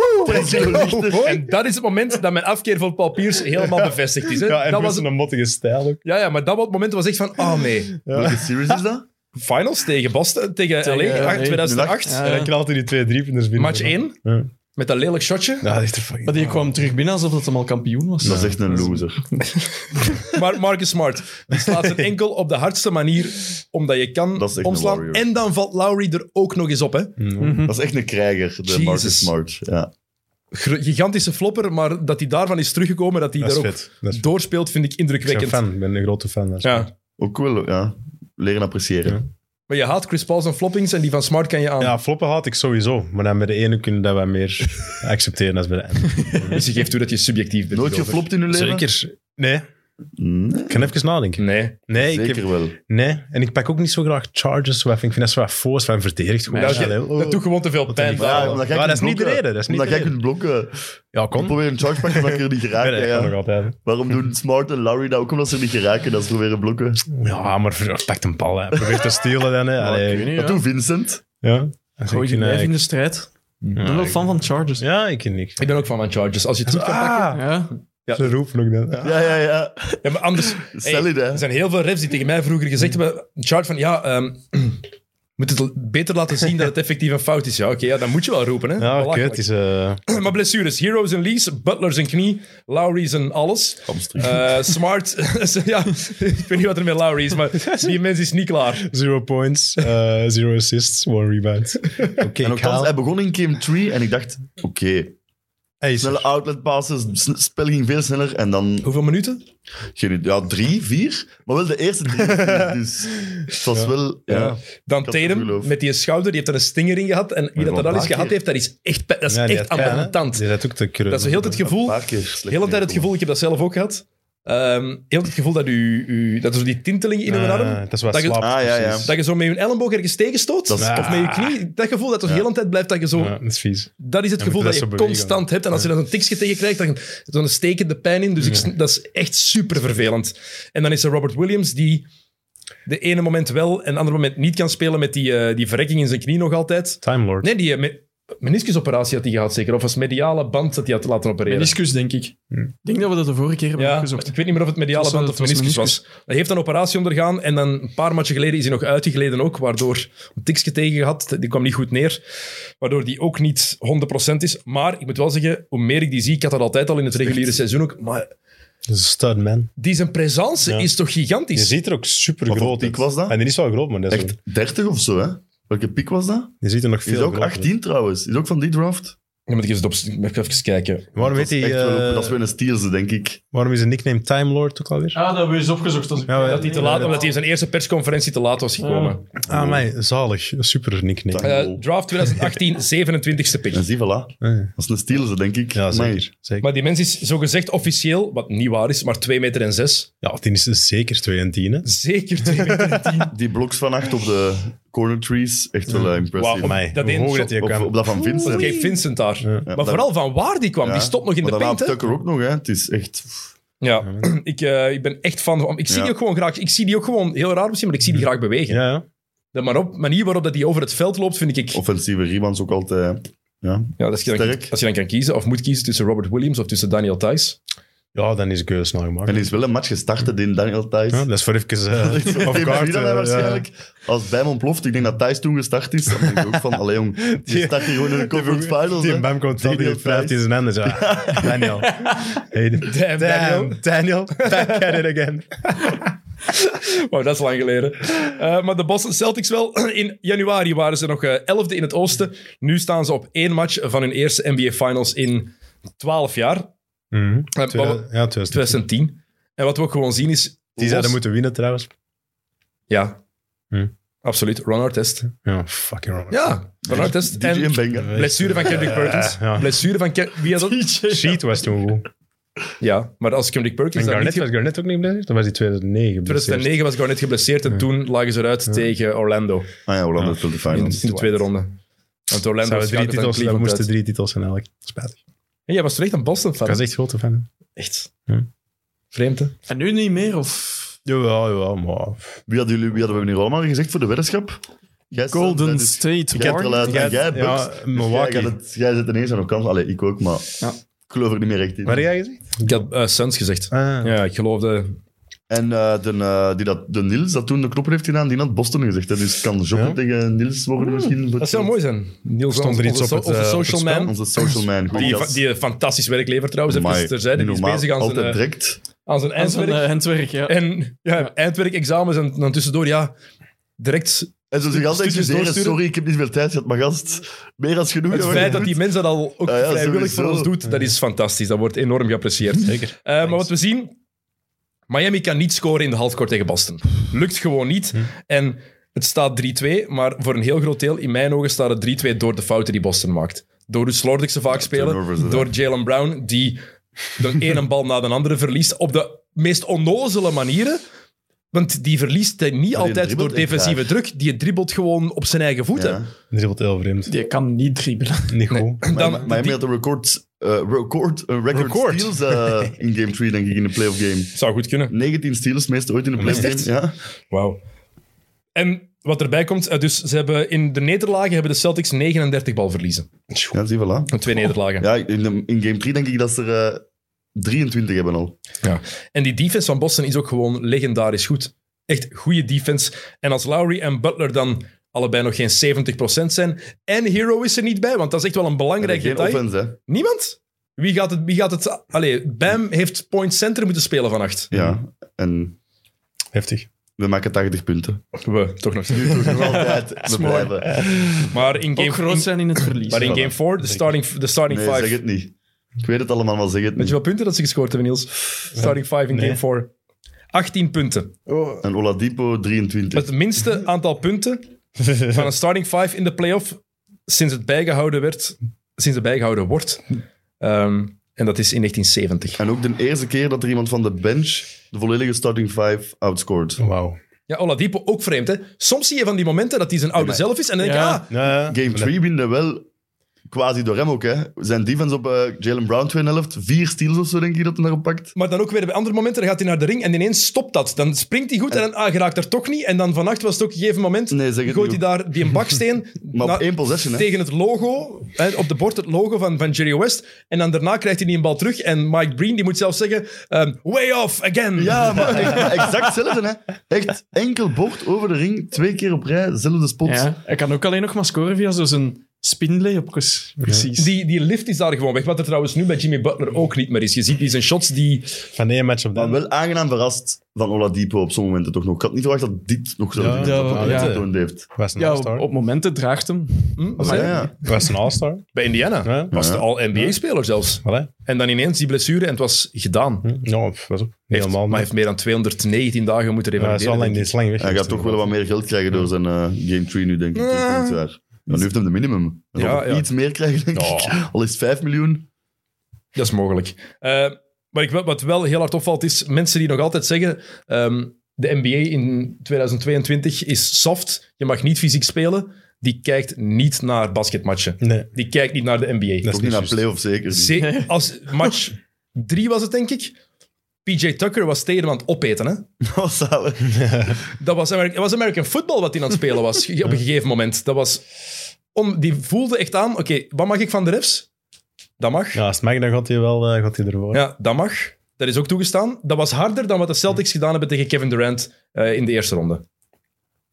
[LAUGHS]
Oh, Oeh.
en dat is het moment dat mijn afkeer voor Paul Pierce helemaal bevestigd is. Hè?
ja, en
dat
dat
was,
een mottige stijl ook.
ja, ja, maar dat moment was echt van... Oh nee.
Welke series is dat?
Finals tegen Boston, tegen, ah,
Tegen,
LA,
eh,
2008.
Ja,
En dan knalt hij die twee driepunters binnen.
Eh, Match 1,
Ja.
met dat lelijk shotje.
Ja, dat is echt een fucking...
Maar die kwam terug binnen alsof dat hem al kampioen was.
Dat is echt een loser.
Maar Marcus Smart die slaat zijn enkel op de hardste manier, omdat je
Dat
kan
is echt een
omslaan.
warrior.
En dan valt Lowry er ook nog eens op. Hè?
Mm.
Mhm.
Dat is echt een krijger, de
Jesus.
Marcus Smart. Ja.
Gr- Gigantische flopper, maar dat hij daarvan is teruggekomen, dat hij
Dat is
daar ook
vet. Dat is vet.
doorspeelt, vind ik
Ik ben
indrukwekkend.
fan. Ik ben een grote fan. Dat is
Ja.
vet.
Ook wel, ja. Leren appreciëren.
Maar je haat Chris Paul's en floppings en die van Smart kan je aan.
ja, floppen haat ik sowieso. Maar dan bij de ene kunnen dat wij meer accepteren dan bij de andere.
Dus je geeft toe dat je subjectief bent.
Nooit
hierover.
geflopt in uw leven?
Zeker. Nee,
Nee,
ik kan even nadenken.
Nee.
Nee, ik
zeker
heb,
wel.
nee, en ik pak ook niet zo graag charges. zo even. Ik vind dat zo wat force van verdedigd. Goed.
Dat,
Ja,
je-
oh.
dat doet gewoon te veel pijn.
een
daar.
vraag.
omdat jij
Maar
kunt
dat is niet de
blokken.
reden, dat is niet
omdat
de
jij kunt blokken.
ja, kom.
Probeer een charge pakken, dat je er niet
Ja,
geraakt.
dat
Ja,
kan
ja.
nog altijd.
Waarom doen Smart en Lowry dat ook omdat ze niet geraken? Dat is proberen blokken.
Ja, maar ver- pak een bal. Hè. Probeer te stelen dan. Hè. Allee,
ik weet niet,
Dat
ja.
doet Vincent.
Ja.
Gooi je
ik,
blijft in
ik,
de strijd. Ik ben
ja,
wel
ik,
fan van Chargers. Ja.
ja, ik ken niks.
Ik ben ook van mijn Chargers. Als je
[LAUGHS]
het goed kan pakken.
Ja. Ze roepen ook dan. Ja.
Ja, ja, ja.
Ja, maar
[LAUGHS]
anders.
Solid, hè?
er zijn heel veel refs die tegen mij vroeger gezegd hebben: een chart van ja. ehm [CLEARS THROAT] moet het l- beter laten zien dat het effectief een fout is. Ja, oké, ja, dan moet je wel roepen. Hè?
Ja, oké,
Belachelijk.
het is... eh,
[CLEARS THROAT] Maar blessures. Heroes en Lees, Butler zijn knie, Lowry zijn alles.
Hamstring.
Eh, smart. [LAUGHS] ja, ik weet niet wat er met Lowry is, maar
[LAUGHS]
die mens is niet klaar.
Zero points, eh, zero assists, one rebound. Oké,
En ook
Kyle.
thans, hij begon in game 3 en ik dacht, oké,
Hij is er.
Snelle outlet passes, sn- spel ging veel sneller. En
Oh.
dan,
Hoeveel minuten?
geen idee, ja, drie, vier. Maar wel de eerste drie, vier,
[LAUGHS]
Dus het was wel... Ja.
Dan
Ik had het
Tatum
geloof.
met die schouder, die heeft er een stinger in gehad. En wie dat
wel
er al
een
eens
paar
gehad
keer.
heeft, dat is echt, pe- dat is
Ja, die
echt
had-
aan
ja, hè.
de tand.
Die had ook te krullen.
Dat is heel het
Een
gevoel,
paar keer slecht
heel de tijd het
neerkomen.
gevoel, ik heb dat zelf ook gehad, ehm, heel het gevoel dat, u, u, dat er zo die tintelingen
Eh,
in uw
Ah,
arm,
Dat is wat
Dat je-
slaap.
Ah, ja, ja.
precies.
dat je zo met je elleboog ergens tegenstoot,
Dat is- Ah.
of met je knie, dat gevoel dat er de hele tijd blijft, dat je zo
Ja, dat is vies.
Dat is het
Ja,
gevoel
moet
dat
je
je
dat zo bewegen,
constant hebt. En als je dan een tikje tegen krijgt, dan zo'n stekende pijn in. Dus ik, sn- dat is echt super vervelend. En dan is er Robert Williams, die de ene moment wel en het andere moment niet kan spelen met die, eh, die verrekking in zijn knie nog altijd.
Time Lord.
Nee, die eh, me- meniscusoperatie had hij gehad zeker. Of was mediale band dat hij had laten opereren.
Meniscus, denk ik. Ik denk dat we dat de vorige keer hebben
ja,
opgezocht.
ik weet niet meer of het mediale
Het was,
band
eh,
of
het was
meniscus was. Hij heeft een operatie ondergaan en dan een paar matchen geleden is hij nog uitgegleden ook, waardoor een tikje tegen gehad, die kwam niet goed neer, waardoor die ook niet 100% is. Maar ik moet wel zeggen, hoe meer ik die zie, ik had dat altijd al in het reguliere seizoen ook, maar
Dat is een stud, man.
die zijn presence
Ja.
is toch
Je
gigantisch?
ziet er ook super
Wat voor
groot
piek was dat?
En die is wel groot, maar dat is ook-
Echt 30 of zo, hè? Welke piek was dat?
je ziet er nog veel
Is ook
groter
18 trouwens. Is ook van die draft.
Dan moet ik eens, op, even kijken.
Waarom,
Dat
heet
is
hij,
echt wel
eh,
op- Dat is weer een steelse, denk ik.
waarom is de nickname Time Lord ook alweer?
Ah, dat hebben we eens opgezocht. Als ik...
Ja,
Dat hij te laat, omdat hij in zijn eerste persconferentie te laat was gekomen.
Ah, mij, zalig. Super nickname.
Ja.
Eh, draft 2018, 27ste pick.
En zie, voilà.
Ah, ja.
Dat is een steelse, denk ik.
Ja,
Amai.
zeker. zeker.
Maar die mens is zogezegd officieel, wat niet waar is, maar 2 meter en 6.
ja, die is zeker 2 en 10. Hè?
Zeker 2 meter en 10.
Die bloks van acht op de corner trees, echt wel eh, impressief.
Wauw,
Mij,
dat
hoe
één
hoog
zo-
dat je
Op,
kan.
op dat van Vincent.
Dat geeft Vincent daar. maar
dat-
vooral van waar die kwam.
Ja.
Die stopt nog in
maar
de paint.
daarna
hè?
Tucker ook nog, hè. Het is echt...
Ja, [CLEARS THROAT] ik, eh, ik ben echt fan van... Ik zie
Ja.
die ook gewoon graag... Ik zie die ook gewoon... Heel raar misschien, maar ik zie die graag bewegen.
Ja, ja.
De maar op, manier waarop dat die over het veld loopt, vind ik...
Offensieve rebounds ook altijd... Ja.
ja, als, je dan,
sterk.
als je dan kan kiezen of moet kiezen tussen Robert Williams of tussen Daniel Thijs. [LAUGHS]
ja, dan is Geus snel
En
gemaakt.
die is wel een match gestart, hè, die Daniel Thijs. [LAUGHS]
Ja, dat is voor even eh,
Die
off
heeft
guard.
Frida
eh, ja.
waarschijnlijk. Als bij me ontploft, ik denk dat Thijs toen gestart is. Dan denk ik ook van, allee
[LAUGHS]
jong, je
Die-
start hier gewoon in de conference finals.
Die
hè.
bam komt wel, die
Daniel
vraagt in
Thijs.
zijn handen. zo.
[LAUGHS]
Daniel. Hey,
Damn, Daniel.
Daniel, back at it again.
Wow, dat is lang geleden. Eh, maar de Boston Celtics wel. [CLEARS THROAT] In januari waren ze nog eh, 11e in het oosten. Nu staan ze op één match van hun eerste NBA Finals in 12 jaar.
Mhm.
Eh,
Twee-
maar-
ja, 2010.
2010. En wat we ook gewoon zien is...
Die zouden
Los-
moeten winnen trouwens.
Ja.
Hm.
Absoluut. Ron Artest.
Ja, fucking wrong.
Ja, Ron Artest.
DJ
En
Benga.
blessure van Kendrick Perkins.
Eh, Ja.
Blessure van Ken- Wie had dat?
Sheet was toen goed.
Ja, maar als Kendrick Perkins...
En
dan
Garnet,
niet
was Garnet ook niet blessed? Dan was hij dus 2009 geblesseerd.
2009 was Garnet geblesseerd en toen lagen ze eruit tegen Orlando
Ah ja, Holland heeft wel de
in,
finals.
in de tweede ronde. Want Orlando
dus
Zouden drie
schakelt dan
titels, dat
Cleveland
moesten
uit.
drie titels zijn eigenlijk. Spijtig. Ik
En jij was terecht een Boston fan.
was echt grote fan.
Echt.
Hm.
Vreemd, hè?
En nu niet meer, of...
Jawel, jawel, maar...
Wie hadden, jullie, wie hadden we nu allemaal gezegd voor de weddenschap? Jij, Sam,
Golden
dat is-
State
Jij hebt er al
Warriors.
uit. En jij, Bucks.
Ja,
Dus jij,
Milwaukee.
kan het, jij zit ineens aan de kans. Allee, ik ook, maar
Ja.
ik geloof er niet meer echt in.
Wat heb jij gezegd?
Ik had eh, Suns gezegd.
Ah.
Ja, ik geloofde...
En eh, de, eh, die dat, de Niels, dat toen de knoppen heeft gedaan, die had Boston gezegd. Hè? Dus kan Joppe
Ja.
tegen Niels worden misschien.
Hmm. Dat zou mooi zijn. Niels
Stond er
onze-
iets op
onze-
het,
onze
eh, op het
social
spel?
man.
Onze social man. goeie
Die,
gast.
die een fantastisch werk levert trouwens. Even
Amai,
terzijde, die is
normaal,
bezig aan zijn,
Altijd
eh,
direct.
aan zijn
En zijn
eindwerk.
eh, handwerk, ja.
En ja, eindwerkexamens en dan tussendoor, ja, direct
En ze zich altijd
stukjes
excuseren.
doorsturen.
Sorry, ik heb niet veel tijd gehad, maar gast, meer als genoeg.
het
Ja,
feit
goed.
dat die mens dat al ook
Ah ja,
vrijwillig voor
sowieso.
ons doet, dat is fantastisch. Dat wordt enorm geapprecieerd.
Zeker.
Eh, maar wat we zien, Miami kan niet scoren in de halfcourt tegen Boston. Lukt gewoon niet.
Hm.
En het staat 3-2, maar voor een heel groot deel, in mijn ogen, staat het 3-2 door de fouten die Boston maakt. Door hoe slordig ze vaak
turnovers,
spelen,
hè.
door Jalen Brown, die
[LAUGHS]
de ene bal na de andere verliest op de meest onnozele manieren. Want die verliest hij niet altijd
dribbelt
door
echt
defensieve druk. Die dribbelt gewoon op zijn eigen voeten.
Ja.
Dribbelt heel vreemd.
Die kan niet dribbelen.
Niet goed.
En
maar
Dan,
maar hij
die-
had een record, eh, record, een record,
Record.
steals eh,
[LAUGHS]
in game 3, denk ik, in de playoff game.
zou goed kunnen.
19 steals, meeste ooit in de playoff
Is het
game. Ja.
Wauw. En wat erbij komt, eh, dus ze hebben in de nederlagen hebben de Celtics 39 balverliezen.
ja, zie, voilà.
En Twee nederlagen.
Oh, Ja, in, de- in game 3 denk ik dat ze er eh, 23 hebben al.
Ja. En die defense van Boston is ook gewoon legendarisch goed. Echt goede defense. En als Lowry en Butler dan allebei nog geen 70% zijn. En Hero is er niet bij, want dat is echt wel een belangrijk
Geen
detail.
offense, hè.
Niemand? Wie gaat het... Wie gaat het allee, Bam heeft point center moeten spelen vannacht.
Ja, en
Heftig.
we maken 80 punten.
We, toch [LAUGHS]
[LAUGHS]
nog
Nu toch nog altijd. We
mooi.
blijven.
Maar in
Ook
game,
groot
in,
zijn in het verlies.
maar in game 4, de starting, de starting
Nee,
five
zeg het niet. Ik weet het allemaal, maar zeg het
Weet
niet.
je wat punten dat ze gescoord hebben, Niels? Starting 5 in
Nee.
game 4. 18 punten.
En Oladipo 23.
Het minste aantal
[LAUGHS]
punten van een starting 5 in de playoff sinds het bijgehouden, werd, sinds het bijgehouden wordt. Ehm, en dat is in 1970.
En ook de eerste keer dat er iemand van de bench de volledige starting five outscored.
Wauw.
Ja, Oladipo ook vreemd, hè? Soms zie je van die momenten dat hij zijn oude zelf is en dan denk je,
Ja.
ah,
Ja,
Game 3 winnen wel quasi door hem ook. Hè. Zijn defense op eh, Jalen Brown 2 helft. Vier steals of zo, denk ik, dat hij daarop pakt.
maar dan ook weer bij andere momenten, dan gaat hij naar de ring en ineens stopt dat. Dan springt hij goed en dan ah, geraakt er toch niet. En dan vannacht was het ook een gegeven moment,
Nee, zeg het
gooit hij
niet
daar die een baksteen
[LAUGHS] Maar
na-
op één possession, hè.
tegen het logo, hè, op de bord het logo van, van Jerry West. En dan daarna krijgt hij die een bal terug en Mike Breen die moet zelf zeggen, ehm, way off again.
Ja, maar echt exact hetzelfde, hè. Echt enkel bocht over de ring, twee keer op rij, dezelfde spot.
Ja, hij kan ook alleen nog maar scoren via zo'n spinlay Precies.
Die, die lift is daar gewoon weg, wat er trouwens nu bij Jimmy Butler ook niet meer is. Je ziet die zijn shots die...
van één match op de
Maar
andere.
wel aangenaam verrast van Oladipo op sommige momenten toch nog. Ik had niet verwacht dat dit nog zo
Ja,
dat
ja,
dat
ja.
getoond heeft.
Was een
Ja, op,
all-star.
op momenten draagt hem.
Hm,
Ah,
zei
ja,
je?
ja.
Was een all-star.
Bij Indiana.
Ja.
Was de al-NBA-speler zelfs.
Voilà.
En dan ineens die blessure en het was gedaan.
Hm, Ja, pff, was op.
Heeft-
Helemaal
maar
niet.
heeft meer dan 219 dagen moeten
Ja, hij is
revalideren.
al lang, die
denk
is lang weg.
Hij gaat
geweest,
toch wel wat meer geld krijgen door zijn eh, game 3 nu, denk ik. Dat is niet waar. Maar nu heeft hem de minimum. Hij zal
Ja,
nog
ja.
iets meer krijgen, denk
Ja.
ik. Al is het 5 miljoen.
ik. Dat is mogelijk. Eh, maar ik, wel- wat wel heel hard opvalt, is mensen die nog altijd zeggen... ehm, de NBA in 2022 is soft. Je mag niet fysiek spelen. Die kijkt niet naar basketmatchen.
Nee,
Die kijkt niet naar de NBA.
Dat is
Toch niet
niet
naar
juist.
playoff zeker. niet. [LAUGHS]
Ze- als match 3 was het, denk ik. PJ Tucker was tegen hem aan het opeten. Hè?
Oh, zalig.
Dat was, Amer- dat was American football wat hij aan het spelen was ge- op een gegeven moment. Dat was om, die voelde echt aan, oké, wat mag ik van de refs? Dat mag. Ja.
ja, als het mag, dan gaat hij wel eh, gaat hij ervoor.
dat mag. Dat is ook toegestaan. Dat was harder dan wat de Celtics
Hm.
gedaan hebben tegen Kevin Durant eh, in de eerste ronde.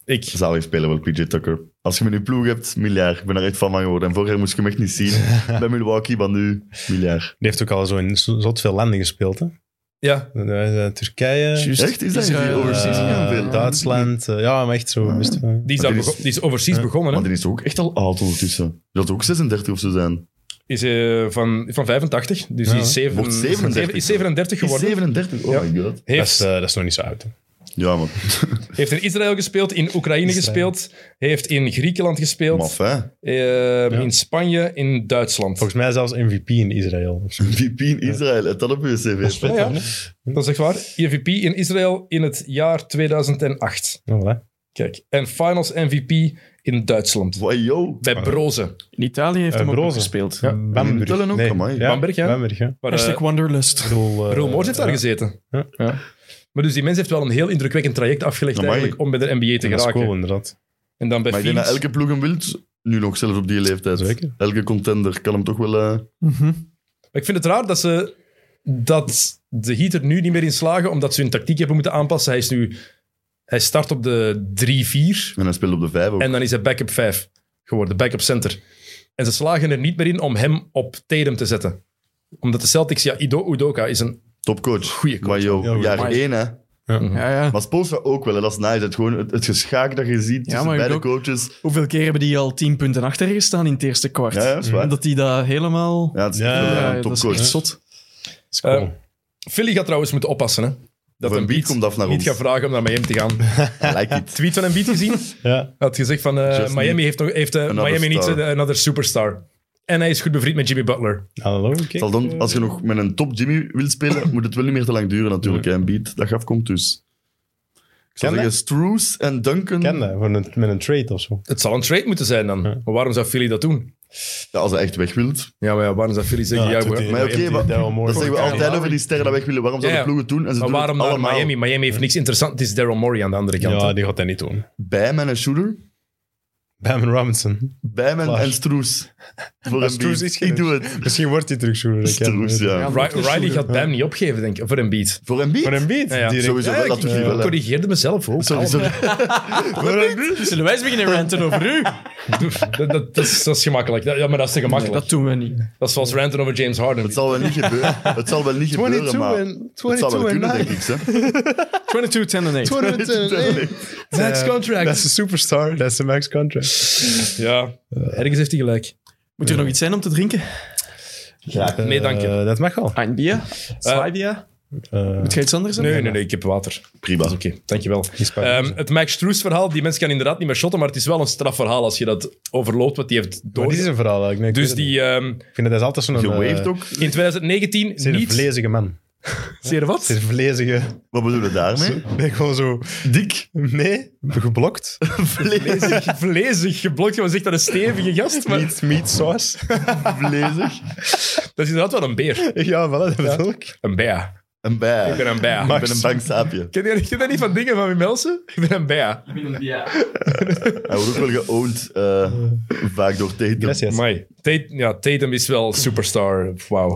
Ik,
Zalig spelen wel, PJ Tucker. Als je me nu ploeg hebt, miljard. Ik ben er echt van van geworden. En vorig jaar moest je hem echt niet zien. Bij Milwaukee, maar nu miljard.
Die heeft ook al zo in zo- zot veel landen gespeeld. Hè?
ja,
Eh, eh, Turkije,
Juist.
Echt? Is dat
Israël,
hier overseas
eh,
gegaan? Veel.
Duitsland. eh, ja, maar echt zo. best wel.
die is, daar
Maar die is-
bego- die is overseas begonnen.
Maar
Hè?
die is toch ook echt al oud ondertussen. Dat zou ook 36 of zo zijn.
Is eh, van, van 85, dus die is, zeven-
Wordt 37
zeven- is 37
Is
geworden.
37? Oh
Ja.
my god.
Dat,
Heeft,
is, eh, dat is nog niet zo oud. hè.
Ja, man.
heeft in Israël gespeeld, in Oekraïne
Israël.
gespeeld, heeft in Griekenland gespeeld,
Maf, hè?
eh, in Spanje, in Duitsland.
Volgens mij zelfs MVP in Israël. Of zo.
VP in Israël. Het had op je cv.
Ja, ja. Dat is echt waar. EVP in Israël in het jaar 2008.
Ja, Oh, voilà.
Kijk. En finals MVP in Duitsland.
Wow, yo.
Bij Broze.
In Italië heeft
Eh,
hem ook
Broze.
nog gespeeld.
Ja, Bamberg.
Tellen ook,
Nee,
amai.
ja,
Bamberg, ja.
Bamberg, ja.
Waar, eh,
Hashtag Wanderlust.
Ik bedoel, eh,
Roel Moors heeft daar
ja.
gezeten.
Ja.
Maar dus die mens heeft wel een heel indrukwekkend traject afgelegd
Amai.
eigenlijk om bij de NBA te
Ja, Dat is
geraken.
cool, inderdaad.
En dan bij
Maar ik denk dat
Phoenix.
elke ploeg hem wilt, nu nog zelfs op die leeftijd.
Zeker.
Elke contender kan hem toch wel... eh,
Maar ik vind het raar dat ze dat de Heat er nu niet meer in slagen omdat ze hun tactiek hebben moeten aanpassen. Hij is nu... Hij start op de 3-4
En hij speelt op de vijf ook.
en dan is hij backup 5 geworden, backup center. En ze slagen er niet meer in om hem op Tatum te zetten. Omdat de Celtics, ja, Ido Udoka is een
Topcoach.
Goeie coach.
Maar yo,
Ja, goed.
jaar
Maar-
één, hè.
Ja, ja.
Maar Spolstra ook wel, hè. dat is nice. Het, gewoon het, het geschaak dat je ziet
Ja,
tussen
maar je
beide
hebt
coaches.
Hoeveel keer hebben die al tien punten achter gestaan in het eerste kwart?
Ja, ja, dat is waar.
En dat die dat helemaal...
Ja, het is
Ja,
echt wel,
ja,
eh,
Ja,
een
dat is
topcoach.
echt zot.
Dat is cool.
Eh, Philly gaat trouwens moeten oppassen, hè. Dat
Van
een
Beat komt af naar
niet
ons.
gaat vragen om naar Miami te gaan.
I like it.
Tweet van Embiid gezien.
ja.
Had gezegd van eh,
Just
Miami
need
heeft, nog, heeft eh,
another
Miami niet
star.
een another superstar. En hij is goed bevriend met Jimmy Butler.
Hallo, oké.
Zal dan, als je nog met een top Jimmy wilt spelen, moet het wel niet meer te lang duren natuurlijk. hè. Een beat dat gaf komt dus. Ik zou
Ken
zeggen, Struce en Duncan.
Ken dat, van een- met een trade of zo.
Het zal een trade moeten zijn dan. Maar waarom zou Philly dat doen?
Ja, als hij echt weg wilt.
Ja, maar ja, waarom zou Philly zeggen... Ja,
dat doet
we-
hij.
Maar oké,
MT,
maar-
Daryl Morey.
Dat zeggen we
Ja,
altijd
ja.
over die sterren dat weg willen. Waarom
Ja,
zouden
ja.
ploegen het doen? En ze
maar
doen
waarom
het
naar
allemaal.
Miami? Miami heeft niks interessants. Het is Daryl Morey aan de andere kant.
Ja,
hè.
die gaat dat niet doen.
Bam en een shooter.
Bam Robinson. [LAUGHS]
Bam en,
Klaar.
en Struce. Voor een
Struce
beat.
is geen-
Ik doe het.
Misschien wordt hij terug shooter. ik ken
Struce,
het.
ja.
Ja.
Ri- Riley gaat Bam niet opgeven, denk ik. Voor een beat.
Voor een beat?
Voor een beat.
Ja, ja.
direct.
Sowieso wel, dat
ik,
doet hij
ik
wel. hè.
corrigeerde mezelf ook.
Sorry, sorry.
Zullen wij eens beginnen ranten over u?
[LAUGHS] Dat, dat, dat is, dat is gemakkelijk. Dat- ja, maar dat is te gemakkelijk.
Dat doen we niet.
dat, is zoals ranten over James Harden.
Het zal wel niet gebeuren. Het zal wel niet gebeuren, maar... Het zal wel kunnen, denk ik. Hè.
22, 10 en 8.
Max contract.
[LAUGHS] Dat is een superstar. Dat is een max contract.
Ja, ergens heeft hij gelijk.
Moet er nog iets zijn om te drinken?
Ja.
Eh,
Nee, dank je.
dat mag wel.
Anbia? Zwaaibia?
Eh,
Moet je iets anders hebben?
Nee, nee, nee, ik heb water.
Prima.
Dat is oké, dankjewel.
is fijn.
Ehm, het Max Struess verhaal, die mensen gaan inderdaad niet meer shotten, maar het is wel een strafverhaal als je dat overloopt, wat die heeft
maar
door.
dit is een verhaal. eigenlijk. Nee, ik
Dus
weet het
die ehm,
niet. Ik vind dat is altijd zo'n... eh,
Gewaved ook?
in 2019
Zeer
niet...
vlezige man.
Zeer wat?
Zeer vlezige...
Wat bedoelen we daarmee?
Nee, gewoon zo...
Dik?
Nee, geblokt.
Vlezig?
[LAUGHS] Vlezig, geblokt. Je was echt een stevige gast, maar
Meat, [LAUGHS] meat sauce.
Vlezig?
dat is inderdaad wel een beer.
[LAUGHS] ja, voilà, dat bedoel ik.
Een bea.
Een bij.
Ik ben een bea.
Ik ben een bang saapje.
Ken je, ken je dat niet van dingen van Wim Melsen? Ik ben een bea.
Hij wordt ook wel geowned, eh, vaak door tegen.
Gracias.
Amai. Tate- ja, Tatum is wel superstar. Wauw.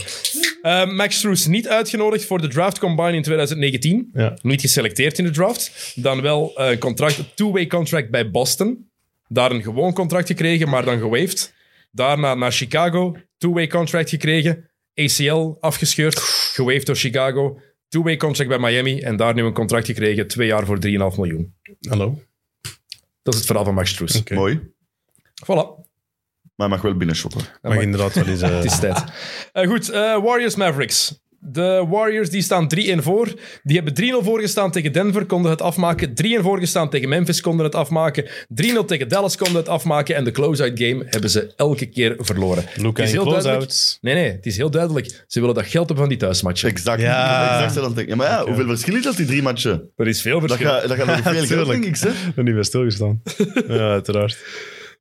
Eh, Max Struess niet uitgenodigd voor de draft combine in 2019.
Ja.
Niet geselecteerd in de draft. Dan wel eh, een contract, een two-way contract bij Boston. Daar een gewoon contract gekregen, maar dan gewaved. Daarna naar Chicago, two-way contract gekregen. ACL afgescheurd, gewaved door Chicago. Two-way contract bij Miami en daar nu een contract gekregen. Twee jaar voor 3,5 miljoen.
Hallo.
Dat is het verhaal van Max Struess.
Oké.
Mooi.
Voilà.
Maar hij mag wel binnen shoppen.
Mag inderdaad [LAUGHS] wel eens... eh,
Het is tijd. [LAUGHS] Eh, goed, eh, Warriors Mavericks. De Warriors die staan 3-1 voor. Die hebben 3-0 voorgestaan tegen Denver, konden het afmaken. 3-1 voorgestaan tegen Memphis, konden het afmaken. 3-0 tegen Dallas, konden het afmaken. En de close-out game hebben ze elke keer verloren. Het
Luca
is
in
heel duidelijk-
close-outs.
Nee, nee, het is heel duidelijk. Ze willen dat geld hebben van die thuismatchen.
Exact.
Ja.
Exact zo dan denk ik. Ja, maar ja, hoeveel verschil is dat, die drie matchen?
Er is veel
Dat
verschil.
gaat dat gaat nog veel geld,
Tuurlijk.
denk ik. Zeg.
Ik ben niet bij stilgestaan. [LAUGHS] ja, uiteraard.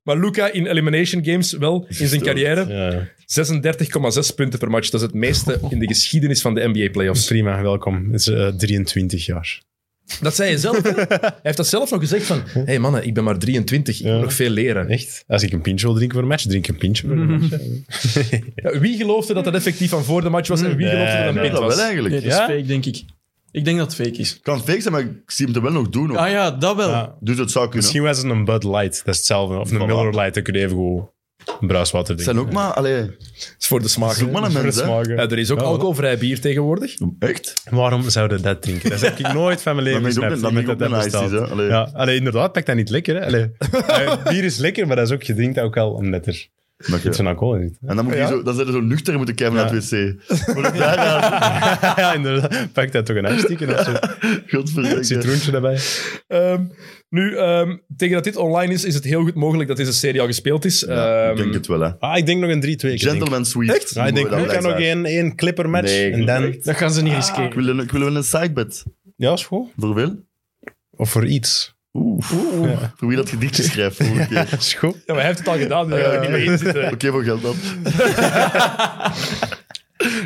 Maar Luca in elimination games wel in zijn carrière.
Ja.
36,6 punten per match. Dat is het meeste in de geschiedenis van de NBA playoffs.
Prima, welkom. Het is eh, 23 jaar.
Dat zei je zelf. hè? Hij heeft dat zelf nog gezegd van... Hé hey mannen, ik ben maar 23, ik moet
Ja.
nog veel leren.
Echt? Als ik een pintje wil drinken voor een match, drink ik een pintje voor een [LAUGHS] match.
Ja, wie geloofde dat dat effectief van voor de match was en wie
Nee,
geloofde dat dat een
nee,
pint
Dat
was?
wel eigenlijk.
Nee,
Het
dat is
Ja?
fake, denk ik. Ik denk dat het fake is.
kan fake zijn, maar ik zie hem het wel nog doen. hoor.
Ah ja, dat wel.
Ja.
Dus het zou kunnen.
Misschien was het een Bud Light, dat is hetzelfde. Of een
Voilà.
Miller Light, dat kun je even gewoon een bruiswater
Het
drinken.
zijn ook maar... Allee,
Dat is voor de smaak.
het is ook maar een
Voor de
mens, hè.
smaken.
Ja, er is ook
Ja,
alcoholvrij bier tegenwoordig.
Echt?
Waarom zouden dat drinken? Dat heb ik nooit van mijn leven
Dat ben ik ook-
beseft.
dat ben ik ook
dat dat
een
bestaat.
iced tea, hè. Allee.
Ja, allee, inderdaad, pak dat niet lekker. Hè?
[LAUGHS]
Allee. Eh, bier is lekker, maar dat is ook, je drinkt dat ook wel omdat er
Dank je.
iets van alcohol in zit. [LAUGHS]
En dan, moet je zo, dan zijn er zo nuchter moeten kijken naar het wc. Moet ik daar gaan?
ja, inderdaad. Pak dat toch een uitstikken
[LAUGHS]
of zo.
Godverdikke.
Citroentje daarbij.
Ehm, nu, ehm, tegen dat dit online is, is het heel goed mogelijk dat deze serie al gespeeld is. Ehm,
Ik denk het wel, hè.
Ah, ik denk nog een 3-2.
Gentleman Sweet.
Echt?
Ja, Ah, ik denk,
Mooi
ik
dat
kan nog
blijkt.
één, één clipper match.
Nee,
en dan...
Dat gaan ze niet
Ik
riskeren.
wil, een, ik wil wel een sidebed.
Ja, is goed.
Voor hoeveel?
Of voor iets.
Oeh. Voor wie dat gedichtje schrijft volgende keer.
Dat is goed.
ja, maar hij heeft het al gedaan, dus daar ga ik niet mee in zitten.
Oké, voor geld dan.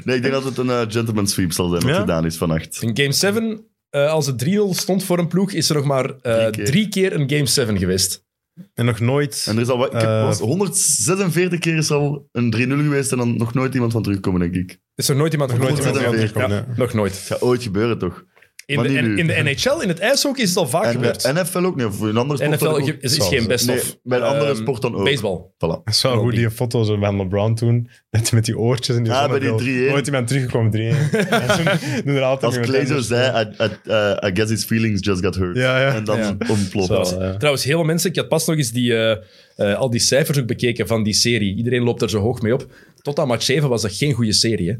nee, ik denk dat het een eh, gentleman sweep zal zijn wat
Ja?
gedaan is
[LAUGHS]
vannacht.
In Game 7, eh, als het 3-0 stond voor een ploeg, is er nog maar eh,
Drie keer.
drie keer een Game 7 geweest.
En nog nooit...
En er is al wat, ik heb
Eh,
pas 146 keer is er al een 3-0 geweest en dan nog nooit iemand van terugkomen, denk ik.
Is er nooit iemand nog
nooit
iemand van
ja,
teruggekomen, nee.
Nog nooit.
Het gaat ooit gebeuren, toch?
In
Maar
de,
niet
en-
nu.
in
[LAUGHS]
de NHL, in het ijshockey, is het al vaak
En eh,
gebeurd.
de NFL ook niet, of een andere sport.
NFL
ook.
ge- is, is
Zoals-
geen best
Nee,
of.
bij een andere
Ehm,
sport dan ook.
Baseball.
Voilà.
Dat is wel goed, die foto's van LeBron toen. Dat hij met die oortjes en die
Ah, bij die
zonnebril.
3-1.
Nooit iemand teruggekomen, 3-1.
[LAUGHS]
Ja, toen doen er altijd dus-
Als
nog
Clay
wat
zo
anders.
zei, I, I, eh, I guess his feelings just got hurt.
Ja, ja.
En dan
Ja.
ontploft.
Zo,
Dat
ja.
eh. Trouwens, heel veel mensen, ik had pas nog eens die, eh, eh, al die cijfers ook bekeken van die serie. Iedereen loopt er zo hoog mee op. Tot aan match 7 was dat geen goede serie. Hè?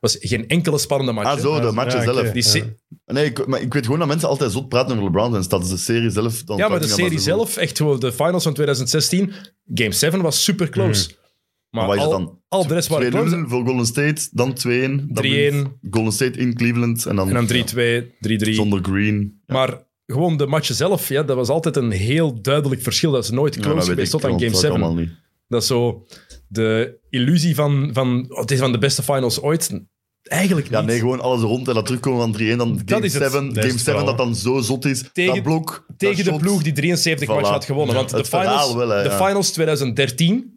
was geen enkele spannende match.
Ah,
hè.
zo, de
Ja,
matchen
oké.
zelf.
Die se-
Ja.
Nee, ik, maar ik weet gewoon dat mensen altijd zot praten over LeBron zijn stad. Dus de serie zelf... Dan
ja, maar de
praten ze
serie
gewoon.
zelf, echt gewoon de finals van 2016, Game 7 was super close. Maar,
Mm. Maar wat is
al,
dat dan?
al de rest waren close.
2-0 voor Golden State, dan 2-1. dan
3-1.
Golden State in Cleveland en dan,
En dan 3-2, 3-3.
zonder Green.
Maar gewoon de matchen zelf, ja, dat was altijd een heel duidelijk verschil. Dat is nooit
Ja,
close
dat weet
geweest
ik
tot aan Game
trouwens
7.
ook allemaal niet.
Dat is zo de illusie van, van oh, het is van de beste finals ooit. Eigenlijk
Ja,
niet.
nee, gewoon alles rond en dat terugkomen van 3-1. Dan Game
is het.
7,
is
Game
het
7 dat
verhaal.
dan zo zot is.
Tegen-
dat blok,
tegen
dat
de
shot.
ploeg die 73 match
Voilà.
had gewonnen. Want de
het verhaal
finals,
wel, hè,
de
ja.
finals 2013,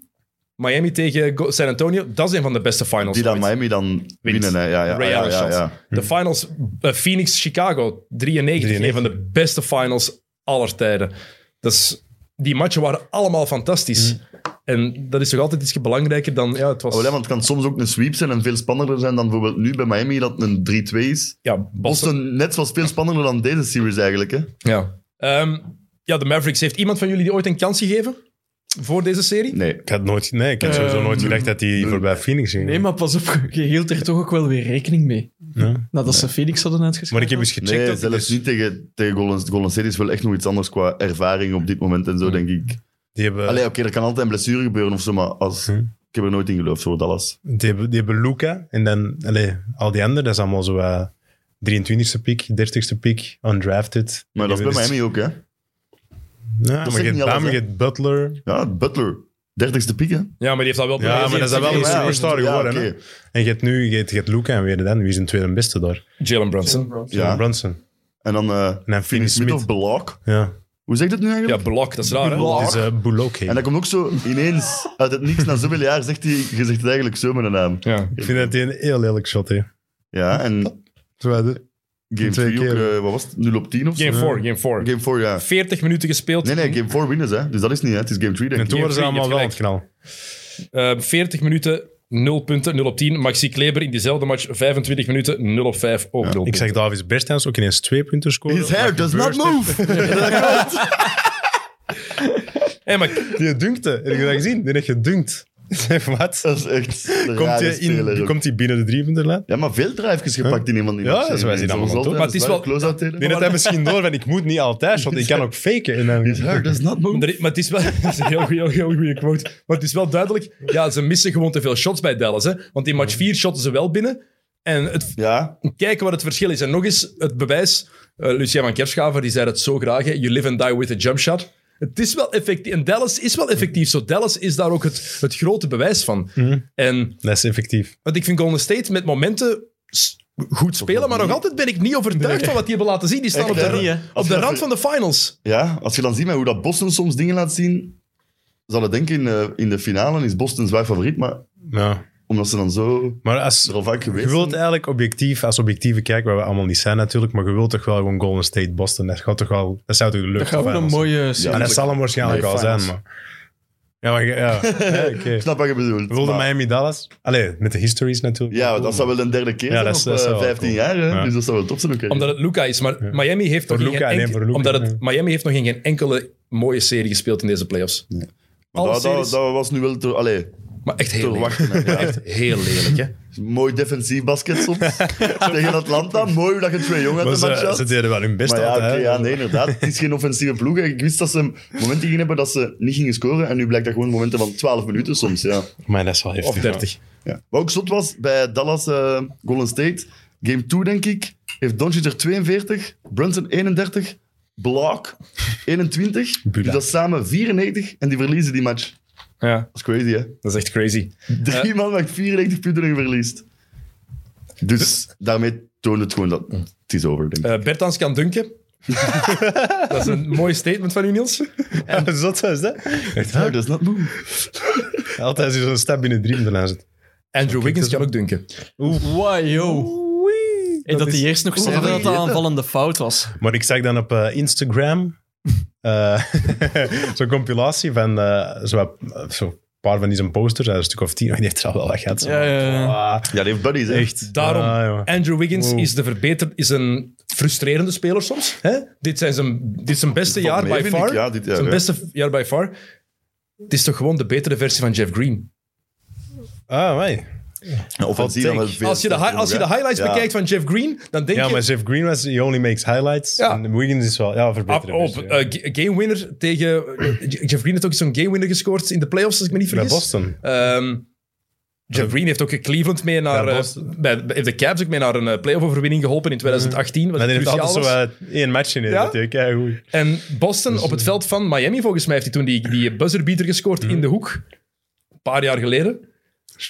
Miami tegen Go- San Antonio, dat is een van de beste finals.
Die dan
ooit.
Miami dan winnen. hè. Ja, ja,
Ray
ja,
Allen
ja,
shot.
ja.
Hm.
De finals eh, Phoenix-Chicago 93,
93.
een van de beste finals aller tijden. Dat is, die matchen waren allemaal fantastisch.
Hm.
En dat is toch altijd iets belangrijker dan... Ja, het was,
Oh, ja, want het kan soms ook een sweep zijn en veel spannender zijn dan bijvoorbeeld nu bij Miami dat het een 3-2 is.
ja, Boston.
Boston net was veel spannender dan deze series eigenlijk. Hè?
Ja. Ehm, ja, de Mavericks. Heeft iemand van jullie die ooit een kans gegeven? voor deze serie?
Nee.
Ik had, nooit, nee, ik had sowieso
Ehm,
nooit gedacht dat hij voorbij Phoenix ging.
Nee, maar pas op, [LAUGHS] je hield er toch ook wel weer rekening mee.
Ja.
Nadat ze Phoenix hadden
Maar
uitgeschreven.
ik heb eens gecheckt.
Nee,
dat
zelfs
dus-
niet tegen, tegen Golden, Golden State is wel echt nog iets anders qua ervaring op dit moment en zo, denk ik.
Die hebben,
Allee, oké, er kan altijd een blessure gebeuren of zo, maar als,
Hm.
ik heb er nooit in geloofd voor Dallas.
die hebben, die hebben Luca en dan allee, al die anderen. Dat is allemaal zo eh, 23e piek, 30e piek, undrafted.
Maar dat is bij
Dus-
Miami ook, hè.
Ja, maar
zegt
je hebt
niet alles,
Bam, je
hè.
hebt Butler.
Ja, Butler. Dertigste piek, hè.
Ja, maar die heeft dat wel
Ja, maar dat is dan wel een
bewezen.
Ja,
superstar
ja,
geworden.
oké.
hè. En je hebt nu je hebt, je hebt Luca en weer dan. Wie is een tweede beste daar?
Jalen Brunson.
Ja.
Brunson.
En dan eh
En dan
Finney
Finney
Smith of
Smith.
Belak.
Ja.
Hoe zeg je dat nu eigenlijk?
Ja, Blok, dat is raar, hè?
Blok.
Het is eh Bullock. hè.
En dat komt ook zo ineens uit het niks na zoveel jaar, zegt hij, je zegt het eigenlijk zo met een naam.
Ja.
Ik vind dat hij een heel lelijk shot heeft.
Ja, en game
Hm? Twee
3 ook,
keer.
eh, wat was het, 0 op 10 of zo?
Game 4, game 4.
Game 4, ja.
40 minuten gespeeld.
Nee, nee, game 4 winnen ze, hè. dus dat is niet, hè. het is game 3 denk
En
ik.
toen
Je hebt
waren ze allemaal wel aan
gelijk.
het knal.
Eh, 40 minuten, 0 punten, 0 op 10. Maxi Kleber in diezelfde match, 25 minuten, 0 op 5, ook 0
Ik zag Davis Bertens ook ineens twee punten scoren.
His hair does not move!
Hey, maar
Die dunkte. Heb je dat gezien? Die heeft gedunkt. [LAUGHS] Zeg, Wat?
[LAUGHS] dat is [LAUGHS] echt een
Komt
rare
hij,
speler
in,
ook.
komt hij binnen de driepunterlijn?
Ja, maar veel drijfjes gepakt in iemand. die
Ja,
match.
dat is wij zien
Zoals
allemaal
altijd,
toch?
Maar het is
dat
wel-
waar, Close-out tegen
Die had hij misschien door van ik moet niet altijd shotten. Ik kan ook faken. En
[LAUGHS]
dan,
His hair does not move.
Er is- Maar het is wel [LAUGHS] dat is een heel, goeie- heel, heel goede quote. Maar het is wel duidelijk, ja, ze missen gewoon te veel shots bij Dallas. Hè? Want in match 4 shotten ze wel binnen. En het,
Ja,
kijken wat het verschil is. En nog eens het bewijs. eh, Lucia van Kerschaver die zei dat zo graag. Hè? You live and die with a jump shot. Het is wel effectief. En Dallas is wel effectief. Zo, Dallas is daar ook het, het grote bewijs van. En
Dat is effectief.
want ik vind Golden State met momenten s- goed spelen. Maar nog altijd ben ik niet overtuigd van wat die hebben laten zien. Die staan
Echt,
op de,
hè?
ra-
Niet, hè?
op de rand van de finals.
ja, als je dan ziet met hoe dat Boston soms dingen laat zien, zal het denken in, eh, in de finale is Boston zwaar favoriet, maar
Ja.
omdat ze dan zo
Maar als,
er al vaak
je
geweest
wilt
zijn.
eigenlijk objectief, als objectieve kijken, waar we allemaal niet zijn natuurlijk, maar je wilt toch wel gewoon Golden State Boston. Dat, gaat toch wel, dat zou toch de lucht
Dat gaat wel een mooie serie.
En dat zal hem waarschijnlijk
Nee,
al zijn.
finals.
Maar. Ja, maar je-
[LAUGHS]
ja. ja oké.
Ik snap wat je bedoelt.
Wilde
maar-
Miami Dallas? Allee, met de histories natuurlijk.
Ja, want dat zou wel een derde keer
Ja,
zijn
dat
op
is- dat is
eh,
wel
15
cool.
jaar. hè.
Ja.
Dus dat zou wel top zijn ook. hè.
Omdat het Luca is. Maar Miami heeft nog
Voor
geen
Luka, nee,
enke-
voor Luka,
omdat het,
ja.
Miami heeft nog geen- geen enkele mooie serie gespeeld in deze playoffs.
Maar
alle
dat, dat-
series-
dat was nu wel te, allee,
Maar echt
te
heel lelijk.
verwachten. hè. Ja.
Echt heel lelijk, hè?
Mooi defensief basket soms.
[LAUGHS]
tegen Atlanta. Mooi hoe dat je twee jongen
Maar
hebt.
ze, ze deden wel hun best
Maar ja,
altijd.
oké,
hè.
ja, nee, inderdaad. Het is geen offensieve ploeg. hè. Ik wist dat ze momenten gingen hebben dat ze niet gingen scoren. En nu blijkt dat gewoon momenten van 12 minuten soms. Ja.
Maar dat is wel heftig.
Of 30.
Ja. Wat ook zot was bij Dallas eh, Golden State. Game 2, denk ik, heeft Doncic er 42, Brunson 31, Block 21.
Bulak.
Dus dat is samen 94 en die verliezen die match.
Ja,
Dat is crazy, hè?
dat is echt crazy.
Drie man maakt 94 punten en je verliest. Dus daarmee toont het gewoon dat het is over, denk ik.
Eh, Bertans kan dunken. dat is een mooi statement van u, Niels.
Ja. [LAUGHS] Zot is dat. Echt,
Ja,
hè?
dat is not move.
Altijd als je zo'n stap binnen drie minuten aan zit.
Andrew Wiggins kan ook dunken.
Wow, yo. Hey, dat,
is-
die eerst nog zeiden
dat
dat dat
is-
aanvallende fout was.
Maar ik zag dan op eh, Instagram eh, [LAUGHS] zo'n compilatie van eh, zo wat- zo een paar van die zijn posters. Dat is een stuk of tien. Die heeft er al wel wat gehad. zo.
Ja, ja, ja.
Ah,
Ja, die heeft buddies, hè.
Echt.
Daarom,
Ah, joh.
Andrew Wiggins
Wow.
is, de verbeter, is een frustrerende speler soms. Hè? Dit, zijn zijn, dit is zijn beste
Valt
jaar
mee,
by
vind ik.
far.
Ja, dit jaar,
zijn
ja.
beste jaar by far. Het is toch gewoon de betere versie van Jeff Green.
Ah, wij.
Ja, offensief dan wel
Als
veel
Als je de, hi-
sterker
als je de
nog, hè.
highlights
Ja.
bekijkt van Jeff Green, dan denk
Ja,
je...
maar Jeff Green was, he only makes highlights.
Ja.
En Wiggins is wel, ja,
Op,
verbeterd.
op, eh, g- game winner tegen... eh, Jeff Green heeft ook zo'n game winner gescoord in de playoffs, als ik me niet
Bij
vergis.
Boston.
Ehm Jeff Green heeft ook Cleveland mee naar...
Ja,
eh,
Boston.
bij, bij- heeft de Cavs ook mee naar een eh, playoff-overwinning geholpen in 2018. Wat
Maar die heeft
cruciaal
altijd zo
was.
eh, één match in.
Ja?
Ja? Ja, goed.
En Boston op het veld van Miami, volgens mij, heeft hij toen die, die buzzerbeater gescoord in de hoek. Een paar jaar geleden.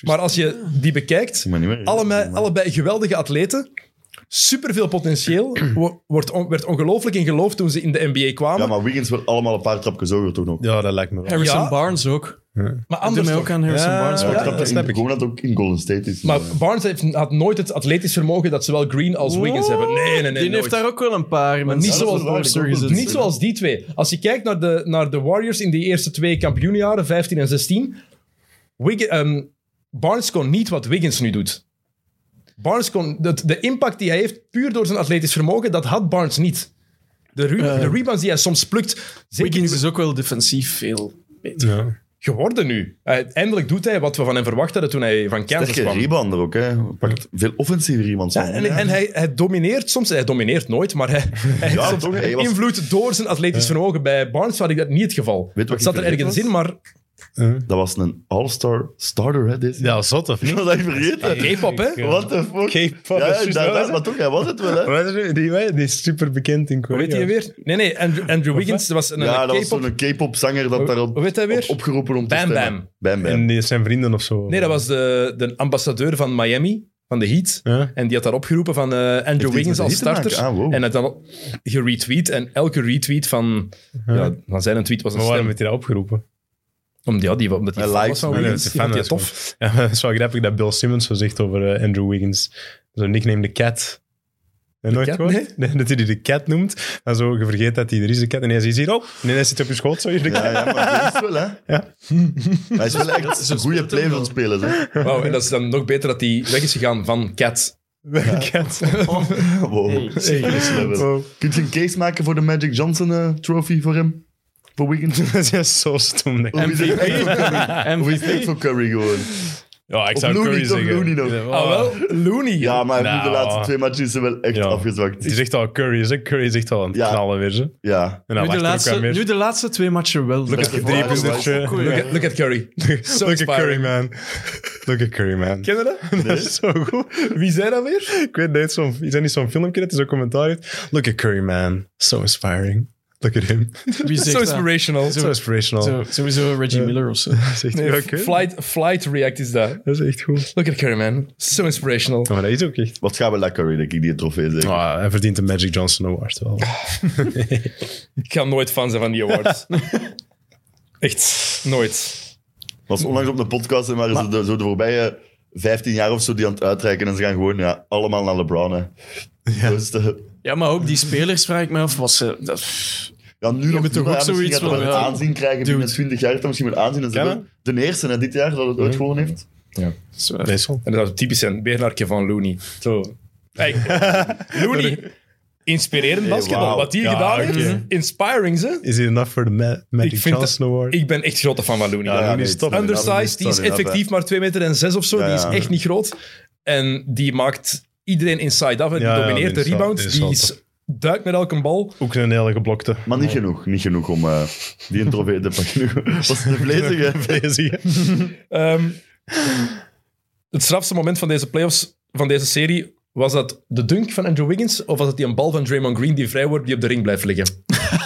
Maar als je die bekijkt,
Ik ben niet meer-
allebei, allebei geweldige atleten. Superveel
[CLEARS THROAT]
potentieel. Wo- Wordt on- werd ongelooflijk in geloofd toen ze in de NBA kwamen.
Ja,
maar,
maar Wiggins wordt allemaal een paar trapjes hoger toch nog.
Ja, dat lijkt me wel.
Harrison
Ja.
Barnes ook. Ik doe
anders
mij
toch?
ook aan Harrison
Ja,
Barnes.
ja,
Maar ik
ja.
Maar
snap dat
snap
in-
ik.
gewoon dat het ook in Golden State is.
Maar Barnes heeft, had nooit het atletisch vermogen dat zowel Green als Wiggins hebben. Nee, nee, nee.
die heeft
nooit.
daar ook wel een paar. Maar
niet
niet
Ja, dat is
zoals
zoals waar, Barnes ik ook
Borster
ergezet. wel.
Niet zoals die twee. Als je kijkt naar de, naar de Warriors in die eerste twee kampioenjaren, 15 en 16. Wigg- ehm, Barnes kon niet wat Wiggins nu doet. Barnes kon, dat, de impact die hij heeft, puur door zijn atletisch vermogen, dat had Barnes niet. De, re-
Eh.
de rebounds die hij soms plukt. zeker
Wiggins
nu-
is ook wel defensief veel
Ja.
geworden nu. Hij- Eindelijk doet hij wat we van hem verwacht hadden toen hij van Kansas
Sterke
kwam.
rebounder ook, hè. Pakt veel offensieve rebounds.
Ja, en en hij, hij domineert soms, hij domineert nooit, maar
[LAUGHS]
hij, hij
Ja,
heeft soms
toch, hij was-
invloed door zijn atletisch vermogen. Bij Barnes had ik dat niet het geval.
wat
Het
ik
zat er
vergeten
ergens
was?
in, maar
Dat was een all-star starter, hè, deze.
ja, zot of
Ik
niet?
was [LAUGHS] dat vergeten.
K-pop, hè?
What the fuck?
K-pop,
Ja,
dat is juist
inderdaad,
wel, hè.
maar toch, hij was het wel, hè.
Wat is er- die, die is super bekend in
Hoe
Korea.
weet hij weer? Nee, nee, Andrew, Andrew Wiggins, dat was een,
Ja,
een
dat was
K-pop.
zo'n K-pop zanger dat daarop
Hoe heet hij weer?
op- opgeroepen om te
Bam
stemmen.
Bam.
Bam Bam.
En die zijn vrienden of zo.
Nee, dat was de, de ambassadeur van Miami, van de Heat.
Ja.
En die had daar opgeroepen van eh, Andrew
iets met
Wiggins
de
als
Heat te maken?
starter.
Ah, wow.
En het dan geretweet. En elke retweet van, ja, van zijn tweet was een
Maar
stem.
waarom heeft hij dat opgeroepen?
Om, ja, die, omdat hij
Hij
fan was
likes
van
hem.
Wiggins.
Ja,
Die vond
hij
hij
is
tof.
[LAUGHS] Ja, maar het is wel grappig dat Bill Simmons zo zegt over eh, Andrew Wiggins. Zo'n nickname de Cat. Heb je nooit
Cat?
gehoord?
Nee.
[LAUGHS] Dat hij die de Cat noemt. En zo, je vergeet dat hij er is, de Cat. En hij zit hier, oh, nee, hij zit op je schoot, zo hier de Cat.
Ja, ja, maar dat is wel, hè.
[LAUGHS] Ja.
Hij is wel echt een goede play van spelen, hè.
Wauw, en dat is dan nog beter dat hij weg is gegaan van Cat.
De
[LAUGHS]
Cat.
Oh, Wow. Serious level.
[LAUGHS] Wow.
Kun je een case maken voor de Magic Johnson eh, trophy voor hem? Voor Wiggins? Of
Dat is zo stom. denk ik.
is het
[LAUGHS]
MVP.
echt voor Curry? Of is het echt voor Curry gewoon?
Ja, ik
Of
zou
Looney,
Curry
toch
zeggen.
Looney nog.
Ja,
Ah, wel? Looney.
Ja, maar hij heeft de
Nou.
laatste twee matchen is hij wel echt
Ja.
afgezwakt.
Het is echt al Curry, hè. Curry is echt al aan het
Ja.
knallen weer, ze.
Ja.
En hij
Nu de,
lacht er
laatste,
ook aan meer.
nu de laatste twee matchen wel.
at the drie puntertje.
Look at, look at Curry. So
Look at Curry,
inspiring.
man. Look at Curry, man.
Ken je dat?
[LAUGHS] Dat is zo goed.
Wie zei dat weer?
Ik weet, dat is zo'n- is dat niet zo'n filmpje dat hij zo'n commentaar heeft? Look at Curry, man. So inspiring. Look at him.
Wie
So
zegt dat?
inspirational.
So inspirational.
Zo- Sowieso Reggie Miller of zo.
Dat is echt
Nee,
ja, oké.
flight, flight React is dat.
Dat is echt goed.
Look at Curry, man. So inspirational.
Ja, maar dat is ook echt...
Wat gaan we naar Curry, denk ik, die trofee zeker?
Ah, hij verdient de Magic Johnson Award wel.
Ik kan nooit fan zijn van die
[LAUGHS]
awards. Echt, nooit.
was onlangs op de podcast en waren ze de, zo de voorbije 15 jaar of zo die aan het uitreiken. En ze gaan gewoon ja, allemaal naar LeBron. Hè. Dus, eh,
Ja, maar ook die spelers vraag ik me af. Was ze, dat,
ja, nu nog
hebt toch
maar
ook
ja, misschien
zoiets
gaat hij
van,
wel
ja,
aanzien krijgen binnen
dude.
20 jaar. Dat misschien wel aanzien. En ze
Kan
hebben de eerste hè, dit jaar dat het ooit gewonnen heeft.
zo-
Nee, zo.
En dat is typisch een beernarkje van Looney. Zo.
[LAUGHS]
Hey, Looney, inspirerend basketbal.
wauw.
Wat hij
Ja,
gedaan
oké.
heeft, inspiring ze.
Is it enough for the Ma- Magic
Ik vind
Johnson Award?
Ik ben echt grote fan van Looney.
Ja,
Ja,
nee,
stop.
het-
Undersized, die is
het- het-
eh.
effectief maar 2 meter en 6 of zo.
Ja,
Die is
ja.
echt niet groot. En die maakt iedereen inside af en die
Ja, ja,
domineert
die
de
is wel-
rebounds.
die is
Die
wel
is, duikt met elke bal.
Ook een hele geblokte.
Maar niet genoeg. Niet genoeg om eh, die een trofee te pakken.
[LAUGHS]
was de
[LAUGHS]
vlezige.
Bezig.
Ehm, het strafste moment van deze playoffs, van deze serie, was dat de dunk van Andrew Wiggins of was het die een bal van Draymond Green die vrij wordt die op de ring blijft liggen?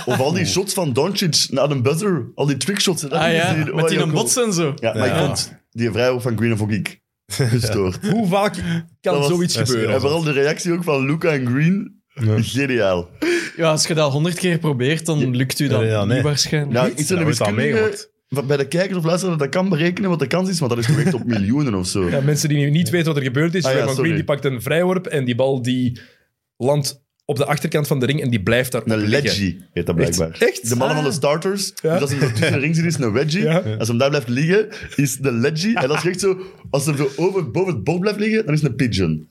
Of al die shots van Doncic na de buzzer. Al die trickshots. hè, dat
ah
heb je
ja,
gezien. Oh,
met die
ja,
een
cool.
bots en zo.
Ja, maar
Ja.
ik vond die vrijhoek van Green of
[LAUGHS]
ook ik gestoord.
Hoe vaak kan
was-
zoiets
dat is
gebeuren?
En vooral de reactie ook van Luca en Green. Geniaal.
Ja, als je dat honderd keer probeert, dan lukt u dat
Ja, nee.
niet waarschijnlijk.
Ja, Nou, iets in de
wordt al
wiskundige...
meegemaakt.
wat Bij de kijkers of luisteraars dat kan berekenen wat de kans is, maar dat is toch echt op miljoenen of zo.
Ja, mensen die nu niet weten wat er gebeurd is,
Ah ja,
Draymond
sorry.
Green die pakt een vrijworp en die bal die landt op de achterkant van de ring en die blijft daar
Een
liggen.
leggy heet dat blijkbaar.
Echt? Echt?
De mannen
Ah.
van de starters. Dus als hij tussen de ring zit, is een wedgie.
Ja.
Als hem daar blijft liggen, is de leggy. En als je echt zo, als hem zo over, boven het bord blijft liggen, dan is het een pigeon.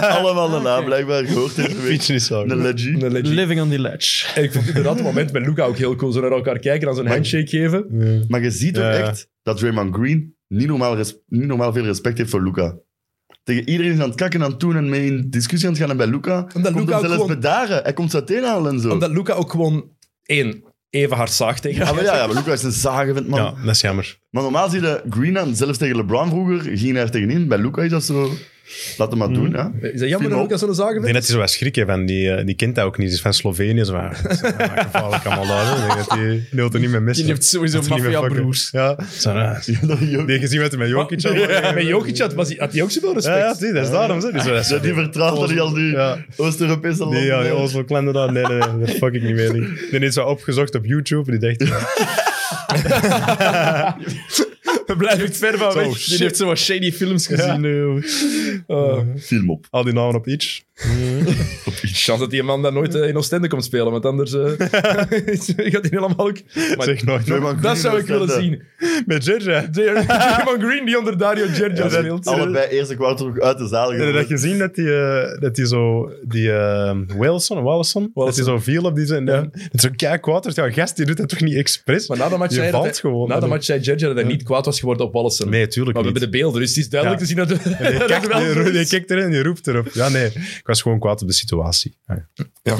Allemaal de naam blijkbaar gehoord deze week.
Pigeon is zo
Een
goed.
leggy.
Ah. Een leggy.
Living on the ledge.
En ik vond inderdaad het moment met Luca ook heel cool. Zo naar elkaar kijken, dan zo'n handshake geven.
Maar je ziet ook
Ja.
echt dat Draymond Green niet normaal, res- niet normaal veel respect heeft voor Luca. Tegen iedereen is aan het kakken aan het doen en mee in discussie aan het gaan. En bij Luca komt
Luka
hem
ook
zelfs
gewoon-
bedaren. Hij komt zijn teen halen en zo.
Omdat Luca ook gewoon één, even hard zaagt tegen
Ja,
hem.
Ah, maar ja, ja, maar Luca is een zagenvent man.
Ja, dat is jammer.
Maar normaal zie je Green aan, zelfs tegen LeBron vroeger, ging daar tegenin. Bij Luca is dat zo... Laat hem maar
Hmm.
doen, hè.
Is dat jammer dat Luca zo'n zagen
Ik denk dat hij zo wat schrik heeft. En die, eh, die kent dat ook niet. Die is van Slovenië. Zo, van, [LAUGHS] dat is eh, gevaarlijk allemaal daar. hè. Ik denk dat die die wil er niet meer missen.
Die heeft sowieso
Dat ze niet meer fucken.
maffia-broers.
Ja. Zo, nou,
Ja, [LAUGHS] dat is ook-
die gezien wat hij met Jokic had.
Ja, met Jokic had, was hij, had hij ook zoveel
Ja,
respect.
ja, zie, dat is daarom. zo. Die, zo, dat is-
Dat die vertrouwt dat hij al die
Ja.
Oost-Europese
die,
landen...
ja, die Oslo Klender daar. Nee, nee, nee, dat fuck ik niet meer. Die, die is zo opgezocht op YouTube. Die dacht, ja,
We blijven het ver van
Zo,
weg.
shit.
Die heeft zo wat shady films gezien. eh,
Oh.
Film op.
al die namen op iets.
Chance dat die man dan nooit eh, in Oostende komt spelen, want anders eh, [LAUGHS] gaat hij helemaal... ook- Maar
Zeg nooit. nog.
Draymond
dat
Green
zou ik
was
willen
dat, eh,
zien. eh,
Met Georgia.
[LAUGHS] Draymond Green die onder Dario Gergio
Ja,
speelt.
dat allebei eerste kwart terug uit de zaal.
Heb je dat
gegaan.
gezien dat die, eh, dat die zo, die eh Wilson, Wallison, dat
Wallison.
die zo viel op die zijn.
Ja.
Dat zo kijk kwaad werd. Ja, gast, die doet dat toch niet expres?
Maar na de match
Je
zei dat
valt
hij-
gewoon.
Na de match zei Gergio dat hij niet kwaad was geworden op Wallison.
Nee, tuurlijk
maar we
niet.
hebben de beelden, dus het is duidelijk
Ja.
te zien dat,
Je
dat
kijkt,
wel zo
je, je
is.
kijkt erin en je roept erop. Ja, nee. Ik was gewoon kwaad op de situatie. Ja.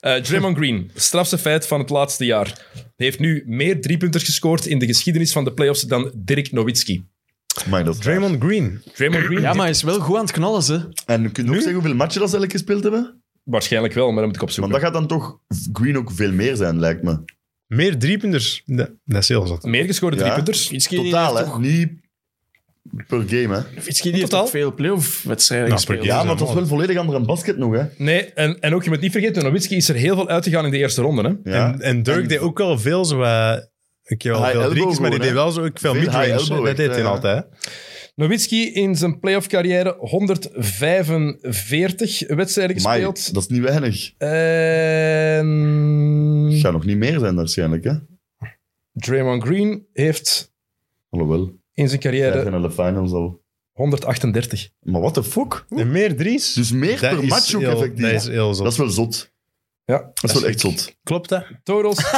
Eh, Draymond Green, strafste feit van het laatste jaar. Hij heeft nu meer driepunters gescoord in de geschiedenis van de playoffs dan Dirk Nowitzki.
Maar dat is
Draymond Green.
Draymond Green?
Ja, maar hij is wel goed aan het knallen, ze.
En kun je ook zeggen hoeveel matchen dat ze eigenlijk gespeeld hebben?
Waarschijnlijk wel, maar dat moet ik
Want
opzoeken.
dat gaat dan toch Green ook veel meer zijn, lijkt me.
Meer driepunters. Ja, dat is heel zot.
Meer gescoorde
Ja.
driepunters?
Nowitzki die
Totaal,
heeft
hè?
toch-
Niet per game, hè?
Nowitzki die heeft
Totaal?
toch veel playoff-wedstrijden
Nou,
gespeeld.
per
Ja,
zijn
maar het was
mooi.
wel volledig ander dan basket nog, hè?
Nee, en, en ook, je moet niet vergeten, Nowitzki is er heel veel uitgegaan in de eerste ronde. Hè?
Ja.
En, en Dirk
En-
deed ook wel veel zo... eh ik heb
High
wel veel
elbow
driekjes, maar die
gewoon,
deed
hè?
wel zo ook veel
Veel high
midrange. hè.
elbow
Dat
echt,
deed hij
ja.
altijd. hè.
Nowitzki in zijn playoff-carrière 145 wedstrijden
Amai,
gespeeld.
dat is niet weinig. Het
En
gaat nog niet meer zijn, waarschijnlijk, hè?
Draymond Green heeft
Alhoewel,
in zijn
wij
carrière
zijn naar de finals al.
138.
Maar what the fuck?
En meer dries.
Dus meer
dat
per
is
match ook
heel-
effectief.
Dat is heel zot.
Dat is wel zot.
Ja,
Dat is wel echt zot.
Klopt dat?
Totals.
[LAUGHS]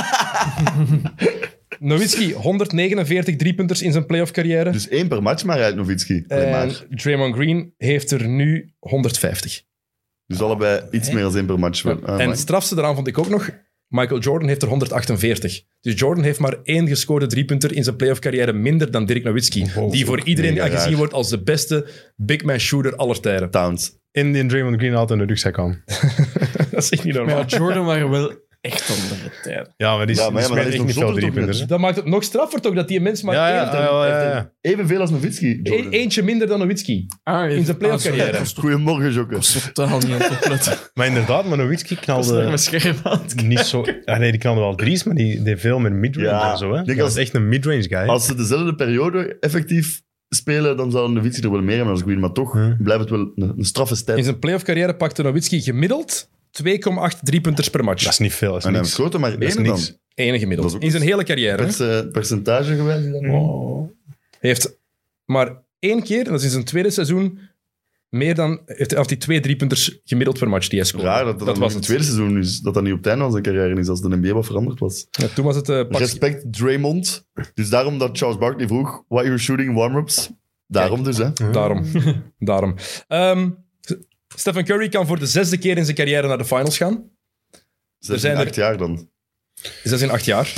Nowitzki, 149 driepunters in zijn playoff-carrière.
Dus één per match, maar rijdt Novitski. Allee, maar.
en Draymond Green heeft er nu 150.
Dus allebei iets meer dan één per match. wel. Ah,
en
maar-
het strafste daaraan vond ik ook nog... Michael Jordan heeft er 148. Dus Jordan heeft maar één gescoorde driepunter in zijn playoff-carrière minder dan Dirk Nowitzki.
Wow,
die voor iedereen
mega
gezien
raar.
wordt als de beste big man shooter aller tijden.
Towns.
En die Draymond Green had in de rugzak aan.
Dat is echt niet [LAUGHS] normaal.
Maar ja, Jordan waren wel echt andere tijden.
Ja, maar die,
Ja, maar ja,
die
maar dat
smijt
is
echt niet
nog
veel
zotter toch
driepunters. hè.
Dat maakt het nog straffer toch dat die mens maar
Ja, ja,
één-
ja, ja, ja, ja.
Evenveel als Novitski.
e- eentje minder dan Nowitzki.
Ah,
In zijn playoff-carrière.
Goedemorgen, Jokke.
Totaal niet aan het opletten.
Maar inderdaad, maar Nowitzki
[LAUGHS] Dat is naar
knalde
mijn scherm aan het
niet zo... Ah, nee, die knalde wel dries, maar die deed veel meer midrange
Ja,
en zo. Hè.
ik
Dat
denk
was
als-
echt een midrange guy.
Als ze dezelfde periode effectief spelen, dan zou Novitski er wel meer hebben als Green. Maar toch
Ja.
blijft het wel een, een straffe
In
stijl.
zijn playoff-carrière pakte Nowitzki gemiddeld 2,8 driepunters per match.
Dat is niet veel, dat is
En hij
niks.
schoot er maar
Dat is
één dan.
niks.
Enige gemiddeld.
Dat is ook-
In zijn hele carrière. hè.
Per, eh, percentage gewijs. is dat nu-
Hij heeft maar één keer, en dat is in zijn tweede seizoen, meer dan, heeft hij, of die twee driepunters gemiddeld per match die hij scoorde.
Raar dat dat, dan
Mm. was
in
het.
het tweede seizoen is. Dat dat niet op het einde van zijn carrière is, als de NBA wat veranderd was.
Ja, toen was het eh pak-
Respect Draymond. Dus daarom dat Charles Barkley vroeg, why you're shooting warm-ups? Daarom dus, hè. [LAUGHS]
Daarom. Daarom. Ehm, Stephen Curry kan voor de zesde keer in zijn carrière naar de finals gaan.
Ze
zijn
zijn
er-
acht jaar dan.
Zes in acht jaar.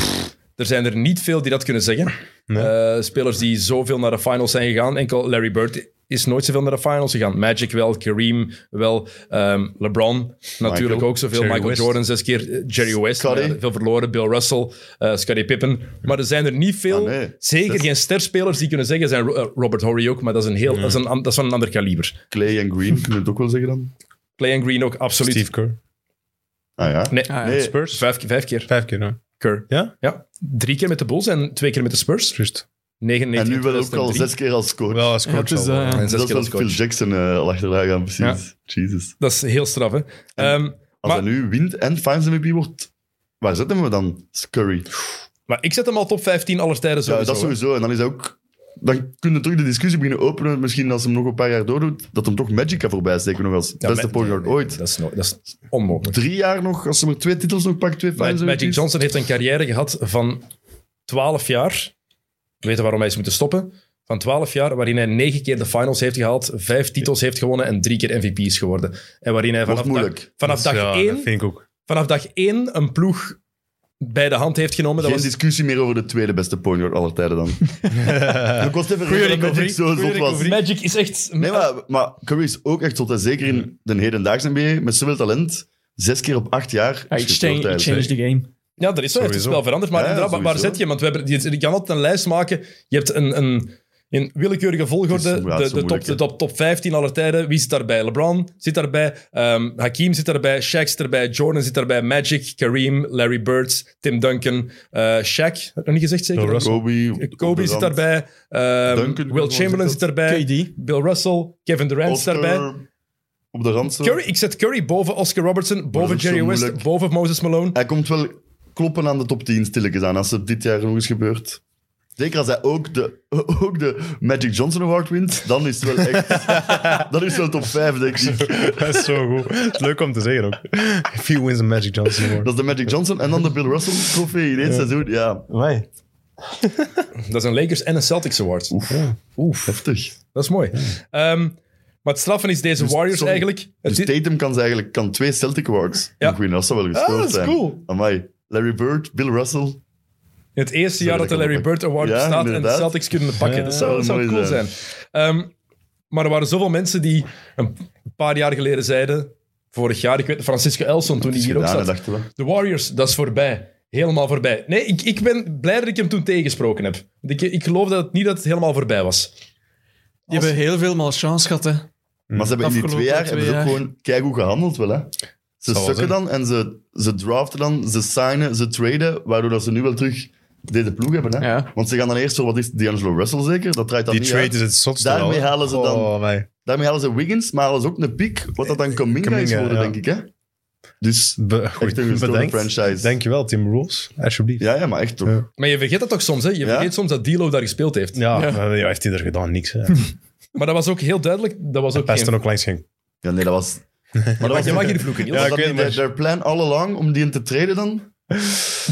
Er zijn er niet veel die dat kunnen zeggen.
Nee.
Eh, spelers die zoveel naar de finals zijn gegaan. Enkel Larry Bird is nooit zoveel naar de finals gegaan. Magic wel, Kareem wel, ehm, LeBron natuurlijk
Michael.
ook zoveel.
Jerry
Michael
West.
Jordan zes keer, eh, Jerry West,
Scotty.
maar ja, veel verloren, Bill Russell, eh Scottie Pippen. Maar er zijn er niet veel,
Ah, nee.
zeker
Zes.
geen sterspelers die kunnen zeggen, zijn Ro- eh, Robert Horry ook, maar dat is, een heel, dat, is een, an- dat is van een ander kaliber.
Clay en
[LAUGHS]
Green, kunnen we het ook wel zeggen dan?
Clay en Green ook, absoluut.
Steve Kerr.
Ah ja.
Nee,
Ah, ja.
Nee.
Spurs.
vijf, vijf keer.
Vijf keer, hè.
Kerr.
Ja?
Ja, drie keer met de Bulls en twee keer met de Spurs.
Juist.
99,
En nu wel ook al
2003.
zes keer als coach.
Wel, als
Ja, het
coach
is,
al,
eh,
hè.
En
dat
zes
is
keer
wel
als
Phil
coach.
Jackson eh, al achteraan gaan, precies. Jesus.
Dat is heel straf, hè? Ehm,
Als
Maar-
hij nu wint en Finals MVP wordt, waar zetten we dan? Curry.
maar ik zet hem al top 15 aller tijden
Ja,
sowieso.
dat
hè.
sowieso. En dan is hij ook... Dan kunnen we terug de discussie beginnen openen. Misschien als hij hem nog een paar jaar doordoet, dat hem toch Magic kan voorbij steken nog als
Ja,
beste
Ma-
point guard ooit.
Dat is, no- dat is onmogelijk.
Drie jaar nog, als ze maar twee titels nog pakt, twee
Ma-
Finals
Magic
MVP's.
Johnson heeft een carrière gehad van 12 jaar. We weten waarom hij is moeten stoppen. Van 12 jaar, waarin hij 9 keer de finals heeft gehaald, 5 titels heeft gewonnen en 3 keer MVP is geworden. En waarin hij vanaf
Wordt
dag,
moeilijk.
vanaf dag,
ja, dat
1,
vind ik ook.
vanaf dag 1 een ploeg bij de hand heeft genomen. Dat
Geen
was
discussie meer over de tweede beste point guard aller
[LAUGHS]
tijden dan. [LAUGHS] ik was even
Goeie
reden dat
recovery.
Magic zo
Goeie
zot was.
recovery.
Magic is echt...
Nee, maar, maar Curry is ook echt zot. hè. Zeker in de hedendaagse NBA, met zoveel talent. Zes keer op acht jaar.
Ja,
is
ik
gestoord
change, ik
eigenlijk.
change the game.
Ja, dat is zo. Heeft het
Sowieso.
spel veranderd. Maar
Ja,
inderdaad, waar- waar
sowieso.
zet je hem? Want we hebben, je, je kan altijd een lijst maken. Je hebt een, een in willekeurige
Het
volgorde
is- ja, het
de,
is
de, top,
moeilijk,
de top, top 15 aller tijden. Wie zit daarbij? LeBron zit daarbij. ehm, Hakim zit daarbij. Shaq zit daarbij. Jordan zit daarbij. Magic, Kareem, Larry Bird, Tim Duncan, eh Shaq. Had ik nog niet gezegd zeker?
Bill Russell.
Kobe,
Kobe zit daarbij. ehm,
Duncan,
Eh,
Will Chamberlain zit daarbij.
KD.
Bill Russell. Kevin Durant zit daarbij.
eh, op de rand. zo.
Curry, ik zet Curry boven Oscar Robertson, boven
is zo
Jerry West,
moeilijk.
boven Moses Malone.
Hij komt wel kloppen aan de top 10 stilletjes aan, als het dit jaar nog eens gebeurt. Zeker als hij ook de, [LAUGHS] ook de Magic Johnson Award wint, dan is het wel echt...
[LAUGHS]
dan is het wel top 5, denk ik.
[LAUGHS] Dat is zo goed. Het is leuk om te zeggen ook. [LAUGHS] If he wins a Magic Johnson Award.
Dat is de Magic Johnson en dan de Bill Russell trofee in één seizoen. Ja,
Why?
Dat is een Lakers en een Celtics award.
heftig.
Dat is mooi. Ehm, maar het straffen is deze Warriors
sorry.
eigenlijk. Het
Dus
is-
Tatum kan, ze eigenlijk, kan twee Celtic Awards
Ja.
nog winnen. Dat zou wel gestoord
Ah, dat is
zijn.
cool.
Amai. Larry Bird, Bill Russell.
in het eerste jaar dat de
dat kan
Larry Bird Award
Ja,
bestaat en
inderdaad.
de Celtics kunnen het pakken. dat zou,
dat zou
zou
mooi
cool zijn.
zijn.
Ehm, maar er waren zoveel mensen die een paar jaar geleden zeiden, vorig jaar, ik weet Francisco Elson toen hij hier ook
Gedaan,
zat.
hè, dachten we.
De Warriors, dat is voorbij. Helemaal voorbij. Nee, ik, ik ben blij dat ik hem toen tegengesproken heb. Want Ik, ik geloof dat het niet dat het helemaal voorbij was.
Die hebben heel veel malchance gehad, hè.
Maar ze hebben in die
Afgelopen
twee jaar
twee
hebben ze ook
jaar.
gewoon keigoed gehandeld wel, hè. Ze
wel
sukken
zijn.
dan en ze, ze draften dan, ze signen, ze traden, waardoor dat ze nu wel terug deze ploeg hebben, hè.
Ja.
Want ze gaan dan eerst zo, wat is het, D'Angelo Russell zeker? Dat draait dan
Die
niet
trade
uit.
is het zotste
Daarmee
wel, hè.
halen ze dan-
Oh, wij.
Daarmee halen ze Wiggins, maar halen ze ook een piek, wat dat dan Kaminga, is
Kuminga,
geworden,
Eh, ja.
denk ik, hè. Dus,
Be- goed,
een gestolen
bedankt.
franchise.
Dankjewel, Tim Rules. Alsjeblieft.
ja, ja, maar echt toch.
Ja.
Maar je vergeet dat toch soms, hè? Je vergeet soms dat D'Lo daar gespeeld heeft.
Ja, maar ja, heeft hij er gedaan? Niks.
Hm.
Hè. Maar
Maar dat was ook heel duidelijk. Dat was ook
Hij is er
geen...
ook langs geen...
Ja, nee, dat
[LAUGHS]
was... Maar dat
Maar
was
je mag hier vloeken, Niels.
Ja,
was
ik
dat
weet
niet
het,
their- their plan all along om die in te traden dan?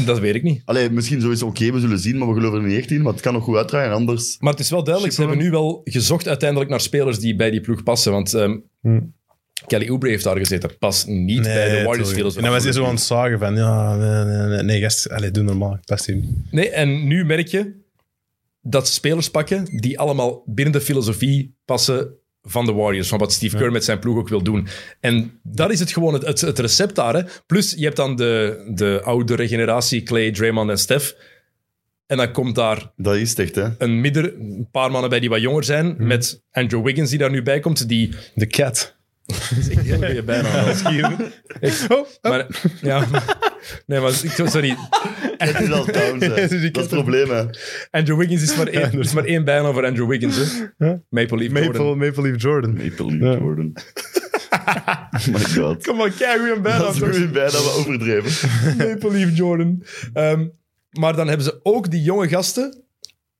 Dat weet ik niet.
Allee, misschien sowieso oké, we zullen zien, maar we geloven er niet echt in, want het kan nog goed uitdraaien, anders...
Maar het is wel duidelijk, ze hebben nu wel gezocht uiteindelijk naar spelers die bij die ploeg passen. Want ehm,
Hm.
Kelly Oubre heeft daar gezeten. Pas niet bij de Warriors spelers.
En dan was hij zo aan het zagen van, ja, nee, nee, nee, nee gast, allez, doe normaal. Het Past hier niet.
Nee, en nu merk je dat ze spelers pakken die allemaal binnen de filosofie passen van de Warriors, van wat Steve Kerr met zijn ploeg ook wil doen. En dat is het gewoon, het, het, het recept daar. Hè. Plus, je hebt dan de, de oudere generatie, Clay, Draymond en Steph. En dan komt daar
Dat is het echt,
[LAUGHS]
hè.
een midden, een paar mannen bij die wat jonger zijn,
Hm.
met Andrew Wiggins die daar nu bij komt, die...
De cat.
Dat is echt een hele goede bijnaam. [LAUGHS] wel. Echt. Maar, ja, nee, maar ik- sorry,
Het is al
[LAUGHS]
Towns, hè. Dat
Dus ik
is
heb
het
hem.
probleem, hè.
Andrew Wiggins is maar één, is maar één bijnaam voor Andrew Wiggins. Hè.
Ja.
Maple Leaf Jordan.
Maple, Maple Leaf Jordan.
Maple Leaf
Ja. [LAUGHS]
Jordan. My god.
Kom maar, kijk hoe een
Dat is nu bijna wel overdreven.
[LAUGHS] Maple Leaf Jordan. Ehm, maar dan hebben ze ook die jonge gasten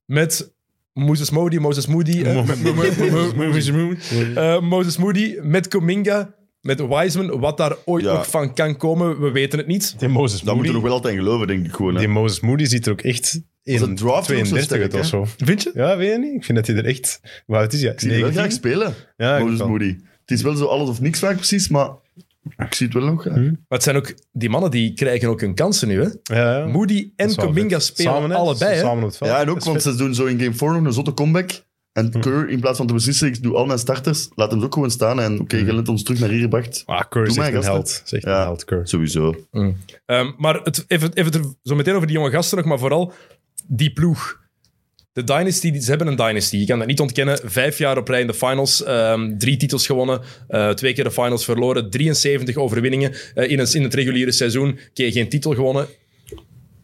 met Moses Moody, Moses Moody, [LAUGHS] eh, eh, Moses Moody, met Cominga, met Wiseman. Wat daar ooit
Ja.
nog van kan komen, we weten het niet.
Die Moses
Daar moeten we
Moody.
nog wel altijd in geloven, denk ik gewoon. Hè.
Die Moses Moody ziet er ook echt
Zijn
in
draft ook zo
32 uit
sterk,
of zo.
Vind je?
Ja, weet je niet? Ik vind dat hij er echt... Hoe oud is hij?
Ik zie die wel
19?
graag spelen,
Ja, ik
Moses
wel.
Moody. Het is wel zo alles of niks vaak precies, maar ik zie het wel nog.
Mhm.
graag.
Maar het zijn ook, die mannen die krijgen ook hun kansen nu. Hè?
Ja, ja.
Moody
Dat
en
is wel
Cominga
vet.
spelen
Samen, hè?
allebei. hè.
Samen op het veld.
Ja, en
Dat
ook,
is Mhm.
want
vet.
ze doen zo in Game 4 nog een zotte comeback. En Kerr, in plaats van te beslissen, ik doe al mijn starters, laat hem ook gewoon staan. En oké,
Mhm.
je hebt ons terug naar hier gebracht.
Ah, Kerr is
Doe mij,
echt een
gasten.
held. Is echt
Ja.
een held, Kerr.
Sowieso.
Ehm, maar het, even, even er zo meteen over die jonge gasten nog, maar vooral die ploeg. De Dynasty, die- ze hebben een Dynasty. Je kan dat niet ontkennen. Vijf jaar op rij in de finals. ehm, drie titels gewonnen. eh, twee keer de finals verloren. 73 overwinningen eh, in, het, in het reguliere seizoen. Een keer geen titel gewonnen.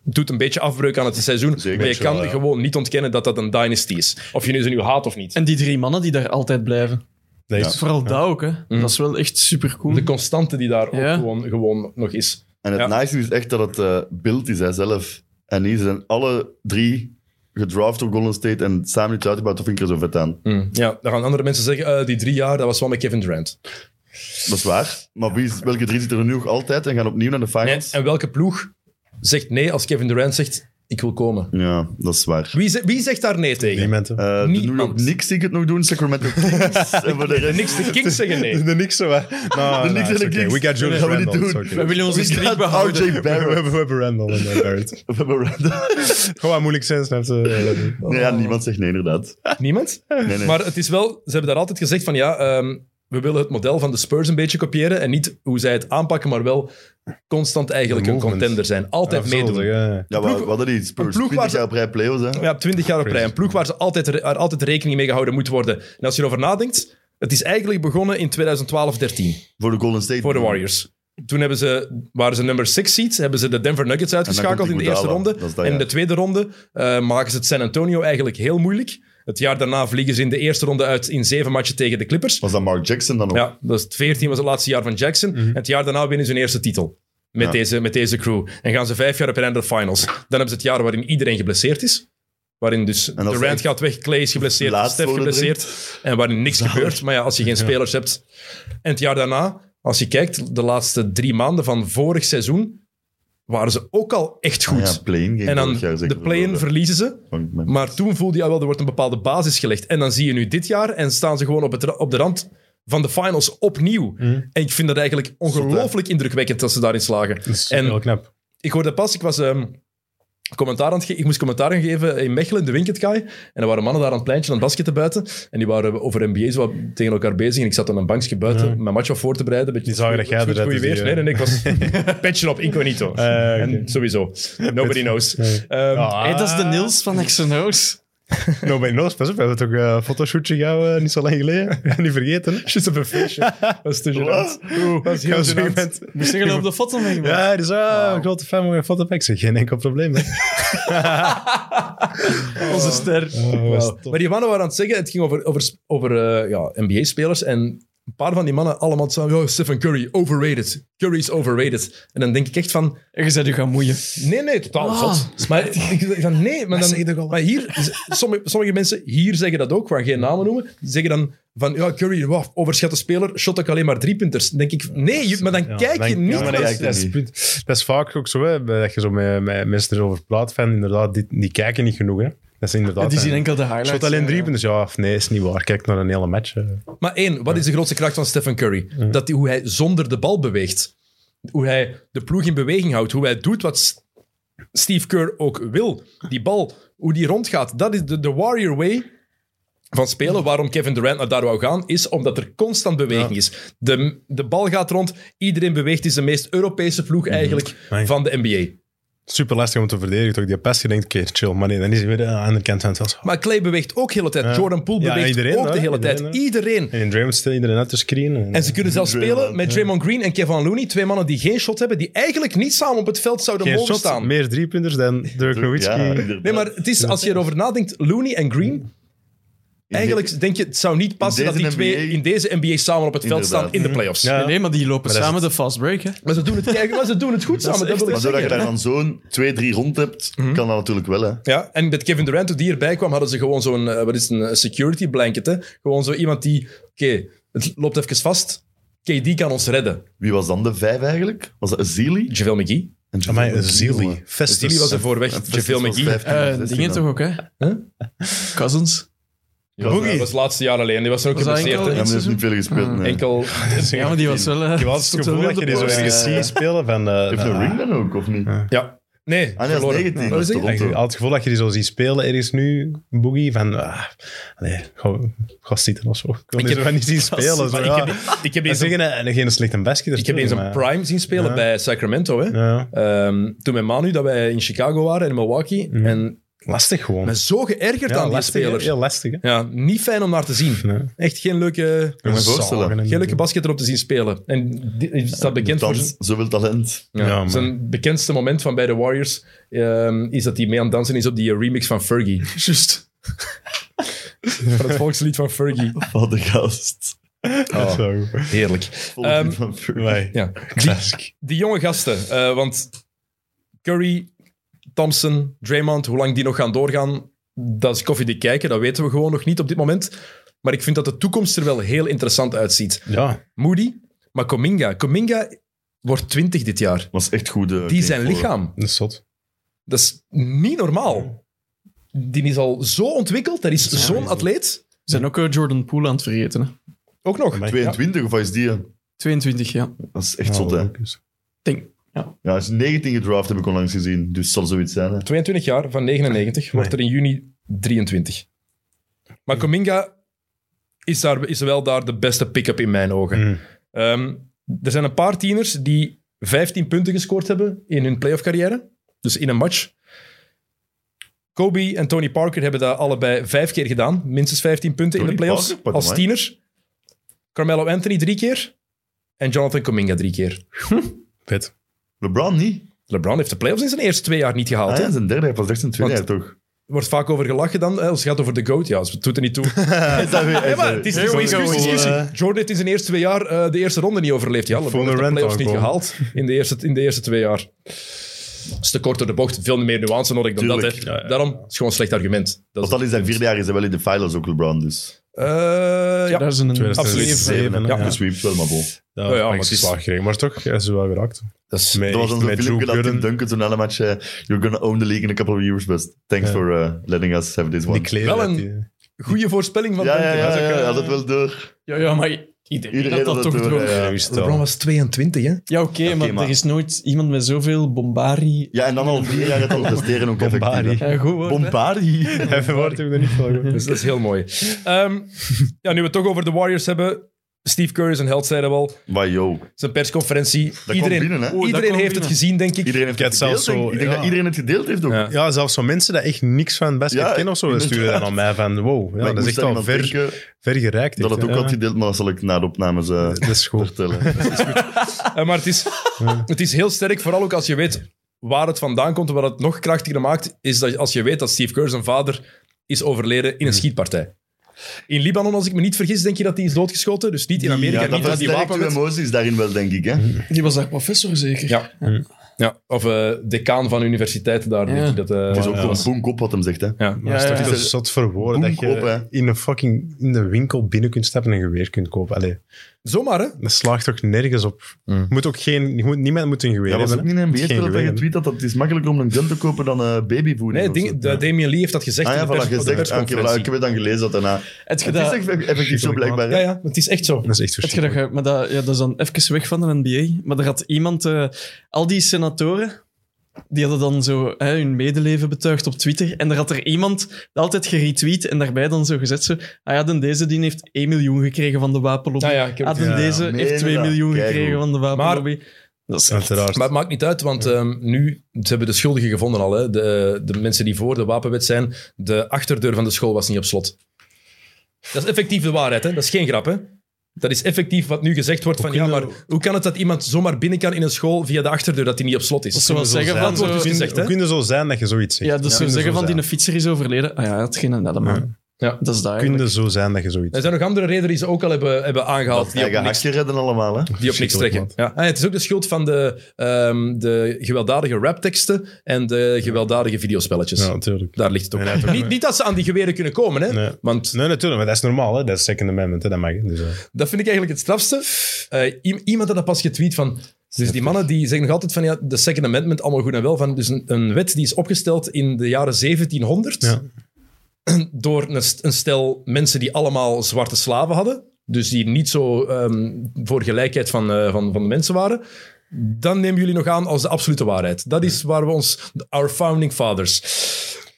Doet een beetje afbreuk aan het seizoen.
Zeker,
maar je
zo,
kan
ja.
gewoon niet ontkennen dat dat een Dynasty is. Of je nu ze nu haat of niet.
En die drie mannen die daar altijd blijven.
Dat is-
Vooral dat ook, hè. Dat is wel echt supercool.
de constante die daar
Ja.
ook gewoon, gewoon nog is.
En het
Ja.
nice is echt dat het eh Bilt is, hij zelf. En die zijn alle drie gedraft door Golden State en samen iets uitgebouwd. Dat vind ik er zo vet aan.
Mm. Hmm. Ja, dan gaan andere mensen zeggen, eh, die drie jaar, dat was wel met Kevin Durant.
Dat is waar. Maar wie is, welke drie zitten er nu nog altijd en gaan opnieuw naar de
En,
finals?
en welke ploeg zegt nee als Kevin Durant zegt: Ik wil komen?
Ja, dat is waar.
Wie, ze- wie zegt daar nee tegen?
Niemand, hè.
Eh de New York
Niemand.
Knicks die het nog doen, Sacramento
[LAUGHS]
Kings. en voor de rest...
Niks, de Kings zeggen
[LAUGHS]
nee.
[LAUGHS] De niks zo, hè?
[LAUGHS] De
Nou, No, no,
Knicks en
it's
de
okay.
Kings.
We got Julius
Dat gaan we
Randle.
niet
it's
doen.
okay.
We willen onze
We
streak
got
behouden.
RJ
[LAUGHS] We hebben- we
Barrett.
hebben- we hebben Randall en
[LAUGHS]
eh, Barrett.
We hebben Randall.
Gewoon wat moeilijk zijn, eh, snap
[LAUGHS]
je?
Nee, ja, niemand zegt nee, inderdaad.
Niemand?
Nee, nee.
Oh. Maar het is wel, ze hebben daar altijd gezegd: van ja, ehm, we willen het model van de Spurs een beetje kopiëren. En niet hoe zij het aanpakken, maar wel constant eigenlijk
De
een
movement.
contender zijn. Altijd
Ja,
meedoen.
zorgde, ja.
ja,
ploeg-
wat hadden die
een
Spurs?
ploeg waar
20
ze-
jaar op rij play-offs, hè?
Ja, 20 jaar op
Crazy.
rij. Een ploeg waar, ze altijd, re- waar altijd rekening mee gehouden moet worden. En als je erover nadenkt, het is eigenlijk begonnen in 2012-13
Voor de Golden State.
voor de Warriors. Toen hebben ze, waren ze nummer 6 seed, hebben ze de Denver Nuggets
komt
uitgeschakeld
die
in de eerste
Iguodala.
ronde.
Dat is dat
en in
jaar.
de tweede ronde eh, maken ze het San Antonio eigenlijk heel moeilijk. Het jaar daarna vliegen ze in de eerste ronde uit in zeven matchen tegen de Clippers.
Was dat Mark Jackson dan ook?
Ja, dus het 14 was het laatste jaar van Jackson. En het jaar daarna winnen ze hun eerste titel. Met,
Mhm. Ja.
deze, met deze crew. En gaan ze vijf jaar op een einde de finals. Dan hebben ze het jaar waarin iedereen geblesseerd is. Waarin dus
als ze
Durant
echt
gaat weg, Clay is geblesseerd,
laatst
Steph
worden
geblesseerd. En waarin niks gebeurt. Maar ja, als je geen spelers hebt. En het jaar daarna, als je kijkt, de laatste drie maanden van vorig seizoen, waren ze ook al echt goed.
Ah ja, play-in game
en dan
vorig jaar eh, zeker
de play-in
verloren.
verliezen ze.
Van- met-
Maar toen voelde je al wel, er wordt een bepaalde basis gelegd. En dan zie je nu dit jaar en staan ze gewoon op, het, ra- op de rand van de finals opnieuw.
Hm?
En ik vind dat eigenlijk ongelooflijk indrukwekkend dat ze daarin slagen.
Dat is
En-
heel knap.
Ik hoorde pas, ik was ehm, commentaar aan het ge- ik moest commentaar gaan geven in Mechelen, in de Winketkaai. En er waren mannen daar aan het pleintje aan het basketten buiten. En die waren over NBA's wat tegen elkaar bezig. En ik zat aan een bankje buiten mijn match wat voor te bereiden. Beetje
Die zagen dat jij
goed,
eruit
goeie
was,
weer.
die,
Nee,
eh. Ah,
nee, nee, ik was
[LAUGHS]
petje op incognito.
oké.
En sowieso. Nobody knows. Ehm,
Ah.
Hey, dat is de
[LAUGHS]
Niels van XNO's.
Nou, bij Noos, pas op. We hebben toch eh, een fotoshootje jou eh, niet zo lang geleden. [LAUGHS] niet vergeten.
[LAUGHS] Just op een
[LAUGHS]
feestje. Dat is te gênant. Oeh, dat is heel
Als je
gênant.
bent-
Moest zeggen dat op de foto mee. man.
Ja, dus ah, een grote fan van mijn foto. Ik zeg, geen enkel probleem. hè.
Onze ster.
Oh,
[LAUGHS]
was
Wauw.
top.
Maar die mannen waren aan het zeggen, het ging over, over, over eh, ja, NBA-spelers en een paar van die mannen allemaal zeiden, oh, Stephen Curry, overrated. Curry is overrated. En dan denk ik echt van,
En je zei, u gaan moeien.
nee, nee, totaal
Ah.
zot. Maar ik denk van, nee, maar,
zeg je toch
dan,
al.
maar hier, sommige, sommige mensen hier zeggen dat ook, we gaan geen namen noemen, die zeggen dan van, ja, Curry, wow, overschatte speler, shot ook alleen maar driepunters. Dan denk ik, nee, je- maar dan
Ja,
kijk je
denk-
niet
ja, maar
naar
dat, is,
kijken
dat is- dat is vaak ook zo, hè, dat je zo met, met mensen erover praat van, inderdaad, die, die kijken niet genoeg. Hè. Dat is inderdaad...
En die zien
een-
enkel de highlights. eh.
Shot alleen
ja.
drie punten. Ja, of nee, is niet waar. Kijk naar een hele match. hè.
Maar één, wat is de grootste kracht van Stephen Curry? Dat hij, hoe hij zonder de bal beweegt. Hoe hij de ploeg in beweging houdt. Hoe hij doet wat S- Steve Kerr ook wil. Die bal, hoe die rondgaat. Dat is de, de warrior way van spelen. Waarom Kevin Durant naar daar wou gaan, is omdat er constant beweging is. De, de bal gaat rond, iedereen beweegt. Het is de meest Europese ploeg
Mhm.
eigenlijk
Nee.
van de NBA.
Super lastig om te verdedigen. Toch die pas, je denkt, oké, chill. Maar nee, dan is hij weer eh, aan de andere kant van het veld.
Maar Clay beweegt ook de hele tijd.
Ja.
Jordan Poole
Ja,
beweegt
iedereen,
ook de
hè?
hele tijd.
Iedereen, hè?
Iedereen.
En in Draymond stil iedereen uit te screenen.
En ze kunnen zelfs
Draymond,
spelen met Draymond Green en Kevin Looney. Twee mannen die geen shot hebben, die eigenlijk niet samen op het veld zouden
geen
mogen
shots,
staan.
meer driepunters dan Dirk Nowitzki.
Ja,
Ja,
inderdaad.
Nee, maar het is, als je erover nadenkt, Looney en Green... Eigenlijk denk je, het zou niet passen dat
deze
die twee
NBA
in deze NBA samen op het veld staan in de playoffs.
Nee, nee, maar die lopen
dat is
samen de fast break, hè.
Maar, ze doen het, kijk, maar ze doen het goed samen, dat, wil
Maar
ik
doordat
Dus
je
zeggen.
daar dan zo'n 2-3 rond hebt,
Mhm.
kan dat natuurlijk wel, hè.
Ja, en met Kevin Durant, toen die erbij kwam, hadden ze gewoon zo'n eh, wat is het, een eh, security blanket. Hè? Gewoon zo iemand die, oké, het loopt even vast. KD kan ons redden.
Wie was dan de vijf eigenlijk? Was dat Azili?
JaVale McGee.
En
Amai,
Javale
een Zili.
jongen.
Die was er
[LAUGHS] Festus.
voorweg. JaVale
was
McGee.
15 of
Eh,
16
dingen
dan.
toch ook, hè?
Huh?
Cousins.
Ja,
Boogie.
Dat was het laatste jaar alleen. Die was er ook
Was dat
geblesseerd.
Ja, maar
hè.
die heeft niet veel gespeeld, nee.
Enkel...
Ja, maar die was wel... eh,
Je had het
stond wel
gevoel dat je
op de
die zo
post.
ergens ziet spelen. Van, eh,
Heeft een
nou,
ring dan ook, of niet? Ah,
Ja. Nee,
nee, dat is
verloren.
19.
Wat
Dat is
is het?
Ik
Toronto.
heb al het gevoel dat je die zo ziet spelen ergens nu, Boogie, van... Ah, nee, ga, ga zitten of zo. Ik wil
Ik
die
heb-
zo
[LAUGHS]
niet zien spelen. Zo,
Maar
ja.
ik heb, ik heb
En
eens een,
zeggen, eh, geen slechte basketer.
ik heb eens een
maar-
prime zien spelen
Ja.
bij Sacramento. Hè.
Ja,
Ehm, toen met Manu, dat wij in Chicago waren, in Milwaukee. En
lastig gewoon.
ik ben zo geërgerd
Ja,
aan die
lastig,
spelers.
Heel lastig, hè.
Ja, niet fijn om naar te zien.
Nee.
Echt geen leuke,
me
Zagen
voorstellen.
en-
geen leuke basketter om te zien spelen. En die, die staat bekend voor
Thans, zoveel talent.
Ja,
Ja, maar-
zijn bekendste moment van bij de Warriors ehm, is dat hij mee aan het dansen is op die eh, remix van Fergie. [LAUGHS]
Juist.
Van het volkslied van Fergie. Oh.
Wat een gast.
Dat is wel goed.
Heerlijk.
Volgens
Ehm,
niet van Furry.
Wij.
Ja. Die,
Klassiek.
die jonge gasten, eh, want Curry, Thompson, Draymond, hoe lang die nog gaan doorgaan, dat is koffie die kijken, dat weten we gewoon nog niet op dit moment. Maar ik vind dat de toekomst er wel heel interessant uitziet.
Ja,
Moody, maar Cominga. Cominga wordt 20 dit jaar.
Was echt goed. eh,
Die
game
zijn
voor-
lichaam,
dat is zot.
dat is niet normaal. Die is al zo ontwikkeld, dat is zo'n atleet.
We zijn ook eh, Jordan Poole aan het vergeten, hè.
Ook nog.
Amai.
22 of is die? eh,
22, ja.
Dat is echt zot, hè?
Nou.
Ja,
dus,
Denk.
hij is 19 gedraft, heb ik onlangs gezien. Dus zal zoiets zijn, hè?
22 jaar, van 99, wordt er in juni 23. Maar Cominga is, daar, is wel daar de beste pick-up in mijn ogen.
Mm.
Ehm, er zijn een paar tieners die 15 punten gescoord hebben in hun playoff carrière. Dus in een match. Kobe en Tony Parker hebben dat allebei vijf keer gedaan. Minstens 15 punten in
Tony
de playoffs
Parker, pardon,
als
hè.
tieners. Carmelo Anthony drie keer. En Jonathan Cominga drie keer.
Vet.
LeBron niet.
LeBron heeft de playoffs in zijn eerste twee jaar niet gehaald.
Ah,
hè?
ja, zijn derde, hij was echt zijn tweede jaar, toch?
wordt vaak over gelachen dan. Hè, als het gaat over de GOAT, ja, dus het doet er niet toe.
[LAUGHS] Is dat weer-
Ja, maar het is
Here
niet zo'n
we go.
discussie.
Eh.
Jordan heeft in zijn eerste twee jaar eh, de eerste ronde niet overleefd. Ja, LeBron
Vond de
heeft de
rent
playoffs
ook
niet
wel.
gehaald in de, eerste, in de eerste twee jaar. Dat is te kort door de bocht. Veel meer nuance nodig dan
Tuurlijk.
dat. Hè. Daarom is het gewoon een slecht argument. Dat
Of
is-
dat in zijn vierde jaar is hij wel in de finals ook LeBron, dus...
Eh, ja.
Daar is een...
Absoluut.
Zeven, hè.
Ja.
De sweep wel, maar bon.
Ja,
maar
maar
het
het
is-
is slaag gekregen. Maar toch, hij is wel geraakt.
Dat is
Met,
Dat was dan
echt
zo'n
met Drew
filmpje dat Tim
Gooden,
Duncan toen na de match zei... You're gonna own the league in a couple of years, best. Thanks for uh, letting us have this
die
one.
kleren.
Wel
dat
een-
die-
goede voorspelling van
ja, ja,
Duncan.
ja,
Dat is
ja,
ook,
ja,
eh,
had het wel door.
Ja, ja, maar iedereen,
Iedereen
had eh, dat
had dat
toch
door,
door.
ja.
Ja, juist
LeBron
wel.
was 22, hè?
Ja, oké, maar,
maar-
er is nooit iemand met zoveel bombari.
Ja, en dan al vier jaar het al presteren ook effectief. hè.
Ja, goed hoor.
Bombari.
[LAUGHS] Hij verwoordt hem er niet van. goed.
Dus dat is heel mooi. Ehm, [LAUGHS] ja, nu we het toch over de Warriors hebben. Steve Curry is een held, zeiden we al.
Maar yo,
Zijn persconferentie.
kwam
iedereen
binnen, hè? Oh,
dat
iedereen
kwam
heeft het
binnen.
gezien, denk ik.
iedereen heeft
Ik
het
had zelfs
gedeeld. denk Ik
zo-
Ik denk
ja.
dat iedereen het gedeeld heeft ook.
Ja.
Ja, zelfs zo mensen dat echt niks van basket
Ja,
kennen of zo,
inderdaad.
sturen dan aan mij van wow,
Maar
ja,
ik
dat is
moest
echt
aan
al
iemand
ver,
denken
ver gereikt.
dat
echt,
het ook
hè.
had gedeeld, maar dat zal ik na de opnames eh,
Dat is goed.
vertellen.
Eh, maar het [LAUGHS] is, het is heel sterk, vooral ook als je weet waar het vandaan komt. En wat het nog krachtiger maakt, is dat als je weet dat Steve Kerr zijn vader is overleden in een schietpartij. In Libanon, als ik me niet vergis, denk je dat hij is doodgeschoten. Dus niet in Amerika,
Ja,
niet
dat
dat die
versterkt
wapen
uw
werd-
emoties daarin wel, denk ik. Hè?
Die was daar professor zeker.
Ja. ja. Of eh, decaan van de universiteit daar, denk ik. Dat, eh,
Het is ook
ja.
gewoon boek op wat hem zegt. Hè?
ja.
Maar het is toch
ja.
niet zo zot voor woorden dat
Boem op,
je
hè.
in een fucking in de winkel binnen kunt stappen en een geweer kunt kopen. Allee,
Zomaar, hè?
dat slaagt toch nergens op. Je Moet ook geen, je moet, niemand moet een geweer
Mm. Dat was ook
hebben.
niet
hè.
een NBA-spel
Geen
dat
geweer
je
hebben.
tweet had. dat Het is makkelijker om een gun te kopen dan eh babyvoeding.
Nee,
of
ding-
zo.
de- Damian Lee heeft dat gezegd
Ah
in
ja,
de,
voilà,
pers- op de
gezegd. Ah, oké, voilà,
persconferentie.
ik heb het dan gelezen dat daarna.
Het je
Het is
dat...
echt effectief zo blijkbaar. hè.
ja, ja, het is echt zo.
Dat is
Het
echt
je dat
verschrikkelijk.
je- maar dat, ja, dat is dan even weg van de NBA. Maar er had iemand, eh, al die senatoren, die hadden dan zo hè, hun medeleven betuigd op Twitter. En er had er iemand dat altijd geretweet en daarbij dan zo gezet: zo, ah ja, dan deze die heeft 1 miljoen gekregen van de wapenlobby.
Ah ja, ik heb
Ah,
het-
dan
ja,
deze
meen
heeft 2
je dat?
miljoen
Keigoed.
gekregen van de wapenlobby. dat is echt-
Uiteraard.
Maar het maakt niet uit, want ehm, nu ze hebben de schuldigen gevonden al. Hè. De, de mensen die voor de wapenwet zijn, de achterdeur van de school was niet op slot. Dat is effectief de waarheid, hè? dat is geen grap. Hè? Dat is effectief wat nu gezegd wordt: van, ja,
kunnen-
maar hoe kan het dat iemand zomaar binnen kan in een school via de achterdeur dat die niet op slot
Dat
is?
ze wel zeggen van
wordt
zo...
dus
Hoe kun-
gezegd, hè?
hoe kun je zo zijn dat je zoiets zegt?
Ja, dus
Hoe
zo
kun je
zeggen van
zijn?
die fietser is overleden. Ah ja, het geen dat man.
Ja.
Dat is daar.
Hoe kun je zo zijn dat je zoiets
Er zijn nog andere redenen die ze ook al hebben, hebben aangehaald. Die
Eigen
op, niks,
hakje redden allemaal. Hè?
die op niks trekken. Ja. Ah, het is ook de schuld van de, ehm, de gewelddadige rapteksten en de gewelddadige videospelletjes.
Ja, natuurlijk.
Daar ligt het ook.
Nee, nee,
niet, niet dat ze aan die geweren kunnen komen, hè?
Nee.
want
Nee, natuurlijk, maar dat is normaal, hè. dat is Second Amendment, hè. dat mag. hè. Dus, eh.
Dat vind ik eigenlijk het strafste. Eh, i- iemand had dat pas getweet van... Dus die mannen die zeggen nog altijd van ja, de Second Amendment, allemaal goed en wel. Van, dus een, een wet die is opgesteld in de jaren 1700
Ja.
[CLEARS THROAT] door een, st- een stel mensen die allemaal zwarte slaven hadden. Dus die niet zo ehm, voor gelijkheid van, eh, van, van de mensen waren. Dan nemen jullie nog aan als de absolute waarheid. Dat is waar we ons... Our founding fathers.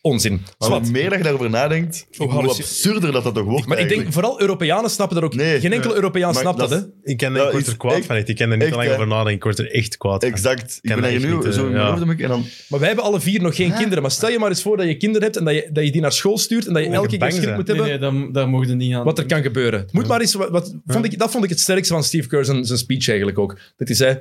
Onzin.
Maar
Zwat.
hoe meer dat je daarover nadenkt, hoe
hallucin-
absurder dat dat toch wordt.
Maar ik denk,
eigenlijk.
vooral Europeanen snappen dat ook.
Nee.
Geen enkele Europeaan
Maar
snapt dat,
dat
hè?
is-
Ik ken er,
Dat
ik word
Nou, is
er kwaad
echt-
van, echt. ik ken er niet
echt,
te lang
hè.
over nadenken, ik word er echt kwaad van.
Exact. Ik
Ken
ben
dat
daar
echt
nu
niet, eh,
zo in mijn
ja.
hoofd heb ik- en dan...
Maar wij hebben alle vier nog geen kinderen. Maar stel je maar eens voor dat je kinderen hebt en dat je, dat je die naar school stuurt en dat je
Oh,
elke
je
keer
bang
schrik
bent.
moet
Nee,
hebben
nee, daar, daar mogen we niet aan.
wat er kan gebeuren. Het Moet maar eens, wat, wat- vond ik, dat vond ik het sterkste van Steve Kerr zijn, zijn speech eigenlijk ook. Dat hij zei,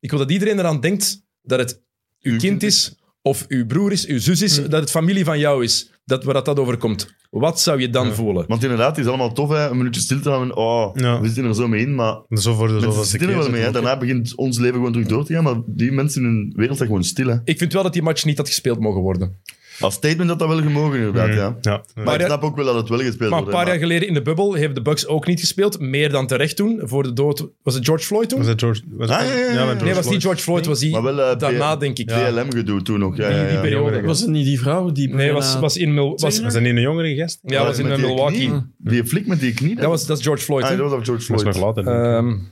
ik wil dat iedereen eraan denkt dat het uw kind is, of uw broer is, uw zus is, dat het familie van jou is. Dat waar dat, dat overkomt. Wat zou je dan voelen?
Want inderdaad, het is allemaal tof, hè. een minuutje stil te houden. Oh,
Ja.
we zitten er zo mee in, maar
Zo voor de
mensen
zoveelste
zitten er
keer.
wel mee. Hè. Daarna begint ons leven gewoon terug door te gaan, maar die mensen in hun wereld zijn gewoon stil. Hè.
Ik vind wel dat die match niet had gespeeld mogen worden.
Als statement dat dat wel gemogen, inderdaad. Ja. Maar,
Mm. Ja.
Maar
ik
ja-
snap ook wel dat het wel gespeeld
Maar een
wordt.
paar
hè,
jaar geleden in de bubbel hebben de Bucks ook niet gespeeld. Meer dan terecht toen. Voor de dood... Was het George Floyd toen?
Was dat George? Was
Ah, ja, ja, ja.
met
nee, was niet
Floyd.
George Floyd. Was die
Maar wel, eh,
daarna,
P-
denk ik.
maar DLM-gedoe toen nog. Ja,
Die-
ja,
die
ja.
periode.
jongeren.
Was het niet die vrouw die...
Nee, was,
bijna-
was in Mil was,
Was dat niet een jongere gast?
ja, was in eh,
Met die
Milwaukee.
knie. Die flik met die knie.
Dat was, dat is George Floyd.
Ah,
hè?
dat was op George
Dat is
Floyd.
nog later. denk ik.
Ehm,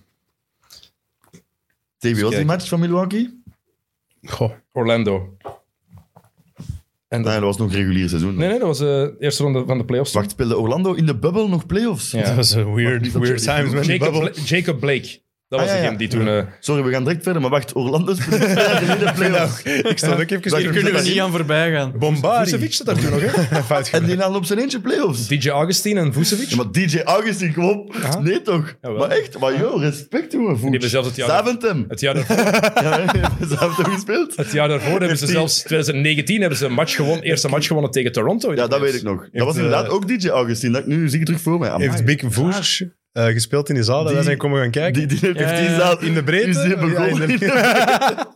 Tegen wie was die
Kijk.
match van Milwaukee? Eh,
Goh.
Orlando. En
Nee,
dat,
Ah, dat was nog regulier seizoen.
nee, nee, dat was de eerste ronde van de playoffs.
Wacht, speelde Orlando in de bubbel nog playoffs?
Ja.
Dat was een weird,
Niet dat
weird
ze-
times Dus met die
Jacob,
bubbel.
Bla- Jacob Blake. Dat was
Ah, ja,
degene
ja.
die toen... eh,
Sorry, we gaan direct verder, maar wacht, Orlando is [LAUGHS] precies twee jaar geleden de playoffs.
Ik stond ook even...
Daar
hier
Hier kunnen we
dat
niet
is-
aan voorbij gaan.
Bombari.
Vucevic zat daar toen nog,
[LAUGHS]
hè?
Fout
En
gemaakt.
die namen op zijn eentje playoffs.
DJ Augustine en Vucevic.
Ja, maar DJ Augustin, kom op.
Ja.
Nee toch?
Jawel.
Maar echt, maar joh, respect jongen. Voet.
hebben zelfs het jaar-
Savent hem.
Het jaar, daarvoor,
Ja, [LAUGHS] ze hebben hem gespeeld.
het jaar daarvoor hebben ze
[LAUGHS]
zelfs, 2019, hebben ze een match gewonnen, eerste match gewonnen tegen Toronto.
Ja, dat weet ik nog. Dat
Heeft,
was inderdaad
eh,
ook DJ Augustin. Dat, nu zie ik terug voor mij. Amai.
Heeft Big Voers eh, gespeeld in die zaal. Dat wij
Die-
zijn komen gaan kijken.
Die, die heeft
Ja,
die
ja.
zaal
eh, In de breedte?
is die
Ja, in
begonnen.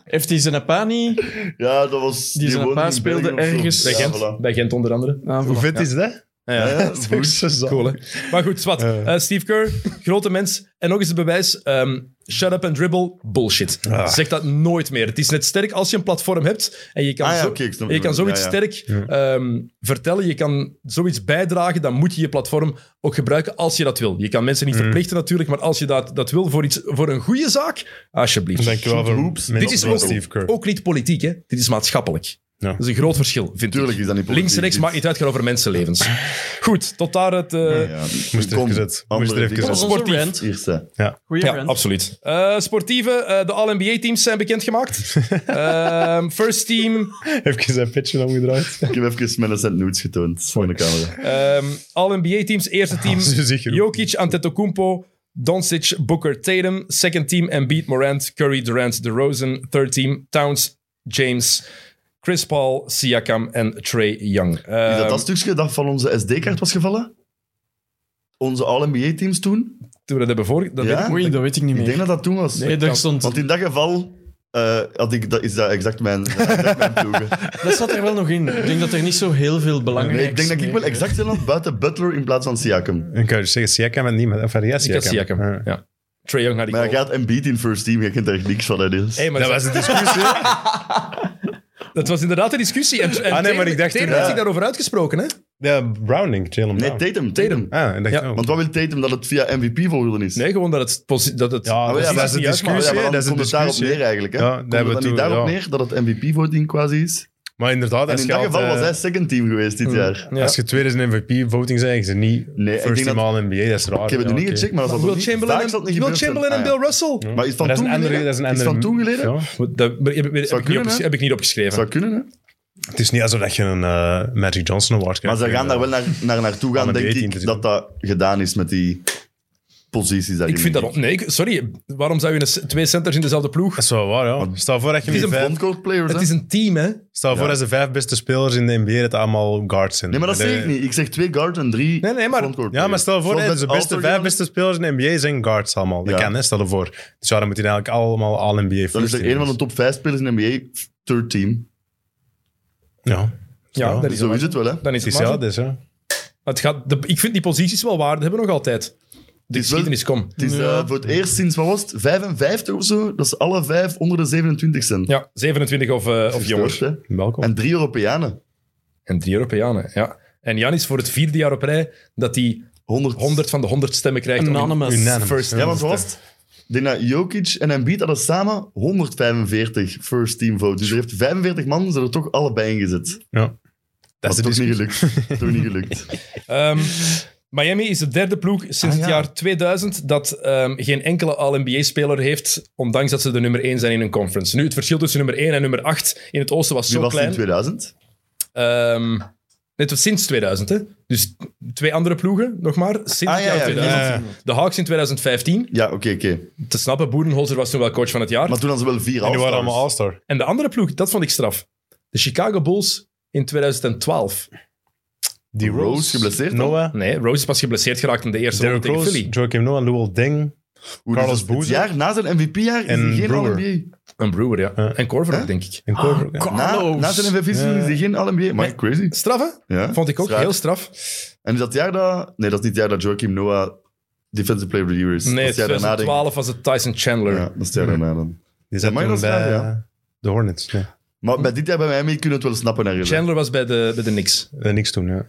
Heeft hij zijn pa niet?
[LAUGHS] Ja, dat was...
Die zijn
woonde
pa
in
speelde
België of zo.
ergens.
Bij
Ja,
Gent,
voilà.
bij Gent onder andere.
Ah,
Hoe
voilà.
vet is dat?
Ja, ja,
Dat is ook
Voes.
zo zaal.
Cool, hè? Maar goed, zwart.
Eh.
Eh, Steve Kerr, grote mens. En nog eens het bewijs. ehm, shut up and dribble, bullshit.
Ah.
Zeg dat nooit meer. Het is net sterk als je een platform hebt. En je kan,
Ah ja,
zo-
oké, ik snap
en je kan
het wel.
zoiets
Ja, ja.
sterk ehm, vertellen. Je kan zoiets bijdragen. Dan moet je je platform ook gebruiken als je dat wil. Je kan mensen niet
Mm.
verplichten natuurlijk. Maar als je dat, dat wil voor, iets, voor een goede zaak, alsjeblieft.
Dankjewel voor
Hoops.
mensen
Dit is
zoals
ook,
Steve Kerr.
ook niet politiek, hè. Dit is maatschappelijk.
Ja.
Dat is een groot verschil, vind
Tuurlijk
ik.
is dat niet
Links en rechts
politiek,
maakt niet uit, gaat over mensenlevens. Goed, tot daar het... eh,
Ja,
Moest er
kom,
even uit.
andere
Moest er
dingen.
even
Dat
uit.
was onze rant.
Eerste.
Goeie
Ja,
rant.
absoluut. Eh, sportieve, eh, de All-NBA-teams zijn
[LAUGHS]
bekendgemaakt. Ehm, first team,
Even zijn pitje omgedraaid.
[LAUGHS] Ik heb even mijn Ascent Nudes getoond voor de camera.
ehm, All-NBA-teams, eerste
[LAUGHS]
team,
Zo zeker.
Jokic, Antetokounmpo, Doncic, Booker, Tatum. Second team, Embiid, Morant, Curry, Durant, DeRozan. Third team, Towns, James, Chris Paul, Siakam en Trey Young.
Is dat
Ehm,
dat stukje dat van onze SD-kaart was gevallen? Onze All-NBA-teams toen?
Toen we dat hebben voor... Dat
Ja?
weet ik-
Oei, dat weet ik niet
Ik denk
meer.
dat dat toen was.
Nee, daar stond...
Want in dat geval eh, had ik, dat, is dat exact mijn, dat is exact mijn ploegen.
[LAUGHS]
Dat zat er wel nog in. Ik denk dat er niet zo heel veel belangrijk
Nee, ik denk dat ik wel exact ben aan buiten Butler in plaats van Siakam.
Dan kan je dus zeggen Siakam en niemand. Enfin, ja,
Ik had
Siakam.
Siakam,
Ja.
ja. Trey Young had ik
Maar hij
al.
gaat Embiid in first team, je kent daar echt niks van. Hè, dus.
Hey, maar
Dat
dat,
was
[LAUGHS]
de discussie. hè?
dat was inderdaad een discussie. En, en
Ah, maar
Tatum-
ik dacht toen-
Tatum had
ja.
zich daarover uitgesproken, hè?
Ja, Browning, Jalen
Nee,
Brown.
Tatum, Tatum.
Ah, ik dacht,
Ja,
oh.
Want wat wil Tatum dat het via MVP volgen is?
Nee, gewoon dat het... posi- Dat het
ja,
Ah,
dat,
ja, maar
is- dat is de
dat is
Maar
discussie.
ja, maar dan
hè, dat is de
komt het daarop
discussie.
neer eigenlijk. Hè?
Ja, dat
komt
hebben
het
we
dan niet
toen,
daarop
ja.
neer dat het MVP-voting quasi is?
Maar inderdaad,
En
als
in
je
dat
altijd-
geval was hij second team geweest
Hmm.
dit jaar.
Ja.
Als je tweede is in MVP-voting zijn, is ze niet
Nee, ik
first
denk
team
dat-
All-NBA. Dat is raar.
Ik heb het
ja,
nog niet
oké.
gecheckt, maar dat zal
Will
niet-
Chamberlain,
vaak zal
en,
het niet
Will
gebeurd zijn.
Chamberlain en
Ah, ja.
Bill Russell.
Maar is van
Maar dat is
toen
een andere...
geleden?
Dat is een
Is
andere
van toen geleden?
Ja.
Wat, Dat heb, heb, heb, ik niet
kunnen,
opges-
hè?
heb ik niet opgeschreven.
Zou kunnen, hè?
Het is niet alsof dat je een eh, Magic Johnson Award
Maar
krijgt.
ze gaan daar wel naar, naar naartoe gaan,
Aan de
denk
B-team te
ik,
zitten.
dat dat gedaan is met die posities daarin.
ik vind dat... Nee, ik- sorry. Waarom zou je een, s- twee centers in dezelfde ploeg...
Dat is wel waar, ja. Stel voor dat je
Het is
met
een
vijf...
frontcourt player, hè?
Het is een team, hè?
Stel voor
Ja.
dat ze vijf beste spelers in de NBA dat allemaal guards zijn.
Nee, maar dat
de-
zeg ik niet. Ik zeg twee guard en drie
Nee, nee, maar-
frontcourt
Ja, maar stel voor,
players.
hè, de
Zoals
beste,
All-Star
vijf
gaan,
beste spelers in de NBA zijn guards allemaal. Dat
Ja.
kan, hè, stel je voor. Dus ja, dan moet hij eigenlijk allemaal All-NBA
Dan is er een van de top vijf spelers in de NBA, third team.
Ja.
Ja, dat is
Zo
wel-
is het wel, hè?
Dan is
Het
het maar
is ja,
zo.
dus, hè.
Het gaat, de- Ik vind die posities wel waarde hebben nog altijd. De
is wel-
geschiedenis, kom.
Het is eh,
Ja.
voor het eerst sinds, wat was het, 55 of zo? Dat ze alle vijf onder de 27 zijn.
Ja, 27 of, eh, of jonger.
Verstoord, hè?
Welkom.
En drie Europeanen.
En drie Europeanen, ja. En Jan is voor het vierde jaar op rij dat hij
100.
100 van de 100 stemmen krijgt. om-
Anonymous.
Unanimous.
First-
Ja, want wat was het? Ik denk dat Jokic en Embiid hadden samen 145 first team votes. Dus er heeft 45 man ze er toch allebei in gezet.
Ja. Dat is
Dat
de
is toch niet
discussie.
gelukt. toch niet gelukt.
Ehm, Miami is de derde ploeg sinds
Ah,
het
ja.
jaar 2000 dat ehm, geen enkele All-NBA-speler heeft, ondanks dat ze de nummer 1 zijn in hun conference. Nu, het verschil tussen nummer 1 en nummer 8 in het oosten was
Nu
zo
was het in
klein.
2000.
Ehm, net als sinds 2000, hè. Dus twee andere ploegen, nog maar, sinds
Ah,
het
ja,
jaar
ja,
2000.
ja, ja.
De Hawks in 2015,
Ja, oké, oké.
te snappen, Boerenholzer was toen wel coach van het jaar.
Maar toen hadden ze wel vier
En die waren
All-Stars.
allemaal All-Star.
En de andere ploeg, dat vond ik straf. De Chicago Bulls in 2012.
Die
Rose geblesseerd,
Noah.
Nee, Rose is pas geblesseerd geraakt in de eerste ronde
Derrick
tegen
Rose.
Philly.
Joakim Noah. Lowell Deng.
Hoe,
Carlos
dus het
Boozer.
jaar na zijn MVP-jaar is
En
hij geen
Brewer.
All-NBA.
Een Brewer, ja.
Ja.
En Corver ook,
Hè?
denk ik.
En Korver. ja.
Na,
Carlos.
na zijn MVP-seizoen is hij geen All-NBA. Maar
Nee.
crazy.
Straf, hè?
Ja.
Vond ik ook
Straf.
heel straf.
En is dat jaar dat... Nee, dat is niet het jaar dat Joachim Noah Defensive Player of the Year is.
Nee,
dat is het jaar daarna, denk ik.
2012 was het Tyson Chandler.
Ja, dat is het jaar daarna dan.
Die zat
maar
toen
dat is
bij eh,
raar,
de Hornets. Nee.
Maar bij dit jaar bij Miami kunnen we het wel snappen. Naar
Chandler was bij de, bij de Knicks.
Eh, niks toen, ja.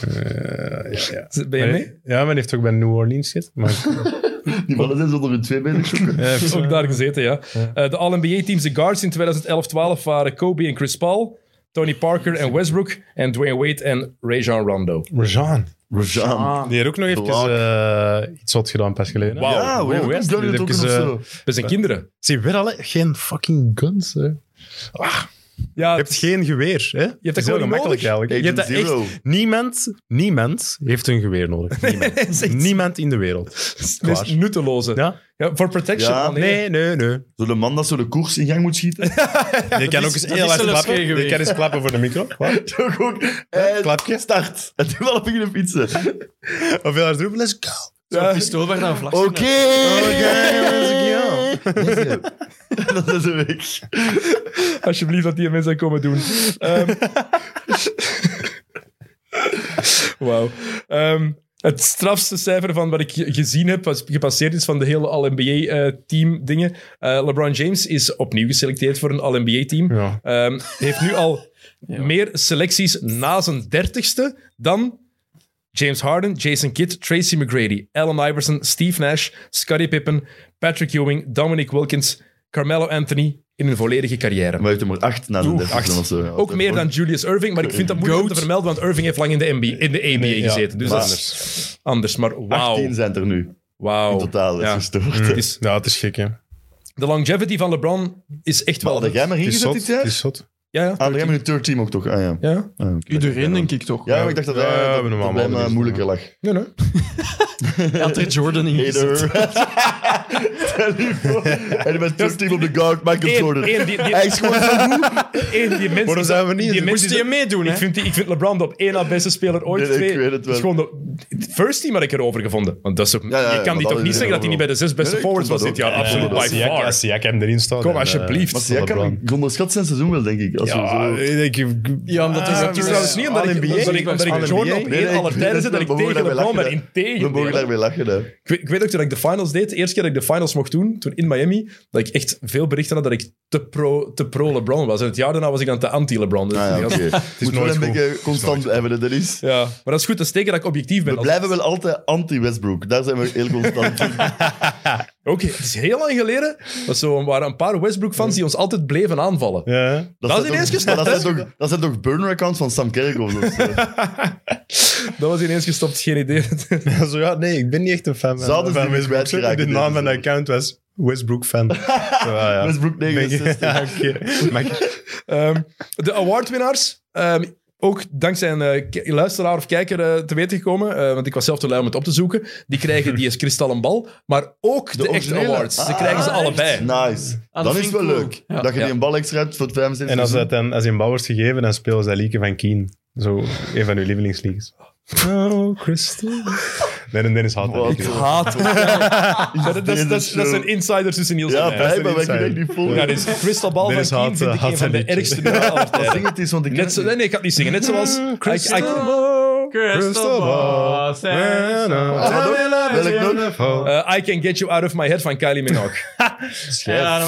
Eh, ja, ja.
Ben je mee?
Ja, maar die heeft ook bij New Orleans gezeten. Maar,
Die mannen zijn zonder hun twee bezig
[LAUGHS]
zoeken.
Eh,
Ook daar gezeten, ja. Eh, de All-NBA-teams, de guards in 2011-12 waren Kobe en Chris Paul, Tony Parker en Westbrook en Dwayne Wade en Rajon Rondo.
Rajan.
Rajan.
Die heeft ook nog even
Blaak.
eh, iets wat gedaan pas geleden. hè?
Wauw.
Ja,
wow,
we
ja,
hebben
die
ook een gun
even,
of
eh,
zo.
Dat zijn kinderen.
Zie weer alle geen fucking guns. Hè.
Ja,
Je hebt geen geweer. Hè? Je hebt
dat gewoon niet nodig.
eigenlijk. Je hebt
Agent
dat echt-
dus Zero.
Niemand, niemand heeft een geweer nodig. Niemand,
is echt-
Niemand in de wereld.
het meest nutteloze.
Ja?
Ja, voor protection.
Ja,
man, hè.
Nee, nee, nee.
Zo de man dat zo de koers in gang moet schieten. [LAUGHS]
je kan ook eens
dat
heel
is
hard
zelfs
klappen.
geen
Je
geweer.
kan eens klappen voor de micro. Wat?
Toch ook. En
Klapje.
start. [LAUGHS] En toen wel beginnen fietsen.
Of heel hard roepen, let's go.
Zo'n pistool waar dan een vlagje
Oké. [LAUGHS]
let's
Dat is een week.
Alsjeblieft, dat die mensen dat komen doen. Ehm. Wauw. Ehm, het strafste cijfer van wat ik ge- gezien heb, wat gepasseerd is van de hele eh, All-NBA-team-dingen. Eh, LeBron James is opnieuw geselecteerd voor een All-NBA-team.
Ja.
Ehm, heeft nu al meer selecties na zijn dertigste dan James Harden, Jason Kidd, Tracy McGrady, Allen Iverson, Steve Nash, Scottie Pippen, Patrick Ewing, Dominic Wilkins, Carmelo Anthony in een volledige carrière.
Maar hij heeft er maar acht na de
Oeh,
dertigste
acht.
of zo. Ja,
Ook meer dan
eh, gewoon-
Julius Irving, maar ik vind dat moeilijk om te vermelden, want Irving heeft lang in de, NBA, in de ABA
ja,
gezeten. Dus
maar-
dat is anders. Maar wauw.
18 zijn er nu.
Wauw.
Totaal, dat
Ja.
is gestoord.
Mm.
Het is-
ja, het is gek, hè.
De longevity van LeBron is echt wel...
Hadden jij maar
Het is
ingezet
zot.
dit
Het
jaar?
is zot.
Ja, ja.
Ah, jij maar in third team ook toch? Ah, ja.
Ja?
Ah, oké.
Iedereen, denk ik toch?
Ja, maar ik dacht dat wij
Ja, we
dat,
hebben hem
dat
allemaal
bij mij
gezien,
moeilijker lag.
Nee, nee.
Hij had er Jordan in gezet.
Hater. [LAUGHS] Stel je voor. en je bent third team op de guard, Michael
Eén,
Jordan.
één, die, die,
Hij is gewoon zo goed.
één, die mensen...
Waarom zijn we niet in
Die
de-
mensen
Moest hij meedoen, hè?
Ik vind, die, ik vind LeBron de op één na beste speler ooit.
Nee, nee,
twee.
ik weet het wel.
is gewoon de first team had ik erover gevonden. Want dat is ook,
ja, ja,
je kan
want
die
dat
toch
is
niet zeggen dat hij niet bij
overal.
de zes beste
Nee, nee, ik
forwards
vond
was
dat
dit jaar.
ook.
Absoluut,
Ja,
by
Als Siak-
far.
Als Siakam erin staat...
Kom,
dan, eh,
alsjeblieft.
Maar jij kan ik onderschat zijn seizoen wel, denk ik. Als we
Ja, eh,
zo...
ik denk...
Ja, omdat hij
Ah, Het is trouwens niet omdat ik,
All-NBA.
omdat ik, omdat ik
All-NBA.
Jordan op
Nee,
één
nee,
aller
ik-
tijden zit dat ik
we mogen
tegen
daarbij
LeBron ben.
lachen, We mogen
Integendeel.
daarmee lachen, hè.
Ik weet, ik weet ook toen ik de finals deed, de eerste keer dat ik de finals mocht doen, toen in Miami, dat ik echt veel berichten had dat ik te pro, te pro LeBron was. En het jaar daarna was ik dan te anti-LeBron. Dus
Ah, ja,
die
oké.
gast-
Het is wel
nooit
een
goed.
beetje constant hebben, dat is...
ja, maar dat is goed, dat is teken dat ik objectief ben.
We
Als-
blijven wel altijd anti-Westbrook. Daar zijn we heel constant in.
Oké, het is heel lang geleden. Dat zo, er waren een paar Westbrook-fans die ons altijd bleven aanvallen.
Ja.
Dat is
zijn
ineens
toch-
gestopt,
maar
hè?
Dat zijn toch, dat zijn toch burner-accounts van Sam Kerkhoff? of zo?
Dat was ineens gestopt, geen idee.
Zo, ja, [LAUGHS] nee, ik ben niet echt een fan van,
Zouden ze
van
die
Westbrook.
kwijtgeraakt
De naam van de
deze
account was
[LAUGHS]
Westbrook-fan. Zo, ja, ja.
Westbrook
Ben je-
69.
[LAUGHS] Ja, oké. Maar ik-
Ehm, de awardwinnaars, ehm, ook dankzij een eh, k- luisteraar of kijker eh, te weten gekomen, eh, want ik was zelf te lui om het op te zoeken, die krijgen die is kristallen bal, maar ook de, echte
originele.
awards. Ze
Ah,
krijgen ze
echt?
allebei.
Nice.
Ah, dat
Dan is
vind
het
ik
wel
cool.
leuk.
Ja.
Dat je
Ja.
die een bal extra hebt voor het 75
en als,
seizoen.
dat dan, als je een bal wordt gegeven, dan spelen ze dat liedje van Keen. Zo, een van uw lievelingsliedjes. Oh, Crystal. Nee, nee, Dennis haat dat
Wat?
liedje.
Haat. dat, dat, dat, dat, dat
show.
zijn insiders tussen Niels en
Ja,
mij.
is
bij,
een
maar wij kunnen
insider.
echt niet volgen.
Ja, dus Crystal Ball
Dennis
van Keen
haat,
vind ik
haat
een eh, van de
zijn liedje.
ergste dingen aller
Dat
tijden. Mm,
zing het is, want ik ken
[LAUGHS] Net zo,
het
nee, nee, ik ga het niet zingen. Net zoals... I- I-
Crystal
eh, I Can Get You Out Of My Head van Kylie Minogue. [LAUGHS]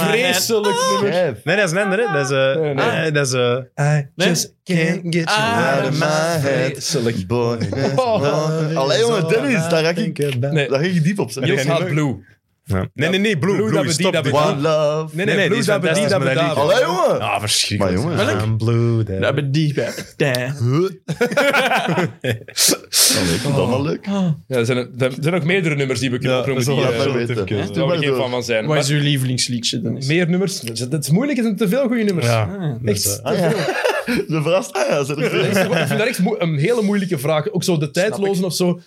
Vreselijk nummer.
niet. Chef.
Nee, dat is een ander, hè. Dat is... eh,
nee.
eh, Dat is... eh,
Nee?
can't get
Ah,
Out of my head,
Vreselijk.
boy.
Oh.
Allee, jongen, Dennis, daar raak ik...
Nee,
Nee,
Daar ging je diep op.
Niels
Zeg.
jij niet
haat
leuk?
Blue.
nee, nee, nee, Blue,
Blue,
Blue,
dat we die-
stop
dat we
dit.
One love.
Nee, nee,
Nee,
nee
nee, die
Blue
is
dat we die,
fantastisch,
dat we
maar dat
daar.
liedje-
Allee, jongen.
Ah,
Maar
verschrikkelijk.
jongen.
I'm blue.
We
Daar.
hebben die bij. Damn.
Allee, ik vond dat wel leuk.
Ja, er, zijn, er zijn nog meerdere nummers die we kunnen
Ja,
opnoemen.
dat
die,
is wel
eh, waar
Laat
leuk. zo
mij weten.
even kiezen.
Doe
we
maar
geen fan
door.
van zijn.
Wat is
Maar
uw lievelingsliedje, Dennis?
meer nummers. Het is- Het is moeilijk, er zijn te veel goede nummers.
Ja,
Echt.
dus, eh,
Ah, ja. Ze verrast. Ah ja, ze
Dat is-
er
Ik vind dat echt moe- een hele moeilijke vraag. Ook zo de tijdlozen of zo.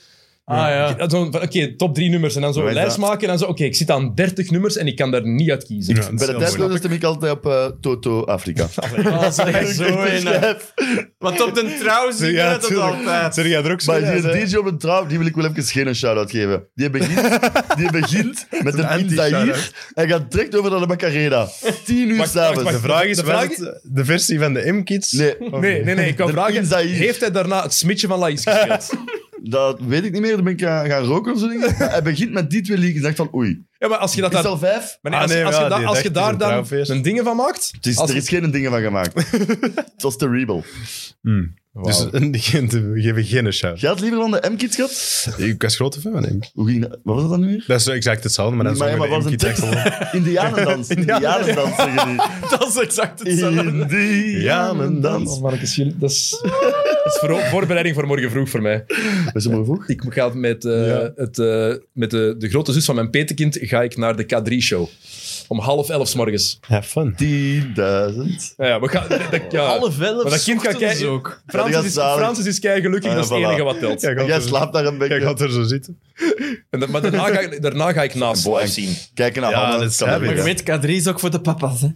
Ah ja.
Dat zo van, Oké, top drie nummers. En dan zo
Wat
een
is
lijst
dat?
maken. En dan zo, oké, ik zit aan 30 nummers en ik kan daar niet uit kiezen.
ja, dat is
Bij de
heel
tijdloze
moeilijk.
stem ik altijd op eh, Toto Afrika.
Ah, zeg
[LAUGHS]
zo
Echt een
in, eh.
chef.
Want op de trouw zie je
Ja,
dat
tuurlijk.
altijd.
Zeg jij er ook zo
Maar
in,
die
hè?
DJ op de trouw, die wil ik wel even geen een shout-out geven. Die
[LAUGHS]
begint, die begint met een
anti-shout-out.
Inzaïr en gaat direct over naar de Macarena. Tien uur
Wacht, wacht,
s'avonds.
wacht.
De vraag is,
De
was
vraag
het de versie van de M-Kids?
Nee,
Nee, nee, nee. Ik kan
De
vragen,
Inzaïr.
heeft hij daarna het smidje van Laïs gespeeld?
dat weet ik niet meer. Dan ben ik gaan, gaan roken of zo. dingen. Maar Hij begint met die twee liedjes en dacht van oei.
ja, maar als je dat
Is
daar...
al vijf?
Maar nee,
Ah,
als,
nee,
als
ja,
je, da-
die
als je
dacht,
daar
is
dan
een
[LAUGHS]
trouwfeest.
een dingen van maakt...
Het is,
als-
[LAUGHS]
er is geen dingen van gemaakt. Het was terrible.
Dus
Wauw.
[LAUGHS] een- geen- we geven geen een shout.
Jij had liever van de M-Kids gehad?
Ik was grote fan van hem.
Hoe ging dat? Wat was dat nu weer?
Dat is exact hetzelfde, maar dan
maar ja, maar
zongen
wat
we
was een
de
tekst? [LAUGHS]
[LAUGHS]
Indianendans. Indianendans zeggen die.
Dat is exact
Indianendans.
Oh, mannetjes, jullie- dat is, [LAUGHS] dat is voor- voorbereiding voor morgen vroeg voor mij.
Was je maar vroeg?
Ik ga met, eh,
Ja.
het, eh, met de, de grote zus van mijn petekind ga ik naar de K3-show. Om half elf 's morgens.
Have fun.
10.000.
Ja, ja, we gaan, dat, ja.
Alle vellen
Maar dat kind gaat
ochtends
kijken.
ook.
Francis,
Ja, die
is,
gaat zalig.
Francis is kei gelukkig,
Ah,
dat is het
voilà.
enige wat telt.
Jij gaat
Jij
er-
slaapt daar een
Jij
beetje.
gaat er zo zitten.
En dat- maar daarna ga, ik- daarna ga ik naast
Boy.
live zien.
Kijken naar
Ja,
Hanna,
dat is
kan
heavy,
ook,
hè.
Maar je
hè.
weet, K3 is ook voor de papa's, hè.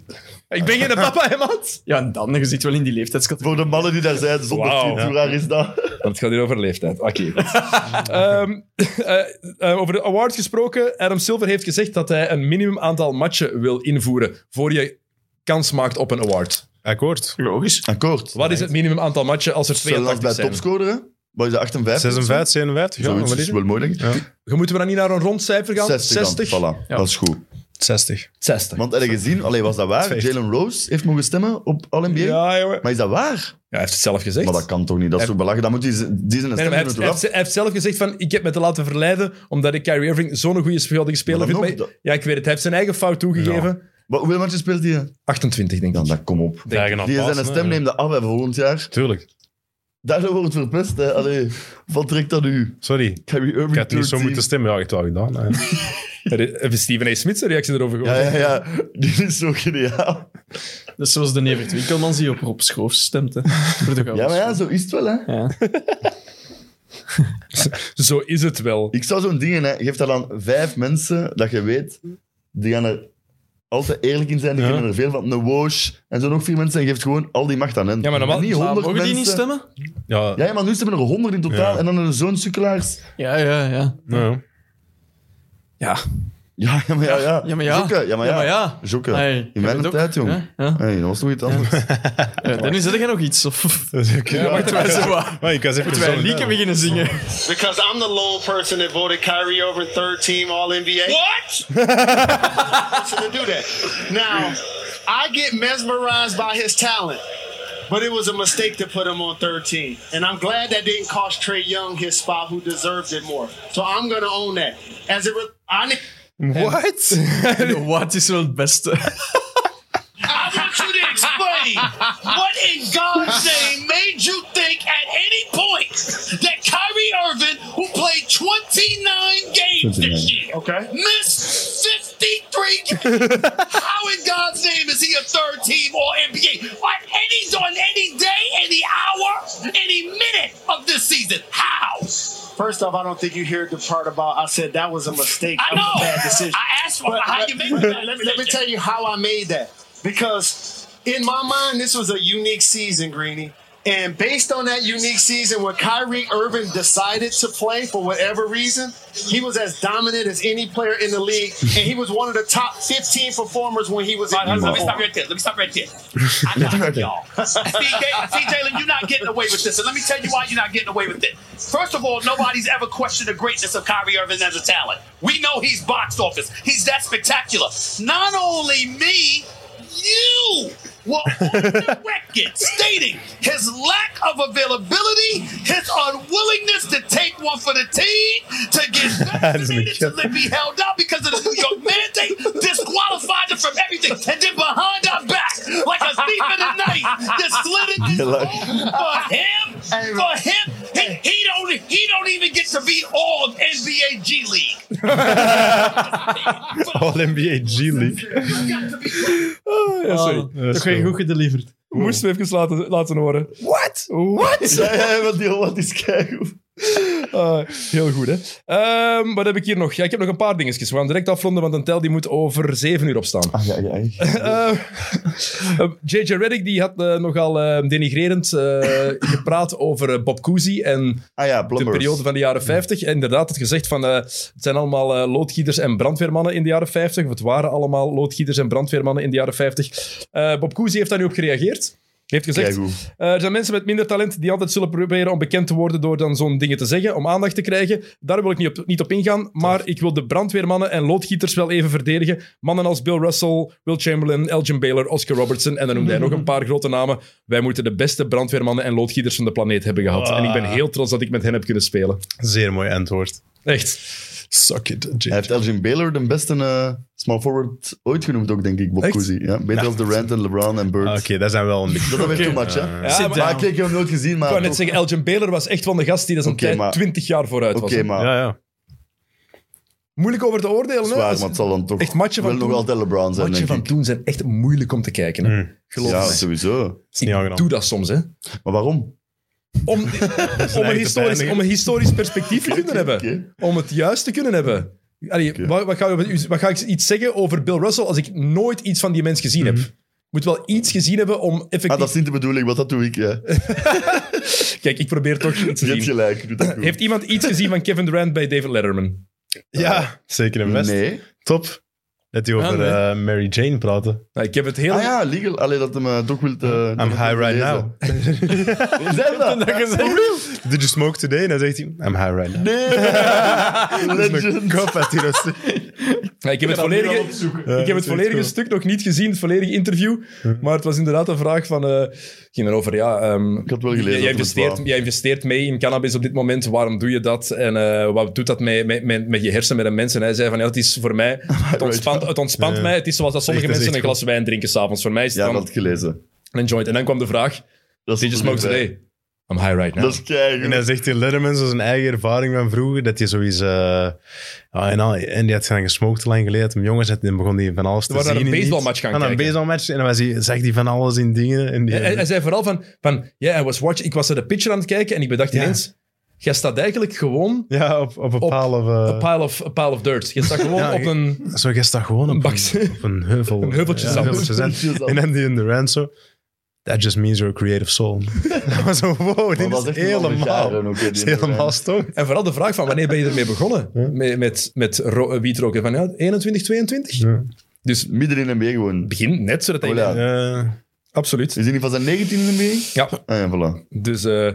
Ik ben geen papa, hè, man?
Ja, en dan, je zit wel in die leeftijdscategorie.
Voor de mannen die daar zijn, zonder
Wauw.
fiets, hoe raar is dat?
Want het gaat hier over leeftijd. Oké. goed. Ehm, eh, eh, over de awards gesproken. Adam Silver heeft gezegd dat hij een minimum aantal matchen wil invoeren voor je kans maakt op een award.
Akkoord.
Logisch.
Akkoord.
Wat is het minimum aantal matchen als er
Zoals
82
bij
zijn?
topscorer, hè? Wat is dat, 58?
56, 57? Ja,
Zoiets
wat
dat
is
is
het?
wel mooi, denk ik.
Je moeten we dan niet naar een rond cijfer gaan?
60. dan,
60?
Voilà,
Ja.
dat is goed.
60.
60.
Want heb je gezien, allee, was dat waar?
Twee.
Jalen Rose heeft mogen stemmen op All-NBA?
Ja, jongen.
Maar is dat waar?
Ja, hij heeft het zelf gezegd.
Maar dat kan toch niet? Dat is
Hij-
toch belachelijk? Dan moet die, z- die zijn
Nee, nee, maar
een stem
hij,
doen
heeft,
toch
hij heeft-
af?
hij heeft zelf gezegd van, ik heb me te laten verleiden omdat ik Kyrie Irving zo'n goede geweldige speler
Maar
vind.
dan
Maar-
nog, dat-
Ja, ik weet het. Hij heeft zijn eigen fout toegegeven.
Wat- Hoeveel matches speelt die? Dan
28, denk ik.
dat kom op.
Dagen
Die zijn een stem neemde af hè, volgend jaar.
Tuurlijk.
Daardoor wordt het verpest. Hè. Allee, wat trekt dat u?
Sorry. Ik
Kyrie Irving
had niet zo
13.
moeten stemmen. Ja, ik heb het wel gedaan. hè.
Even Steven A. Smith zijn reactie erover gehoord.
Ja, ja, ja. Die is zo geniaal.
Dat is zoals de Nevert Winkelmans die op Rob Schoofs stemt, hè. Voor de
Ja,
gouden
maar ja, zo is het wel, hè.
schoen. Ja.
Zo is het wel.
Ik zou zo'n dingen, hè. Geef dat aan vijf mensen dat je weet, die gaan er altijd eerlijk in zijn, die
Ja.
kunnen er veel van. Een Woj en zo nog vier mensen en geeft gewoon al die macht aan hen.
Ja, maar normaal-
En niet
Maar
honderd
mogen die niet
mensen.
stemmen?
Ja,
Ja, ja, maar nu stemmen er honderd in totaal
Ja.
en dan er zo'n sukkelaars.
Ja, ja, ja.
nou,
Ja,
Ja, ja, maar ja. ja.
ja maar ja.
Jokke, ja, maar ja.
ja.
Jokke.
Ai,
in
je
mijn
bent ook-
tijd, jong.
Ja, ja.
Hey, dat was nog iets anders.
Ja, Dennis, zeg jij nog iets? Of...
dat is ook-
Ja, wacht, wacht.
Maar ik was even
Moeten wij
zo-
een liedje beginnen zingen?
Because I'm the lone person that voted Kyrie over third team All NBA. [LAUGHS] What? to do that. Now, I get mesmerized by his talent, but it was a mistake to put him on third team. And I'm glad that didn't cost Trey Young his spot, who deserved it more. So I'm going to own that. As it, re- I, ne-
[LAUGHS]
What?
Wat is wel het beste?
I want you to explain what in God's name made you think at any point that Kyrie Irving, who played 29 games this year, okay. missed 53 games. How in God's name is he a third team or NBA? On any, on any day, any hour, any minute of this season. How? First off, I don't think you heard the part about I said that was a mistake. I know. bad decision. I asked how you made that. Let me, let me tell you how I made that. Because in my mind, this was a unique season, Greeny. And based on that unique season where Kyrie Irving decided to play for whatever reason, he was as dominant as any player in the league. And he was one of the top 15 performers when he was in
Let me
uniform.
stop right there. Let me stop right there. I got it, y'all. see, Jay- see, Jalen, you're not getting away with this. And let me tell you why you're not getting away with it. First of all, nobody's ever questioned the greatness of Kyrie Irving as a talent. We know he's box office. He's that spectacular. Not only me, you were on the record stating his lack of availability, his unwillingness to take one for the team, to get vaccinated, to li- be held out because of the New York mandate, disqualified him from everything, and then behind our back, like a thief in the night, just slid it
Good luck.
for him, for him. He, he don't he don't even get to be all of NBA G League.
All-NBA G-League.
You got to be
Ah, ja, sorry.
Dat is
Toch weer
wel-
goed gedeliverd.
Moesten we even laten, laten horen. What? What?
ja, ja, want die wat is kijken.
Ah, heel goed, hè. Ehm, wat heb ik hier nog? Ja, ik heb nog een paar dingetjes. We gaan direct afronden, want een tel die moet over zeven uur opstaan.
Ah, ja, ja.
Eh, eh, JJ Reddick die had eh, nogal eh, denigrerend eh, gepraat over eh, Bob Cousy en
Ah ja,
de
plumbers.
periode van de jaren 50. En inderdaad, het gezegd van eh, het zijn allemaal eh, loodgieters en brandweermannen in de jaren 50. Of het waren allemaal loodgieters en brandweermannen in de jaren 50. Eh, Bob Cousy heeft daar nu op gereageerd. heeft gezegd,
Keigoed.
eh, er zijn mensen met minder talent die altijd zullen proberen om bekend te worden door dan zo'n dingen te zeggen, om aandacht te krijgen. Daar wil ik niet op, niet op ingaan, maar ik wil de brandweermannen en loodgieters wel even verdedigen. Mannen als Bill Russell, Will Chamberlain, Elgin Baylor, Oscar Robertson en dan noemde hij
Mhm.
nog een paar grote namen. Wij moeten de beste brandweermannen en loodgieters van de planeet hebben gehad. En ik
Ah.
ben heel trots dat ik met hen heb kunnen spelen.
Zeer mooi antwoord.
Echt.
Suck it, Jim.
Hij heeft Elgin Baylor de beste eh, small forward ooit genoemd ook, denk ik, Bob
Echt?
Cousy. Ja, beter als Durant en LeBron en Bird.
Ah, Oké, dat zijn wel een beetje...
Dat is weer too much, hè?
Ja,
Sit
maar-
maar
down.
ik heb hem nooit gezien, maar...
Ik wou net
ook-
zeggen, Elgin Baylor was echt van de gast die dat zijn
Oké,
tijd
maar-
20 jaar vooruit
Oké,
was. hè.
maar...
Ja, ja.
Moeilijk over te oordelen, hè?
Zwaar,
Dat
maar het zal dan toch
echt matchen van
wel nog
toen.
altijd LeBron zijn,
Matchen
denk
van
ik. Mm.
toen zijn echt moeilijk om te kijken. Hè? Geloof
Ja,
me.
sowieso.
is niet aangenaam.
Ik doe dat soms, hè.
Maar waarom? [LAUGHS]
Om, om, een, historisch,
pijniger.
om een historisch perspectief te kunnen hebben.
oké.
Om het juist te kunnen hebben. Allee, wat, wat, ga, wat ga ik iets zeggen over Bill Russell als ik nooit iets van die mens gezien heb? Moet wel iets gezien hebben om effectief...
Mhm. Ah, dat is niet de bedoeling, want dat doe ik, ja.
Kijk, ik probeer toch iets te
Je hebt
zien.
gelijk, doe dat goed.
Heeft iemand iets gezien van Kevin Durant bij David Letterman?
Ja, zeker een best.
Nee.
Top. Dat die over
nee.
eh, Mary Jane praten.
Nou, ik heb het heel...
Ah ja, legal. Allee, dat hem eh, toch wilt... eh,
I'm high right now.
Zijn we dat?
Did you smoke today? En dan zegt hij, I'm high right now.
Nee. Legend.
Kop uit die rust.
Ja, ik heb het volledige, ik heb
dat
het
is
volledige
echt zo.
stuk nog niet gezien, het volledige interview. Maar het was inderdaad een vraag van... eh, het ging erover, ja... ehm,
Ik had wel gelezen
jij, jij
dat het
investeert,
waar.
jij investeert mee in cannabis op dit moment. Waarom doe je dat? En eh, wat doet dat met, met, met, met je hersenen, met een mens? En hij zei van, ja, het is voor
[LAUGHS]
mij... Het ontspant, het ontspant mij. Het is zoals dat sommige
Echt, dat is
mensen een
echt
glas wijn drinken s'avonds. Voor mij is het
Ja, dat
dan
had ik gelezen.
een joint. En dan kwam de vraag,
Dat
did you smoke
absoluut, hè.
today? I'm high right now.
Dat is keigoed.
En dan zegt hij Letterman, zo zijn eigen ervaring van vroeger, dat hij zoiets... eh, ah, en, al- en die had gaan gesmoked lang geleden, hem jongens, en dan begon hij van alles te
waren
zien.
naar een
en iets.
baseballmatch gaan
Ah, naar een
kijken.
baseballmatch, en dan was hij, zag hij van alles in dingen. En die,
Hij, hij zei vooral van, van ja, I was watch, ik was naar de pitcher aan het kijken en ik bedacht
Ja.
ineens, jij staat eigenlijk gewoon
ja, op, op een
op
paal of... eh,
a, pile of, a pile of dirt. Je staat gewoon
Ja,
op
ik-
een...
Zo, jij staat gewoon op
baks.
een, op een
[LAUGHS]
heuvel. Een
heuveltje zand.
Heuveltje zand.
En dan die in de rand zo... That just means you're a creative
[LAUGHS]
soul. Dat was zo, wow,
Maar
dit
dat
is
is echt een andere
helemaal...
jaren ook, hè, die
dit is
in de
helemaal
Rand.
stoned.
En vooral de vraag van wanneer ben je ermee begonnen? Met, met, met ro- eh, wiet roken? Van ja, 21, 22? Dus
Midden in de mee gewoon.
begin net, zodat hij...
Voilà.
Eh,
Absoluut.
Is hij niet van zijn 19 in de mee?
Ja,
Ah ja, voilà.
dus... eh,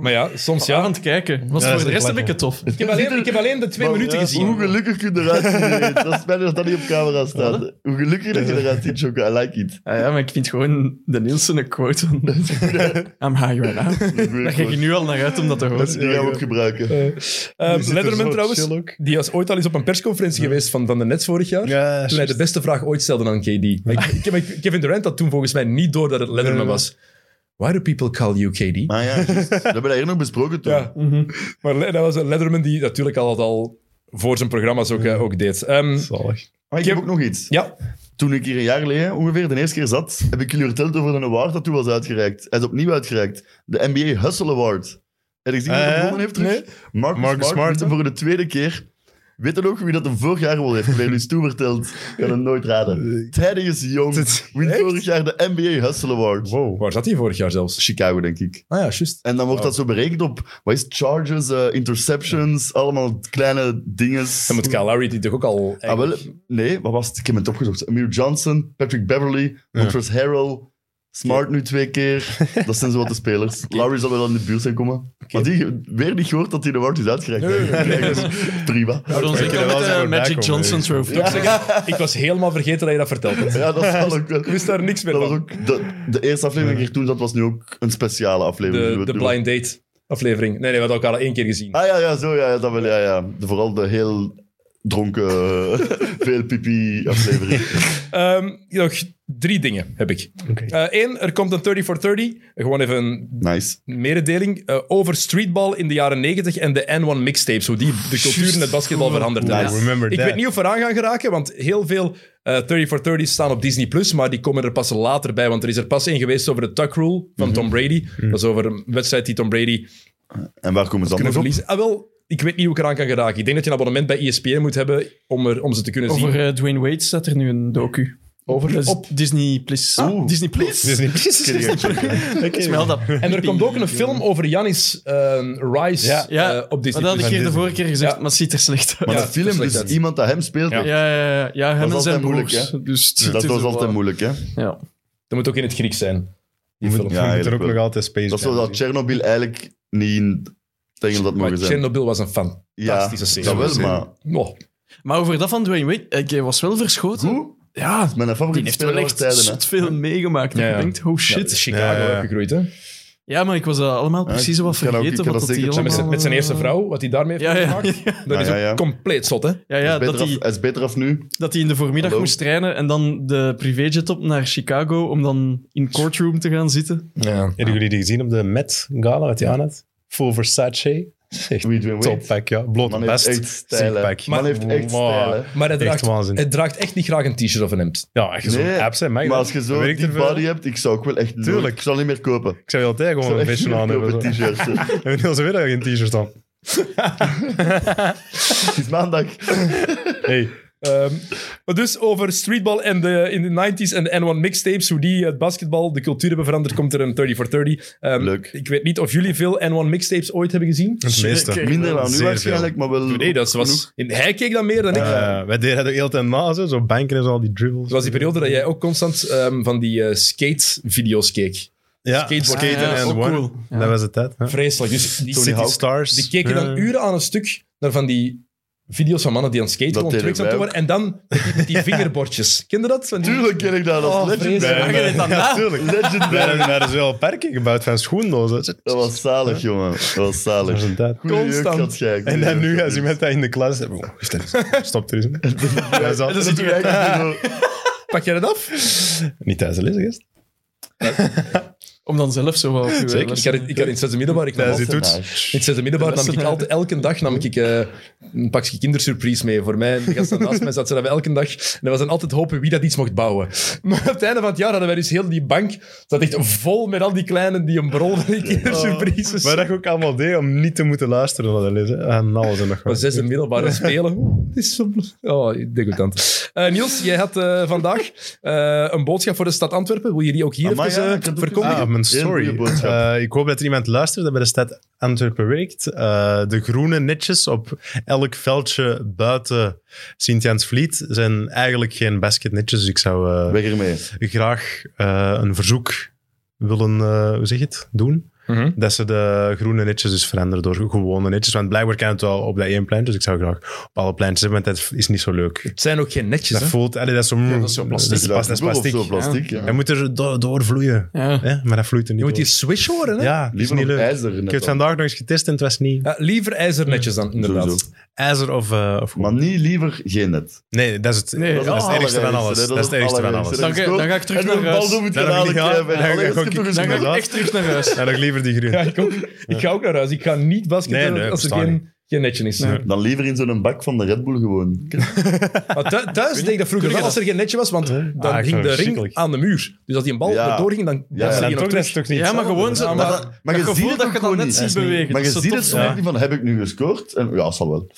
maar ja, soms ja.
aan het kijken. Was
Ja,
voor de
dat is
rest
echt
heb ik het tof.
Ik heb alleen, ik heb alleen de twee minuten
Hoe
gezien.
gelukkig je eruit
[LAUGHS]
ziet. Dat is bijna dat dat niet op camera staat. Hoe gelukkiger dat je eruit ziet, Choco. I like it.
Ah ja, maar ik vind gewoon de Nielsen een quote van... I'm high right now. Daar kijk ik nu al naar uit om dat te horen.
Die gaan we ook gebruiken.
Ehm,
zit er
Letterman
zo
trouwens,
chill ook.
die was ooit al eens op een persconferentie geweest van, van de Nets vorig jaar.
Ja,
toen hij
juist.
de beste vraag ooit stelde aan KD. Ik- ik- maar [LAUGHS] Kevin Durant had toen volgens mij niet door dat het Letterman
Nee.
was. Why do people call you KD?
Maar ja, juist. dat hebben we daar hier nog besproken toen.
Ja, maar Le- dat was een Letterman die natuurlijk al, al voor zijn programma's ook, eh, ook deed. Ehm,
Zalig.
Maar ik heb ook nog iets.
ja,
Toen ik hier een jaar geleden ongeveer de eerste keer zat, heb ik jullie verteld over een award dat toen was uitgereikt. Hij is opnieuw uitgereikt. De NBA Hustle Award. En ik zie wie dat
Eh,
gewonnen heeft terug.
nee.
Marcus,
Marcus
Smart wint hem
Smart,
voor de tweede keer. Weet dan ook wie dat hem vorig jaar gewonnen heeft? Ik heb jullie toe verteld. Ik kan hem nooit
[LAUGHS]
raden. Thaddeus Young wint vorig jaar de NBA Hustle Award.
Wow.
waar zat hij vorig jaar zelfs?
Chicago, denk ik.
Ah ja, juist.
En dan wordt dat zo berekend op, wat is het, charges, eh, interceptions, allemaal kleine dinges.
Dan moet Kyle Lowry die toch ook al...
Ah, wel, nee, wat was het? Ik heb het opgezocht. Amir Johnson, Patrick Beverly, Montrezl Harrell, Smart nu twee
[LAUGHS]
keer. Dat zijn zo wat de spelers. Lowry zal wel in de buurt zijn komen. Maar die, weer niet gehoord dat hij de award is uitgereikt. Kijk, dus [LAUGHS] Prima.
Voor ons
Ik
zeker
er wel
met
eens
de
over
eh, Magic
nakomen,
Johnson
weet je.
Trophy.
Ik, zeg, ik was helemaal vergeten dat je dat verteld had.
Ja, dat zal ook wel.
Ik wist daar niks meer
Dat was
van.
ook de, de eerste aflevering die ik toen zat, was nu ook een speciale aflevering.
De,
die we
de
doen.
Blind Date aflevering. Nee, nee, we hadden elkaar al één keer gezien.
Ah ja, ja, zo, ja, ja, dat wel, ja, ja. De- vooral de heel dronken,
[LAUGHS]
veel pipi aflevering.
Ehm, nog drie dingen heb ik. Eén, er komt een 30 for 30. Gewoon even een
Nice.
mededeling eh, over streetball in de jaren 90 en de N1 mixtapes. Hoe die de cultuur in het basketbal veranderd
Wow,
heeft.
remember
Ik
that.
weet niet of we eraan gaan geraken, want heel veel eh 30 for 30 staan op Disney+, Plus, maar die komen er pas later bij, want er is er pas één geweest over de tuck rule van Tom Brady. Dat is over een wedstrijd die Tom Brady
En waar komen ze
kunnen
anders
verliezen.
op?
Ah, wel, ik weet niet hoe ik eraan kan geraken. Ik denk dat je een abonnement bij E ESPN moet hebben om, er, om ze te kunnen
Over
zien.
eh, Dwayne Wade staat er nu een docu. Over op Disney Plus.
Oeh.
Disney Plus?
Disney Plus.
Smel dat.
En er komt ook een film over Janis eh, Rice
Ja.
eh,
Ja.
op
Maar
Disney+.
dat had ik
Plus.
hier de vorige keer gezegd,
Ja.
maar het ziet er slecht uit.
Maar
Ja,
de film,
slecht
dus
uit.
iemand dat hem speelt,
Ja.
Ja, ja, ja, ja, hem en
altijd
zijn
moeilijk,
broers.
hè?
Dus het
dat
is
was
wel-
altijd moeilijk, hè?
Ja.
Dat moet ook in het Grieks zijn. Die
We
film.
Ja,
moeten we moeten
eigenlijk
ook
wel.
nog altijd Space
Dat is
Jam
wel dat
zien.
Tsjernobyl eigenlijk niet in tegen dat
Maar
mogen zijn.
Chernobyl was een fantastische serie.
Dat wel,
Serie.
maar
Oh,
Maar over dat van Dwayne Wade, eh, hij was wel verschoten.
Goed?
Ja,
mijn
die
favoriete
heeft wel
speler aller
echt
tijden. hè.
zot veel meegemaakt.
Ja,
dat
ja.
Je denkt, oh
shit.
shit. Ja,
Chicago
Ja, ja, ja.
opgegroeid, hè?
maar ik was dat allemaal precies wat
ik kan ook- ik
vergeten.
kan
wat
dat
dat die
zeker-
Met zijn,
allemaal,
met zijn eerste
eh,
vrouw, wat hij daarmee heeft
Ja, ja.
gemaakt. Dat
[LAUGHS]
Ja,
is
ja, ja.
ook compleet zot, hè?
Ja, ja
Hij is
dat,
beter af-
hij,
hij is beter af nu.
dat hij in de voormiddag
Hallo.
moest trainen en dan de privéjet op naar Chicago om dan in courtroom te gaan zitten.
Ja.
Hebben jullie die gezien op de Met Gala wat hij aan had? Full Versace. Echt
Wie Dwayne Wade.
toppack, ja. Blote
Man heeft
best.
echt stijl. hè.
Ziekpack.
Man heeft echt
Wow.
stijl. hè.
Maar hij
Echt
draagt,
waanzin.
hij draagt echt niet graag een t-shirt of een hemd.
Ja, als je zo'n
Nee,
app zijn, mag
Maar als je zo
Werkt
die
er veel?
body hebt, ik zou ook wel echt... nooit-
eh. Tuurlijk.
Ik zal niet meer kopen.
Ik zou je altijd
Ik
gewoon
zou
een
echt niet
beetje aan
meer
hebben.
kopen
zo.
t-shirts. hè.
[LAUGHS] En heel zijn middag een t-shirt aan.
Het is maandag.
Hey.
Ehm, maar dus over streetball en de, in de 90s en de N1 mixtapes, hoe die het basketbal, de cultuur hebben veranderd, komt er een 30 for 30. Ehm,
Leuk.
Ik weet niet of jullie veel N1 mixtapes ooit hebben gezien.
Het meeste.
Minder dan
Zeer
nu
veel.
waarschijnlijk, maar wel...
Nee, dat was, in, hij keek dan meer dan ik.
Eh, wij deden dat ook heel tijd na, zo, zo banken en zo, al die dribbles.
Het was die periode dat jij ook constant ehm, van die eh, skate-video's keek.
ja,
skateboard.
skaten
Ja, ja,
en
ook
one.
cool. Ja.
Dat was het tijd. hè.
Vreselijk. Dus die,
City
Hawk.
Stars.
die keken dan
Ja.
uren aan een stuk naar van die video's van mannen die aan het skaten
Dat
gewoon
deden
tricks aan het
wij
doen waren. En dan met die,
[LAUGHS]
met die vingerbordjes. Kende dat? Van die-
Tuurlijk ken ik dat. Dat
Oh,
is legendary.
vreselijk.
Ja,
je
[LAUGHS]
weet dat
ja,
na?
tuurlijk. Wij
Legendary.
hebben daar zo perken gebouwd van schoendozen.
Dat
Dat
was zalig, jongen. Dat was
was
zalig.
een tijd.
Goeie jeugd
Constant.
gehad, Sjaak.
En dan
Goeie
nu,
jeugd.
als iemand dat in de klas... Oh, is dat- Stop er eens. [LAUGHS] Dat is al-
Dat is
[LAUGHS]
eigenlijk zo-
Pak jij dat af?
Niet tijdens de les, gast.
Om dan zelf zo wel te
Zeker.
Ik had, ik had in het zesde middelbaar... Ik nam
Tijdens die
altijd-
toets. [LAUGHS]
in het zesde middelbaar nam ik altijd elke dag nam ik, eh, een pakje kindersurprise mee voor mij. En de gasten naast mij zaten ze dat elke dag. En dat was dan altijd hopen wie dat iets mocht bouwen. [LAUGHS] Maar op het einde van het jaar hadden wij dus heel die bank... Dat echt vol met al die kleinen die een brol van die kindersurprises.
Maar dat ik ook allemaal deed om niet te moeten luisteren naar de les. hè. Ah, En alles en nog
Maar
wat.
zes en middelbare [LAUGHS] spelen. Oeh, het is zo... Oh, degoutant. Eh Niels, jij had eh, vandaag eh, een boodschap voor de stad Antwerpen. Wil je die ook hier
Amai,
even
ja,
eh,
ik heb het ook
verkondigen?
Ah, mijn
Heel goede
story.
boodschap.
Eh, ik hoop dat er iemand luistert dat bij de stad Antwerpen werkt. Eh, de groene netjes op elk veldje buiten Sint-Jansvliet zijn eigenlijk geen basketnetjes. Dus ik zou eh,
Weg ermee.
graag eh, een verzoek willen, eh, hoe zeg je het, doen.
Mhm.
Dat ze de groene netjes dus veranderen door gewone netjes. Want blijkbaar kan het wel op dat één pleintje. Dus ik zou graag op alle pleintjes hebben, want dat is niet zo leuk.
Het zijn ook geen netjes,
Dat
hè?
voelt... allee, dat is zo...
dat is zo plastic.
Dat is, pas- dat is
Of
plastic.
zo, plastic, ja.
Hij moet er do- doorvloeien.
Ja.
Hè? Maar dat vloeit er niet
Je moet die
door.
swish horen, hè?
Ja, dat is
Liever
niet
op
leuk.
ijzer. net
Ik heb het
dan.
vandaag nog eens getest en het was niet
Ja, liever ijzernetjes dan, inderdaad.
Sowieso.
ijzer of... eh, of
Maar niet liever geen net.
nee, dat is het,
Nee,
dat is het ergste van alles.
allerergste,
Dat is het ergste van
allerergste.
alles.
Dan ga- dan ga ik terug
en dan
naar
bal
huis.
door moet
Dan
je
ga ik-
halen
ja,
krijgen.
dan ga ik-
Allee,
dan ga
dat is
ik-
toch eens
Dan ga
goed.
ik echt terug naar huis.
En nog liever die groen.
Ja, ik, ook, ik ga ook naar huis. Ik ga niet basketten
Nee, nee,
als er
verstaan
geen, geen netje is.
Dan liever in zo'n bak van de Red Bull gewoon.
Maar thu- thuis deed ik dat vroeger wel als er geen netje was, want dan
Ah,
hing
ik vind
de
het
ring
verschrikkelijk.
aan de muur. Dus als die een bal
Ja.
erdoor ging, dan
Ja,
was die
dan
nog
Dan toch, dat
terug.
is toch niet
Ja, maar
hetzelfde?
gewoon zo,
maar-
dat,
Maar je
dat
ziet
gevoel
het
dat
ook
je
gewoon
dat net
niet.
ziet bewegen. dat
Maar je
is zo
ziet
tof.
het zo echt niet van, heb ik nu gescoord? En, ja, zal wel.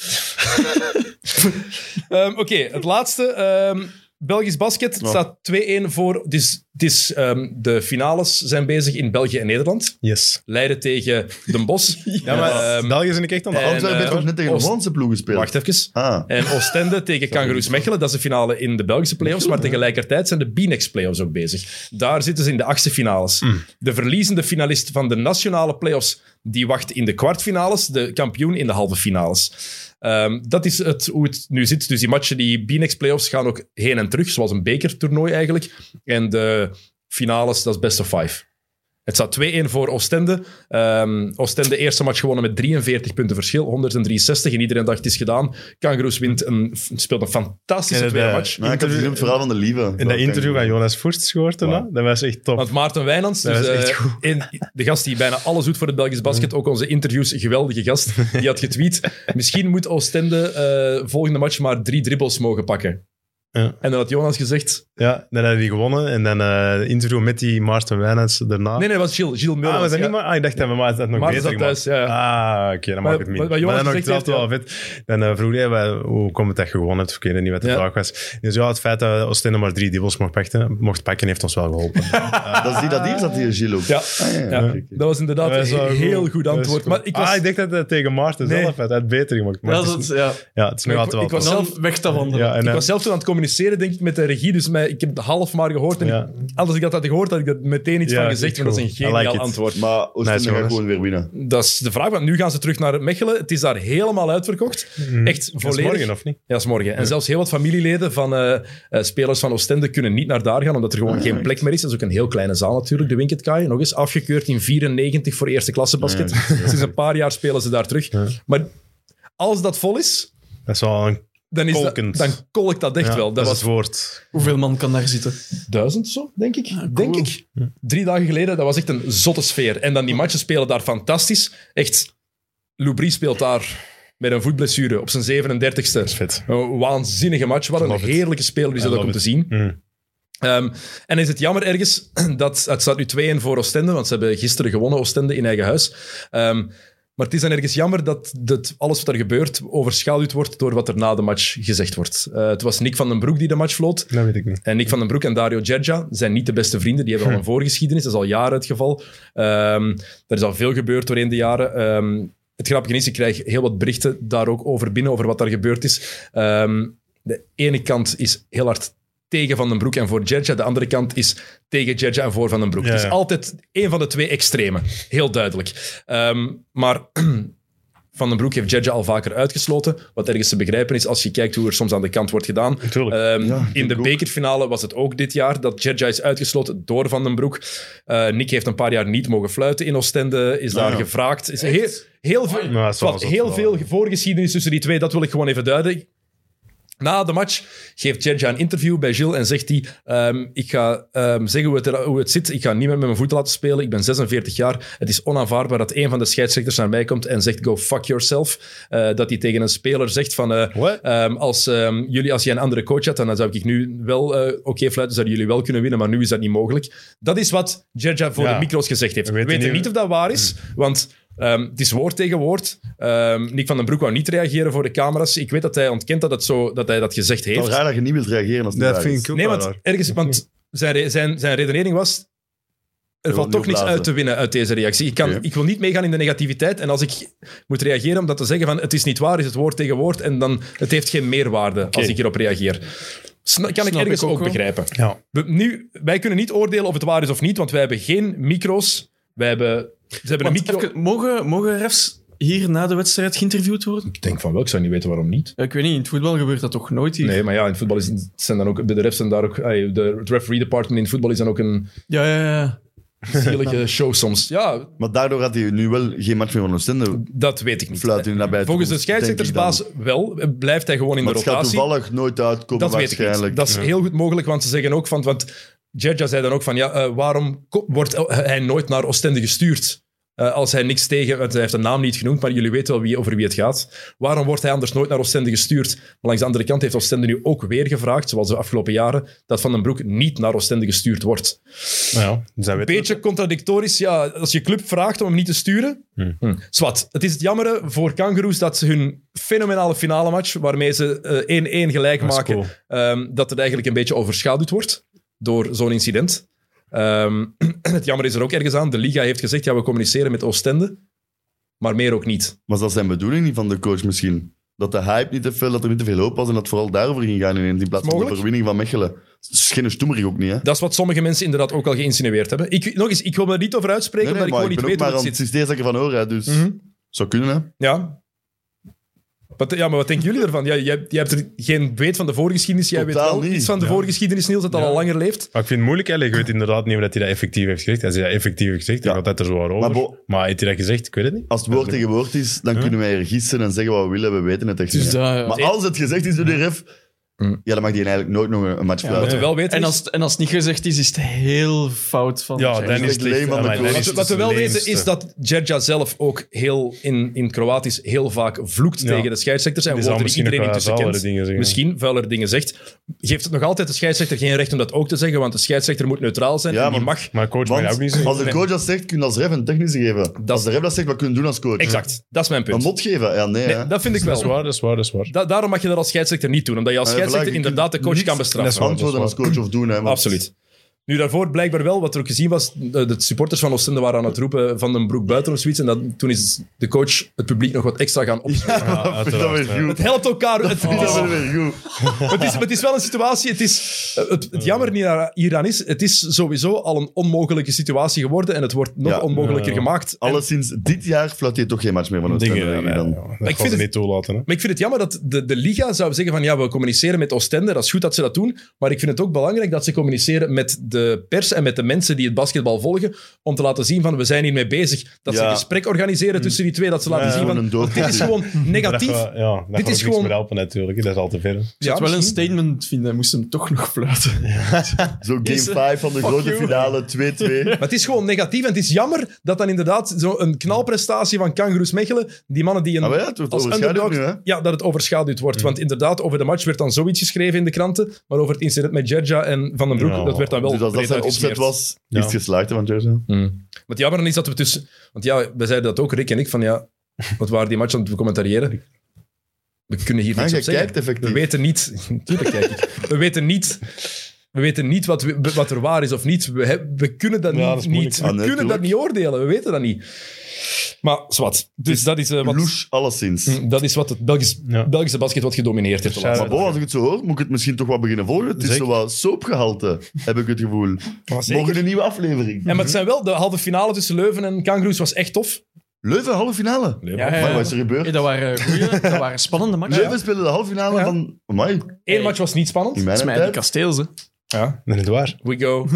Ehm, Oké, het laatste. ehm, Belgisch basket Het
Ja.
staat 2-1 voor. Het is, het is, ehm, de finales zijn bezig in België en Nederland.
Yes.
Leiden tegen Den Bosch.
[LAUGHS] Ja, maar
Ehm,
België is ik echt aan
en,
het
Antwerpen heeft
eh,
toch net tegen de
Oost-
Hollandse ploeg gespeeld?
wacht even.
Ah,
En Oostende tegen Kangaroos Mechelen. Dat is de finale in de Belgische play-offs. Maar tegelijkertijd zijn de B-Next play-offs ook bezig. Daar zitten ze in de achtste finales.
Mm.
De verliezende finalist van de nationale play-offs die wacht in de kwartfinales. De kampioen in de halve finales. Ehm, dat is het, hoe het nu zit. Dus die matchen, die B-Next play-offs gaan ook heen en terug. Zoals een bekertoernooi eigenlijk. En de finales, dat is best of five. Het staat 2-1 voor Oostende. Ehm Oostende eerste match gewonnen met 43 punten verschil, 163. En iedereen dacht, het is gedaan. Kangaroos wint een, f- speelt een fantastische
En het,
tweede
eh,
match.
maar ik heb
interview-
gezien op het verhaal van de lieve.
In dat interview van Jonas Voerts gehoord daarna,
Wow.
dat was echt top.
Want Maarten Wijnands,
Dat
dus,
is echt
eh, in- de gast die bijna alles doet voor het Belgisch basket, ook onze interviews, een geweldige gast, die had
[LAUGHS]
getweet. Misschien moet Oostende eh, volgende match maar drie dribbles mogen pakken.
Ja.
En dan had Jonas gezegd...
Ja, dan hebben die gewonnen. En dan eh interview met die Maarten Wijnands daarna.
Nee, nee, dat was Gilles, Gilles Muller.
ah, was dat
Ja.
niet maar? Ah, ik dacht dat we maar dat nog
Maarten
beter
zat thuis,
gemaakt.
ja,
Ah, oké, dan
Maar-
maak ik het
wat-
niet.
wat Johan
maar dan nog
gezegd
dat wel vet. Dan eh, vroeg hij, wel, hoe komt het dat je gewonnen hebt? Ik weet niet wat de
Ja.
vraag was. Dus ja, het feit dat Oostende maar drie dubbels mocht pakken, mocht pakken heeft ons wel geholpen.
[LAUGHS]
Dat is die dat hier zat, die Gilles ook.
Ja.
Ah,
Ja,
oké, oké.
dat was inderdaad
Dat is wel
een heel goed,
Dat is
antwoord.
goed.
Maar ik was,
Ah, ik dacht dat het tegen Maarten
Nee.
zelf had. Hij had het beter gemaakt. Maar
Ja,
het is-
dat, ja.
ja, het is nog
Ik-
altijd wel
ik was
tof.
zelf-
Dan weg te wandelen.
ja, en,
ik
eh,
was zelf toen aan het communiceren, denk ik, met de regie. Dus mij, ik heb het half maar gehoord. En
Ja.
ik- anders ik dat had gehoord, had ik er meteen iets
Ja,
van
ik
gezegd.
vind
Maar dat
het
is een
goed. I like
geniaal
it.
antwoord.
Maar Oostende
Nice,
gaat
jongens.
gewoon weer winnen.
Dat is de vraag, want nu gaan ze terug naar Mechelen. Het is daar helemaal uitverkocht. Echt
Dat Mm. is
volledig.
morgen, of niet?
Ja, dat is morgen. En zelfs heel wat familieleden van eh, eh, spelers van Oostende kunnen niet naar daar gaan, omdat er
Ah,
gewoon geen plek meer is. Dat is ook een heel kleine zaal natuurlijk, de Winketkaai. Nog eens, afgekeurd in 94 voor eerste klasse basket. Sinds een paar jaar spelen ze daar terug. Maar als dat vol is,
Dat is wel een...
dan, is dat,
Kolkend.
dan kolkt dat echt
ja,
wel. Dat,
is
was
het woord.
Hoeveel man kan daar zitten?
duizend zo, denk ik. Denk ik. Drie dagen geleden, dat was echt een zotte sfeer. En dan die matchen spelen daar fantastisch. Echt, Loubry speelt daar met een voetblessure op zijn 37ste.
Vet.
Een waanzinnige match. Wat een
Love it.
heerlijke speler is
I
dat ook om
love
te
it.
zien.
Mm.
Ehm, en is het jammer ergens [CLEARS THROAT] dat het staat nu 2-1 voor Oostende, want ze hebben gisteren gewonnen Oostende in eigen huis. Ehm, maar het is dan ergens jammer dat, dat alles wat er gebeurt overschaduwd wordt door wat er na de match gezegd wordt. Eh, het was Nick van den Broek die de match vloot.
Dat weet ik niet.
En Nick van den Broek en Dario Gergia zijn niet de beste vrienden. Die hebben al een
Hm.
voorgeschiedenis. Dat is al jaren het geval. Ehm er is al veel gebeurd doorheen de jaren. Ehm, het grappige is, ik krijg heel wat berichten daar ook over binnen, over wat daar gebeurd is. Ehm, de ene kant is heel hard tegen Van den Broek en voor Gergia. De andere kant is tegen Gergia en voor Van den Broek.
Ja,
Het is
ja.
altijd één van de twee extremen. Heel duidelijk. Ehm, maar van den Broek heeft Jedja al vaker uitgesloten. Wat ergens te begrijpen is als je kijkt hoe er soms aan de kant wordt gedaan.
Tuurlijk.
Ehm,
Ja,
in
denk
de
ik ook.
bekerfinale was het ook dit jaar dat Jedja is uitgesloten door Van den Broek. Eh, Nick heeft een paar jaar niet mogen fluiten in Oostende. Is daar
Ah, ja.
gevraagd. Is heel, heel veel,
Nou, dat is wel
wat,
zot,
heel
wel.
veel voorgeschiedenis tussen die twee. Dat wil ik gewoon even duiden. Na de match geeft Jedja een interview bij Gilles en zegt hij: ehm, Ik ga ehm, zeggen hoe het, er- hoe het zit. Ik ga niet meer met mijn voeten laten spelen. Ik ben 46 jaar. Het is onaanvaardbaar dat een van de scheidsrechters naar mij komt en zegt: Go fuck yourself. Eh, dat hij tegen een speler zegt: van, eh,
What?
ehm, als, ehm, jullie, als jij een andere coach had, dan zou ik nu wel eh, oké fluiten. Zouden jullie wel kunnen winnen, maar nu is dat niet mogelijk. Dat is wat Jedja voor
Ja.
de micro's gezegd heeft.
We
We
weten
weten
niet-
niet of dat waar is, want. ehm, het is woord tegen woord. Ehm, Nick van den Broek wou niet reageren voor de camera's. Ik weet dat hij ontkent dat, het zo, dat hij dat gezegd
Het
heeft.
is wel raar dat je niet wilt reageren als het niet
Dat
waar
vind
is.
dus-
ik ook
Nee,
wel
want
raar.
ergens, want zijn, re- zijn, zijn redenering was. Er valt
Je wilt
toch
niet
niks
blazen.
uit te winnen uit deze reactie. Ik, kan,
Oké.
ik wil niet meegaan in de negativiteit. En als ik moet reageren om dat te zeggen van het is niet waar, is het woord tegen woord. En dan het heeft geen meerwaarde als ik hierop reageer. Sna- kan ik
Snap
ergens
ik ook
ook
wel.
begrijpen.
Ja.
We- nu, wij kunnen niet oordelen of het waar is of niet, want wij hebben geen micro's. Wij hebben, ze hebben een
Want
micro...
even, mogen, mogen refs hier na de wedstrijd geïnterviewd worden?
Ik denk van wel, ik zou niet weten waarom niet.
Ja, ik weet niet, in het voetbal gebeurt dat toch nooit hier?
Nee, maar ja, in het voetbal is, het zijn dan ook, de refs zijn daar ook, ay, de het referee department in het voetbal is dan ook een
Ja, ja, ja.
[LAUGHS]
zielige show soms. Ja,
Maar daardoor had hij nu wel geen match meer van Oostende.
dat weet ik niet.
Fluit in nabij
Volgens de
toekomst, denk ik
scheidsrechtersbaas
dan.
wel, eh, blijft hij gewoon in
Maar
de
het gaat
rotatie.
toevallig nooit uitkomen
Dat weet ik
waarschijnlijk.
niet. Dat is heel goed mogelijk, want ze zeggen ook van... Want Jedja zei dan ook van, ja, eh, waarom ko- wordt el- hij nooit naar Oostende gestuurd? Eh, als hij niks tegen... Want hij heeft de naam niet genoemd, maar jullie weten wel wie, over wie het gaat. Waarom wordt hij anders nooit naar Oostende gestuurd? Maar langs de andere kant heeft Oostende nu ook weer gevraagd, zoals de afgelopen jaren, dat Van den Broek niet naar Oostende gestuurd wordt.
Nou ja, dus dat weten we.
Beetje contradictorisch, ja. Als je club vraagt om hem niet te sturen. Hm. Zwat. Het is het jammere voor Kangaroos dat ze hun fenomenale finale match, waarmee ze eh, 1-1 gelijk
Dat is
maken,
cool.
ehm, dat het eigenlijk een beetje overschaduwd wordt door zo'n incident. Ehm, [CLEARS THROAT] het jammer is er ook ergens aan. De Liga heeft gezegd, ja, we communiceren met Oostende, maar meer ook niet.
Maar is dat zijn bedoeling niet van de coach misschien? Dat de hype niet te veel, dat er niet te veel hoop was en dat het vooral daarover ging gaan ineens, in plaats van de
Mogelijk.
verwinning van Mechelen. Het is geen stoemerig ook niet, hè?
Dat is wat sommige mensen inderdaad ook al geïnsinueerd hebben. Ik, nog eens, ik wil me er niet over uitspreken,
Nee, nee,
omdat
maar
ik
ik ben
gewoon
ook
niet weet hoe
maar
het
aan het
zit.
systeem dat ik ervan hoor, hè, dus
Mhm.
zou kunnen, hè?
Ja. Wat, ja, maar wat denken jullie ervan? Ja, jij, jij hebt er geen weet van de voorgeschiedenis. Jij
Totaal
weet wel
niet.
iets van de
Ja.
voorgeschiedenis, Niels, dat al, al langer leeft.
Maar ik vind het moeilijk, hè. ik weet inderdaad niet of dat hij dat effectief heeft gezegd. Als hij dat effectief heeft gezegd, dan
Ja.
gaat dat er zo over.
Maar
Maar,
bo-
heeft hij dat gezegd? Ik weet het niet.
Als het woord tegen woord is, dan kunnen wij er gissen en zeggen wat we willen, we weten het echt
Dus
niet. hè.
dat, ja.
Maar als het gezegd is door de ref,
Mhm.
ja, dan mag die eigenlijk nooit nog een een match
Wat
fluiten.
we wel weten
En
is-
als, het- en als het niet gezegd is, is het heel fout van...
Ja,
Jack.
dan is het
Leem
licht.
aan de
Amai, dan
koers.
is
wat,
het
wat we wel
het
weten
leemste.
is dat Gerja zelf ook heel in, in Kroatisch heel vaak vloekt
Ja.
tegen de scheidsrechters. En
Die zal
woorden die
misschien ook
iedereen
wel
intussen
vuilere
kent,
dingen zeggen.
misschien vuilere dingen zegt. Geeft het nog altijd de scheidsrechter geen recht om dat ook te zeggen, want de scheidsrechter moet neutraal zijn
Ja,
en die
maar-
mag...
Maar coach mag dat ook niet
Want
zeggen.
als de coach dat zegt, kun je als ref een technische geven. Als de ref dat zegt, wat kun je doen als coach?
Exact, dat is mijn
Een
punt.
mot geven? Ja, nee, hè.
Nee, dat vind ik
Dat
wel.
is waar, dat is waar, dat is waar.
Da- daarom mag je dat als scheidsrechter niet doen, omdat je als
Eh, voilà,
scheidsrechter
je kunt
inderdaad de coach
niks-
kan bestraffen.
dat is waar.
Antwoorden als coach of doen, hè. want-
Absoluut. Nu daarvoor blijkbaar wel, wat er ook gezien was, de, de supporters van Oostende waren aan het roepen van den broek buiten of zoiets. En dat, toen is de coach het publiek nog wat extra [LAUGHS] gaan Oh. opspelen.
Vind ik [LAUGHS] dat weer
uiteraard,
goed.
Het helpt elkaar. Het,
Vind ik
het, is,
dat weer goed.
het, is, het is wel een situatie. Het, is, het, het jammer hier- hieraan is, het is sowieso al een onmogelijke situatie geworden. En het wordt nog
Ja.
onmogelijker
Ja.
gemaakt. En-
Alleszins dit jaar fluit hij toch geen match meer van Oostende.
Dingen,
denk ik
ja,
dan.
ja, ja. Dat
Ik
ik
vind
vind
het-
niet toelaten. Hè.
Maar ik vind het jammer dat de, de Liga zou zeggen van ja, we communiceren met Oostende, dat is goed dat ze dat doen, maar ik vind het ook belangrijk dat ze communiceren met de pers en met de mensen die het basketbal volgen, om te laten zien van we zijn hiermee bezig. Dat ze
Ja.
een gesprek organiseren tussen die twee, dat ze laten
Ja,
zien
gewoon
van
een dood-
dit is
[LAUGHS]
gewoon
Dat
negatief.
gaat- ja, dat
is
dit is
gewoon-
gewoon... meer helpen natuurlijk. hè. Dat is al te ver. hè.
Ja,
het wel een
misschien.
statement vinden, hij moest hem toch nog fluiten.
Zo game
Is, eh,
5 van de
fuck
grote
you.
[LAUGHS]
finale, 2-2.
Maar het is gewoon negatief en het is jammer dat dan inderdaad zo'n knalprestatie van Kangaroos Mechelen, die mannen die een,
Ah, maar ja, het wordt
als
overschaduwd
underdog,
nu, hè?
ja, dat het overschaduwd
Mm.
wordt. Want inderdaad, over de match werd dan zoiets geschreven in de kranten, maar over het incident met Gerja en Van den Broek,
Ja.
dat werd dan wel
Dus als dat
breed
zijn opzet
uitgesmeerd.
was,
Ja.
is het geslaagd hè, van Jersey.
Wat jammer is dat we tussen... Want ja, we zeiden dat ook, Rick en ik, van ja... Wat waren die match aan het becommentariëren? We kunnen hier
Maar
niks
jij
op zeggen.
kijkt effectief.
we weten niet... [LAUGHS] Tuurlijk kijk ik. We weten niet... We weten niet wat, we- wat er waar is of niet. We, heb- we kunnen dat,
Ja,
niet-
dat is
niet.
moeilijk.
We
Ah, nee,
kunnen dat niet
tuurlijk.
oordelen. We weten dat niet. Maar zwart. Dus dat is, eh, wat,
Louche,
Mm,
alleszins.
dat is wat het Belgisch,
Ja.
Belgische basket wat gedomineerd heeft. de laatste
Maar Bo, als ik het zo hoor, moet ik het misschien toch wat beginnen volgen. Het is
Zeker.
zo wat soapgehalte, heb ik het gevoel.
zeker.
Morgen een nieuwe aflevering.
En maar het zijn wel... De halve finale tussen Leuven en Kangaroos was echt tof.
Leuven, halve finale.
Ja,
Eh,
ja,
Maar
ja.
wat is er gebeurd?
Hey, dat waren goeie, dat waren spannende matchen.
Leuven speelde de halve finale
Ja.
van... Amai,
Eén match was niet spannend.
in
Dat is
mijn
mij die
tijd.
kasteels, hè.
Ja.
Dat is niet waar.
We [LAUGHS] go.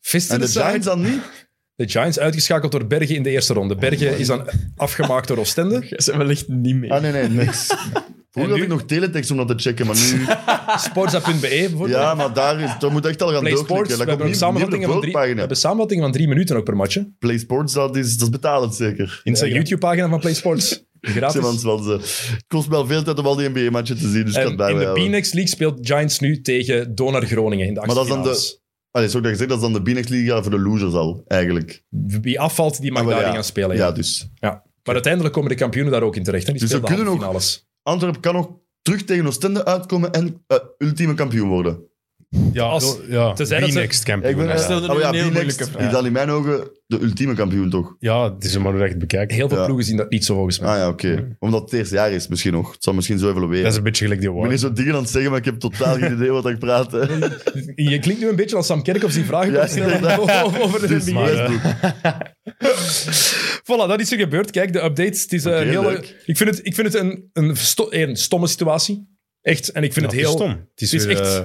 Fist in
En
the
de
side.
Giants dan niet?
De Giants uitgeschakeld door Bergen in de eerste ronde. Bergen is dan afgemaakt door Oostende.
Jij bent wellicht niet mee.
Ah, nee, nee,
[LAUGHS]
niks. Vroeger had ik nog teletext om dat te checken, maar nu...
Sports.be bijvoorbeeld.
Ja, maar daar is, dat moet echt al gaan
Play Sports.
doorklikken.
We
Dat
hebben,
komt
ook
niet niet op de
samenvattingen van drie, we
voorpagina.
hebben samenvattingen van drie minuten ook per match. hè.
Play Sports, dat is, dat is betalend zeker.
De
Instagram.
YouTube-pagina van Play
[LAUGHS]
Sports.
Zeg, want-
Gratis.
want, eh, Het kost wel veel tijd om al die NBA-matchen te zien, dus ik kan
En
het daarbij
in de
houden.
B-Next League speelt Giants nu tegen Donar Groningen in de
Maar dat is dan de-
achtfinales.
Allee, zo Ah, dat gezegd, dat is dan de B-Next Liga voor de losers al, eigenlijk.
Wie afvalt, die mag
Ah, maar
daarin
ja.
gaan spelen. Ja.
Ja, dus.
Ja. Maar uiteindelijk komen de kampioenen daar ook in terecht. Hè. Die
Dus
spelen
we
de
kunnen
halve finales.
Antwerpen kan nog terug tegen Oostende uitkomen en eh, ultieme kampioen worden.
Ja,
Als-
als, ja.
te zeggen dat ze-
B-Next
Ik
kampioen.
ben,
hè.
eh,
stelde
ah,
nu
ja,
een heel
B-Next
moeilijke vraag.
is dan in mijn ogen de ultieme kampioen, toch?
Ja, het is een maar hoe dat je het bekijkt.
Heel veel
Ja.
ploegen zien dat niet zo volgens mij.
Ah ja, oké. Omdat het eerste jaar is, misschien nog. Het zal misschien zo
Dat
evolueren.
is een beetje gelijk die
Ik ben
award.
niet zo dingen aan het zeggen, maar ik heb totaal geen idee wat ik praat. [LAUGHS] hè.
Je klinkt nu een beetje als Sam Kerkhoffs die vragen
Ja,
komt stellen
inderdaad.
[LAUGHS] over de
Dus,
NBA.
maar, eh,
Voilà, dat is er gebeurd. Kijk, de updates. Het is eh,
Oké,
een hele,
leuk.
ik vind het, ik vind het een, een, sto- een stomme situatie. Echt. En ik vind
Ja,
het heel.
stom. Het is,
het is
weer,
echt-
eh,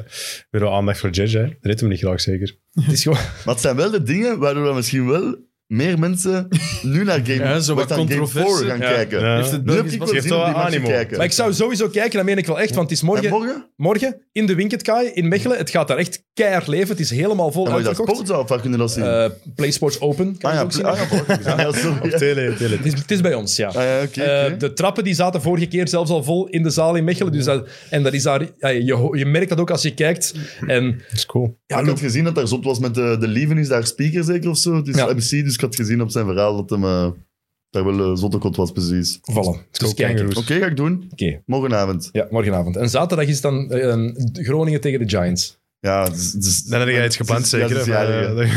weer wat aandacht voor Judge. hè. Dat redt hem niet graag, zeker.
Het is gewoon,
Maar het zijn wel de dingen waardoor we misschien wel meer mensen nu naar Game,
Ja, zo
wacht,
wat
aan game
controverse.
4 gaan
Ja.
kijken.
Ja.
Heeft het
Nu heb
Belgisch
ik wel
basket-
Geeft
zin om
wel
die match te
animo.
kijken.
maar ik zou sowieso kijken, dat meen ik wel echt, want het is
En
morgen, morgen?
morgen?
in de Winketkaai in Mechelen. Het gaat daar echt keihard leven. Het is helemaal vol
En mag je dat
uitverkocht.
sport zou of waar kunnen we dat zien?
Eh, PlaySports Open. Kan
ah
je
ja,
ook zien.
pl- ah, ja,
[LAUGHS]
morgen. Ah, ja, sorry.
Op tele, tele.
Het, is, het is bij ons, ja.
Ah, ja, oké.
Eh,
oké.
de trappen die zaten vorige keer zelfs al vol in de zaal in Mechelen. Dus dat, en dat is daar, ja, je, ho- je merkt dat ook als je kijkt. En
Dat is cool.
ja,
ik had gezien dat daar zot was met eh, de, de Lieven, is daar speaker zeker of zo. Dus
Ja.
MC, dus ik had gezien op zijn verhaal dat hem eh, daar wel eh, zotte kot was, precies.
voilà.
Het is
Dus
ook
kijk,
Oké, ga ik doen.
Oké.
Morgenavond.
Ja, morgenavond. En zaterdag is dan eh, een Groningen tegen de Giants.
Ja, dus, dus,
Dan heb jij iets gepland,
Ja,
zeker.
dus
hè?
ja, ja.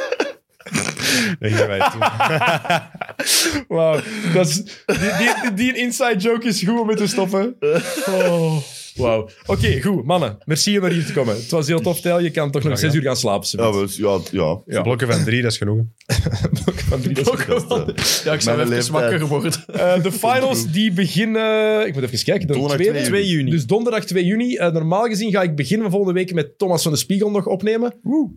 [LAUGHS] Eh, Dan gaan wij toe.
Wauw. dat is- Die, die, die inside joke is goed om mee te stoppen. Oh. Wauw. Oké, goed. Mannen, merci om naar hier te komen. Het was heel tof, Tijl. Je kan toch nog zes uur gaan slapen.
Ja,
Sebas.
we- ja, ja.
Blokken van drie, dat is genoeg.
Van drie tot-
Ja, ik zou
Mijn
even
leeftijd.
wakker worden.
Eh, de finals die beginnen... Ik moet even kijken. De
Donderdag
tweede.
2
2 juni.
Dus donderdag 2 juni. Eh, normaal gezien ga ik begin van volgende week met Thomas van de Spiegel nog opnemen.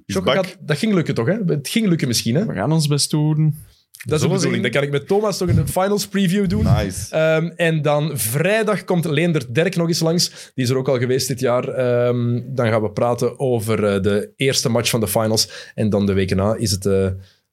Jocko,
bak.
gaat- dat ging lukken toch, hè? Het ging lukken misschien, hè?
we gaan ons best doen.
Dat is de
Zullen we
bedoeling.
zien.
Dan kan ik met Thomas toch een finals preview doen.
Nice.
Ehm, en dan vrijdag komt Leender Derk nog eens langs. Die is er ook al geweest dit jaar. Ehm, dan gaan we praten over eh, de eerste match van de finals. En dan de weken na is het eh,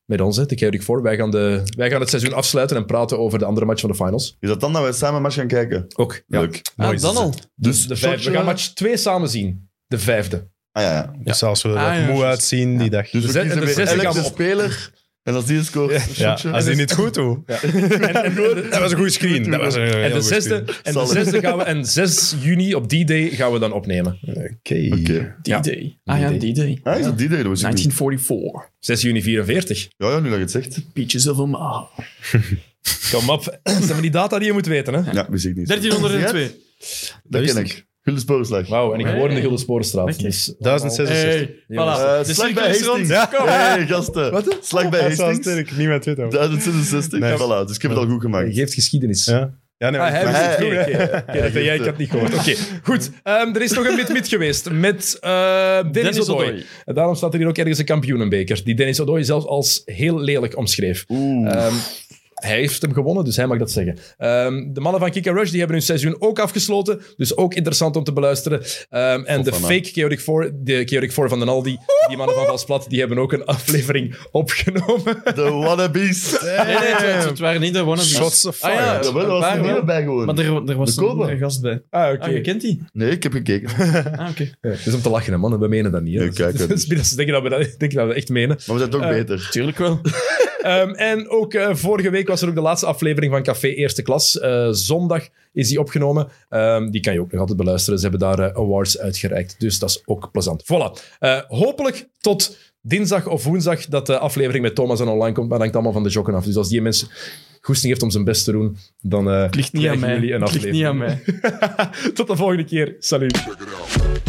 met ons, hè, de Celtic Four. Wij gaan, de, wij gaan het seizoen afsluiten en praten over de andere match van de finals.
Is dat dan dat wij samen een match gaan kijken?
Ook. Ja.
Leuk.
Ah, dan al.
Dus de vijfde.
shotje-
We gaan match 2 samen zien. De vijfde.
Ah ja, ja.
Dus als we er
Ah,
wat
ja,
moe
juist.
uitzien die dag.
Dus
De
we
zes-
kiezen
de
weer
zesde
elke
gaan we op.
speler En als die scoort, een
Ja,
shotje.
als hij niet goed doet. dat was een goede screen. Dat was een
En de, zesde, en de
Solid.
zesde gaan we, en 6 juni op die day gaan we dan opnemen.
Oké.
Oké.
Ja.
D-Day. Ah ja, D-Day.
Ah, is het die day? Dat wist ik niet.
1944.
6 juni 44.
Ja, ja, nu dat je het zegt.
Peaches of Omaha.
Kom op. Dat zijn maar die data die je moet weten, hè?
Ja, wist ik niet.
1302.
Dat ken ik. Gulden sporenslag.
Wauw, en ik woon in de Gilde Sporenstraat.
Oké.
Dus,
1066.
Hey, voilà.
Eh,
de
slag
cirkel
bij
is rond.
Hastings.
Ja.
Hey, gasten.
Wat?
Slag bij
Dat is wel
Hastings.
sterk. Niemand weet dat.
1066.
Nee.
Voilà, dus ik heb het al goed
Je
gemaakt.
geeft geschiedenis.
Ja, ja nee,
Ah, hij
maar-
heeft het
Hey.
goed. Oké, oké. Oké, dat jij ik had niet gehoord. Oké, goed. Ehm, er is nog een mid-mid geweest met eh Dennis,
Dennis
Odoi.
Odoi.
En daarom staat er hier ook ergens een kampioenenbeker, die Dennis Odoi zelfs als heel lelijk omschreef.
Oeh.
Ehm, hij heeft hem gewonnen, dus hij mag dat zeggen. Ehm, de mannen van Kika Rush die hebben hun seizoen ook afgesloten. Dus ook interessant om te beluisteren. Ehm, en de fake Chaotic 4, de Chaotic 4 van de Aldi, die mannen van Valsplat, die hebben ook een aflevering opgenomen. [LAUGHS]
De wannabes.
Nee, nee, het, wa- het waren niet de wannabes.
Shots of
Ah, ja,
fire.
Dat was
Waar
er
wel?
niet
Maar
bij gewoon.
er, er was
De Kobo.
een gast bij.
Ah,
Ah, je kent die?
Nee, ik heb gekeken.
Ah, oké.
Het is om te lachen, hè, mannen. We menen dat niet. Hè.
Nee,
[LAUGHS]
kijk,
dat is, dat is- denk, dat we dat, denk dat we dat echt menen.
Maar we zijn toch beter.
Eh, Tuurlijk wel.
Ehm, en ook eh, vorige week was er ook de laatste aflevering van Café Eerste Klas. Eh, zondag is die opgenomen. Ehm, die kan je ook nog altijd beluisteren. Ze hebben daar eh, awards uitgereikt. Dus dat is ook plezant. Voilà. Eh, hopelijk tot dinsdag of woensdag dat de aflevering met Thomas en online komt. Maar dat hangt allemaal van de jokken af. Dus als die mensen goesting heeft om zijn best te doen, dan eh
Ligt niet aan
krijgen
mij.
jullie een
Ligt niet
aflevering.
aan mij.
Tot de volgende keer. Salut.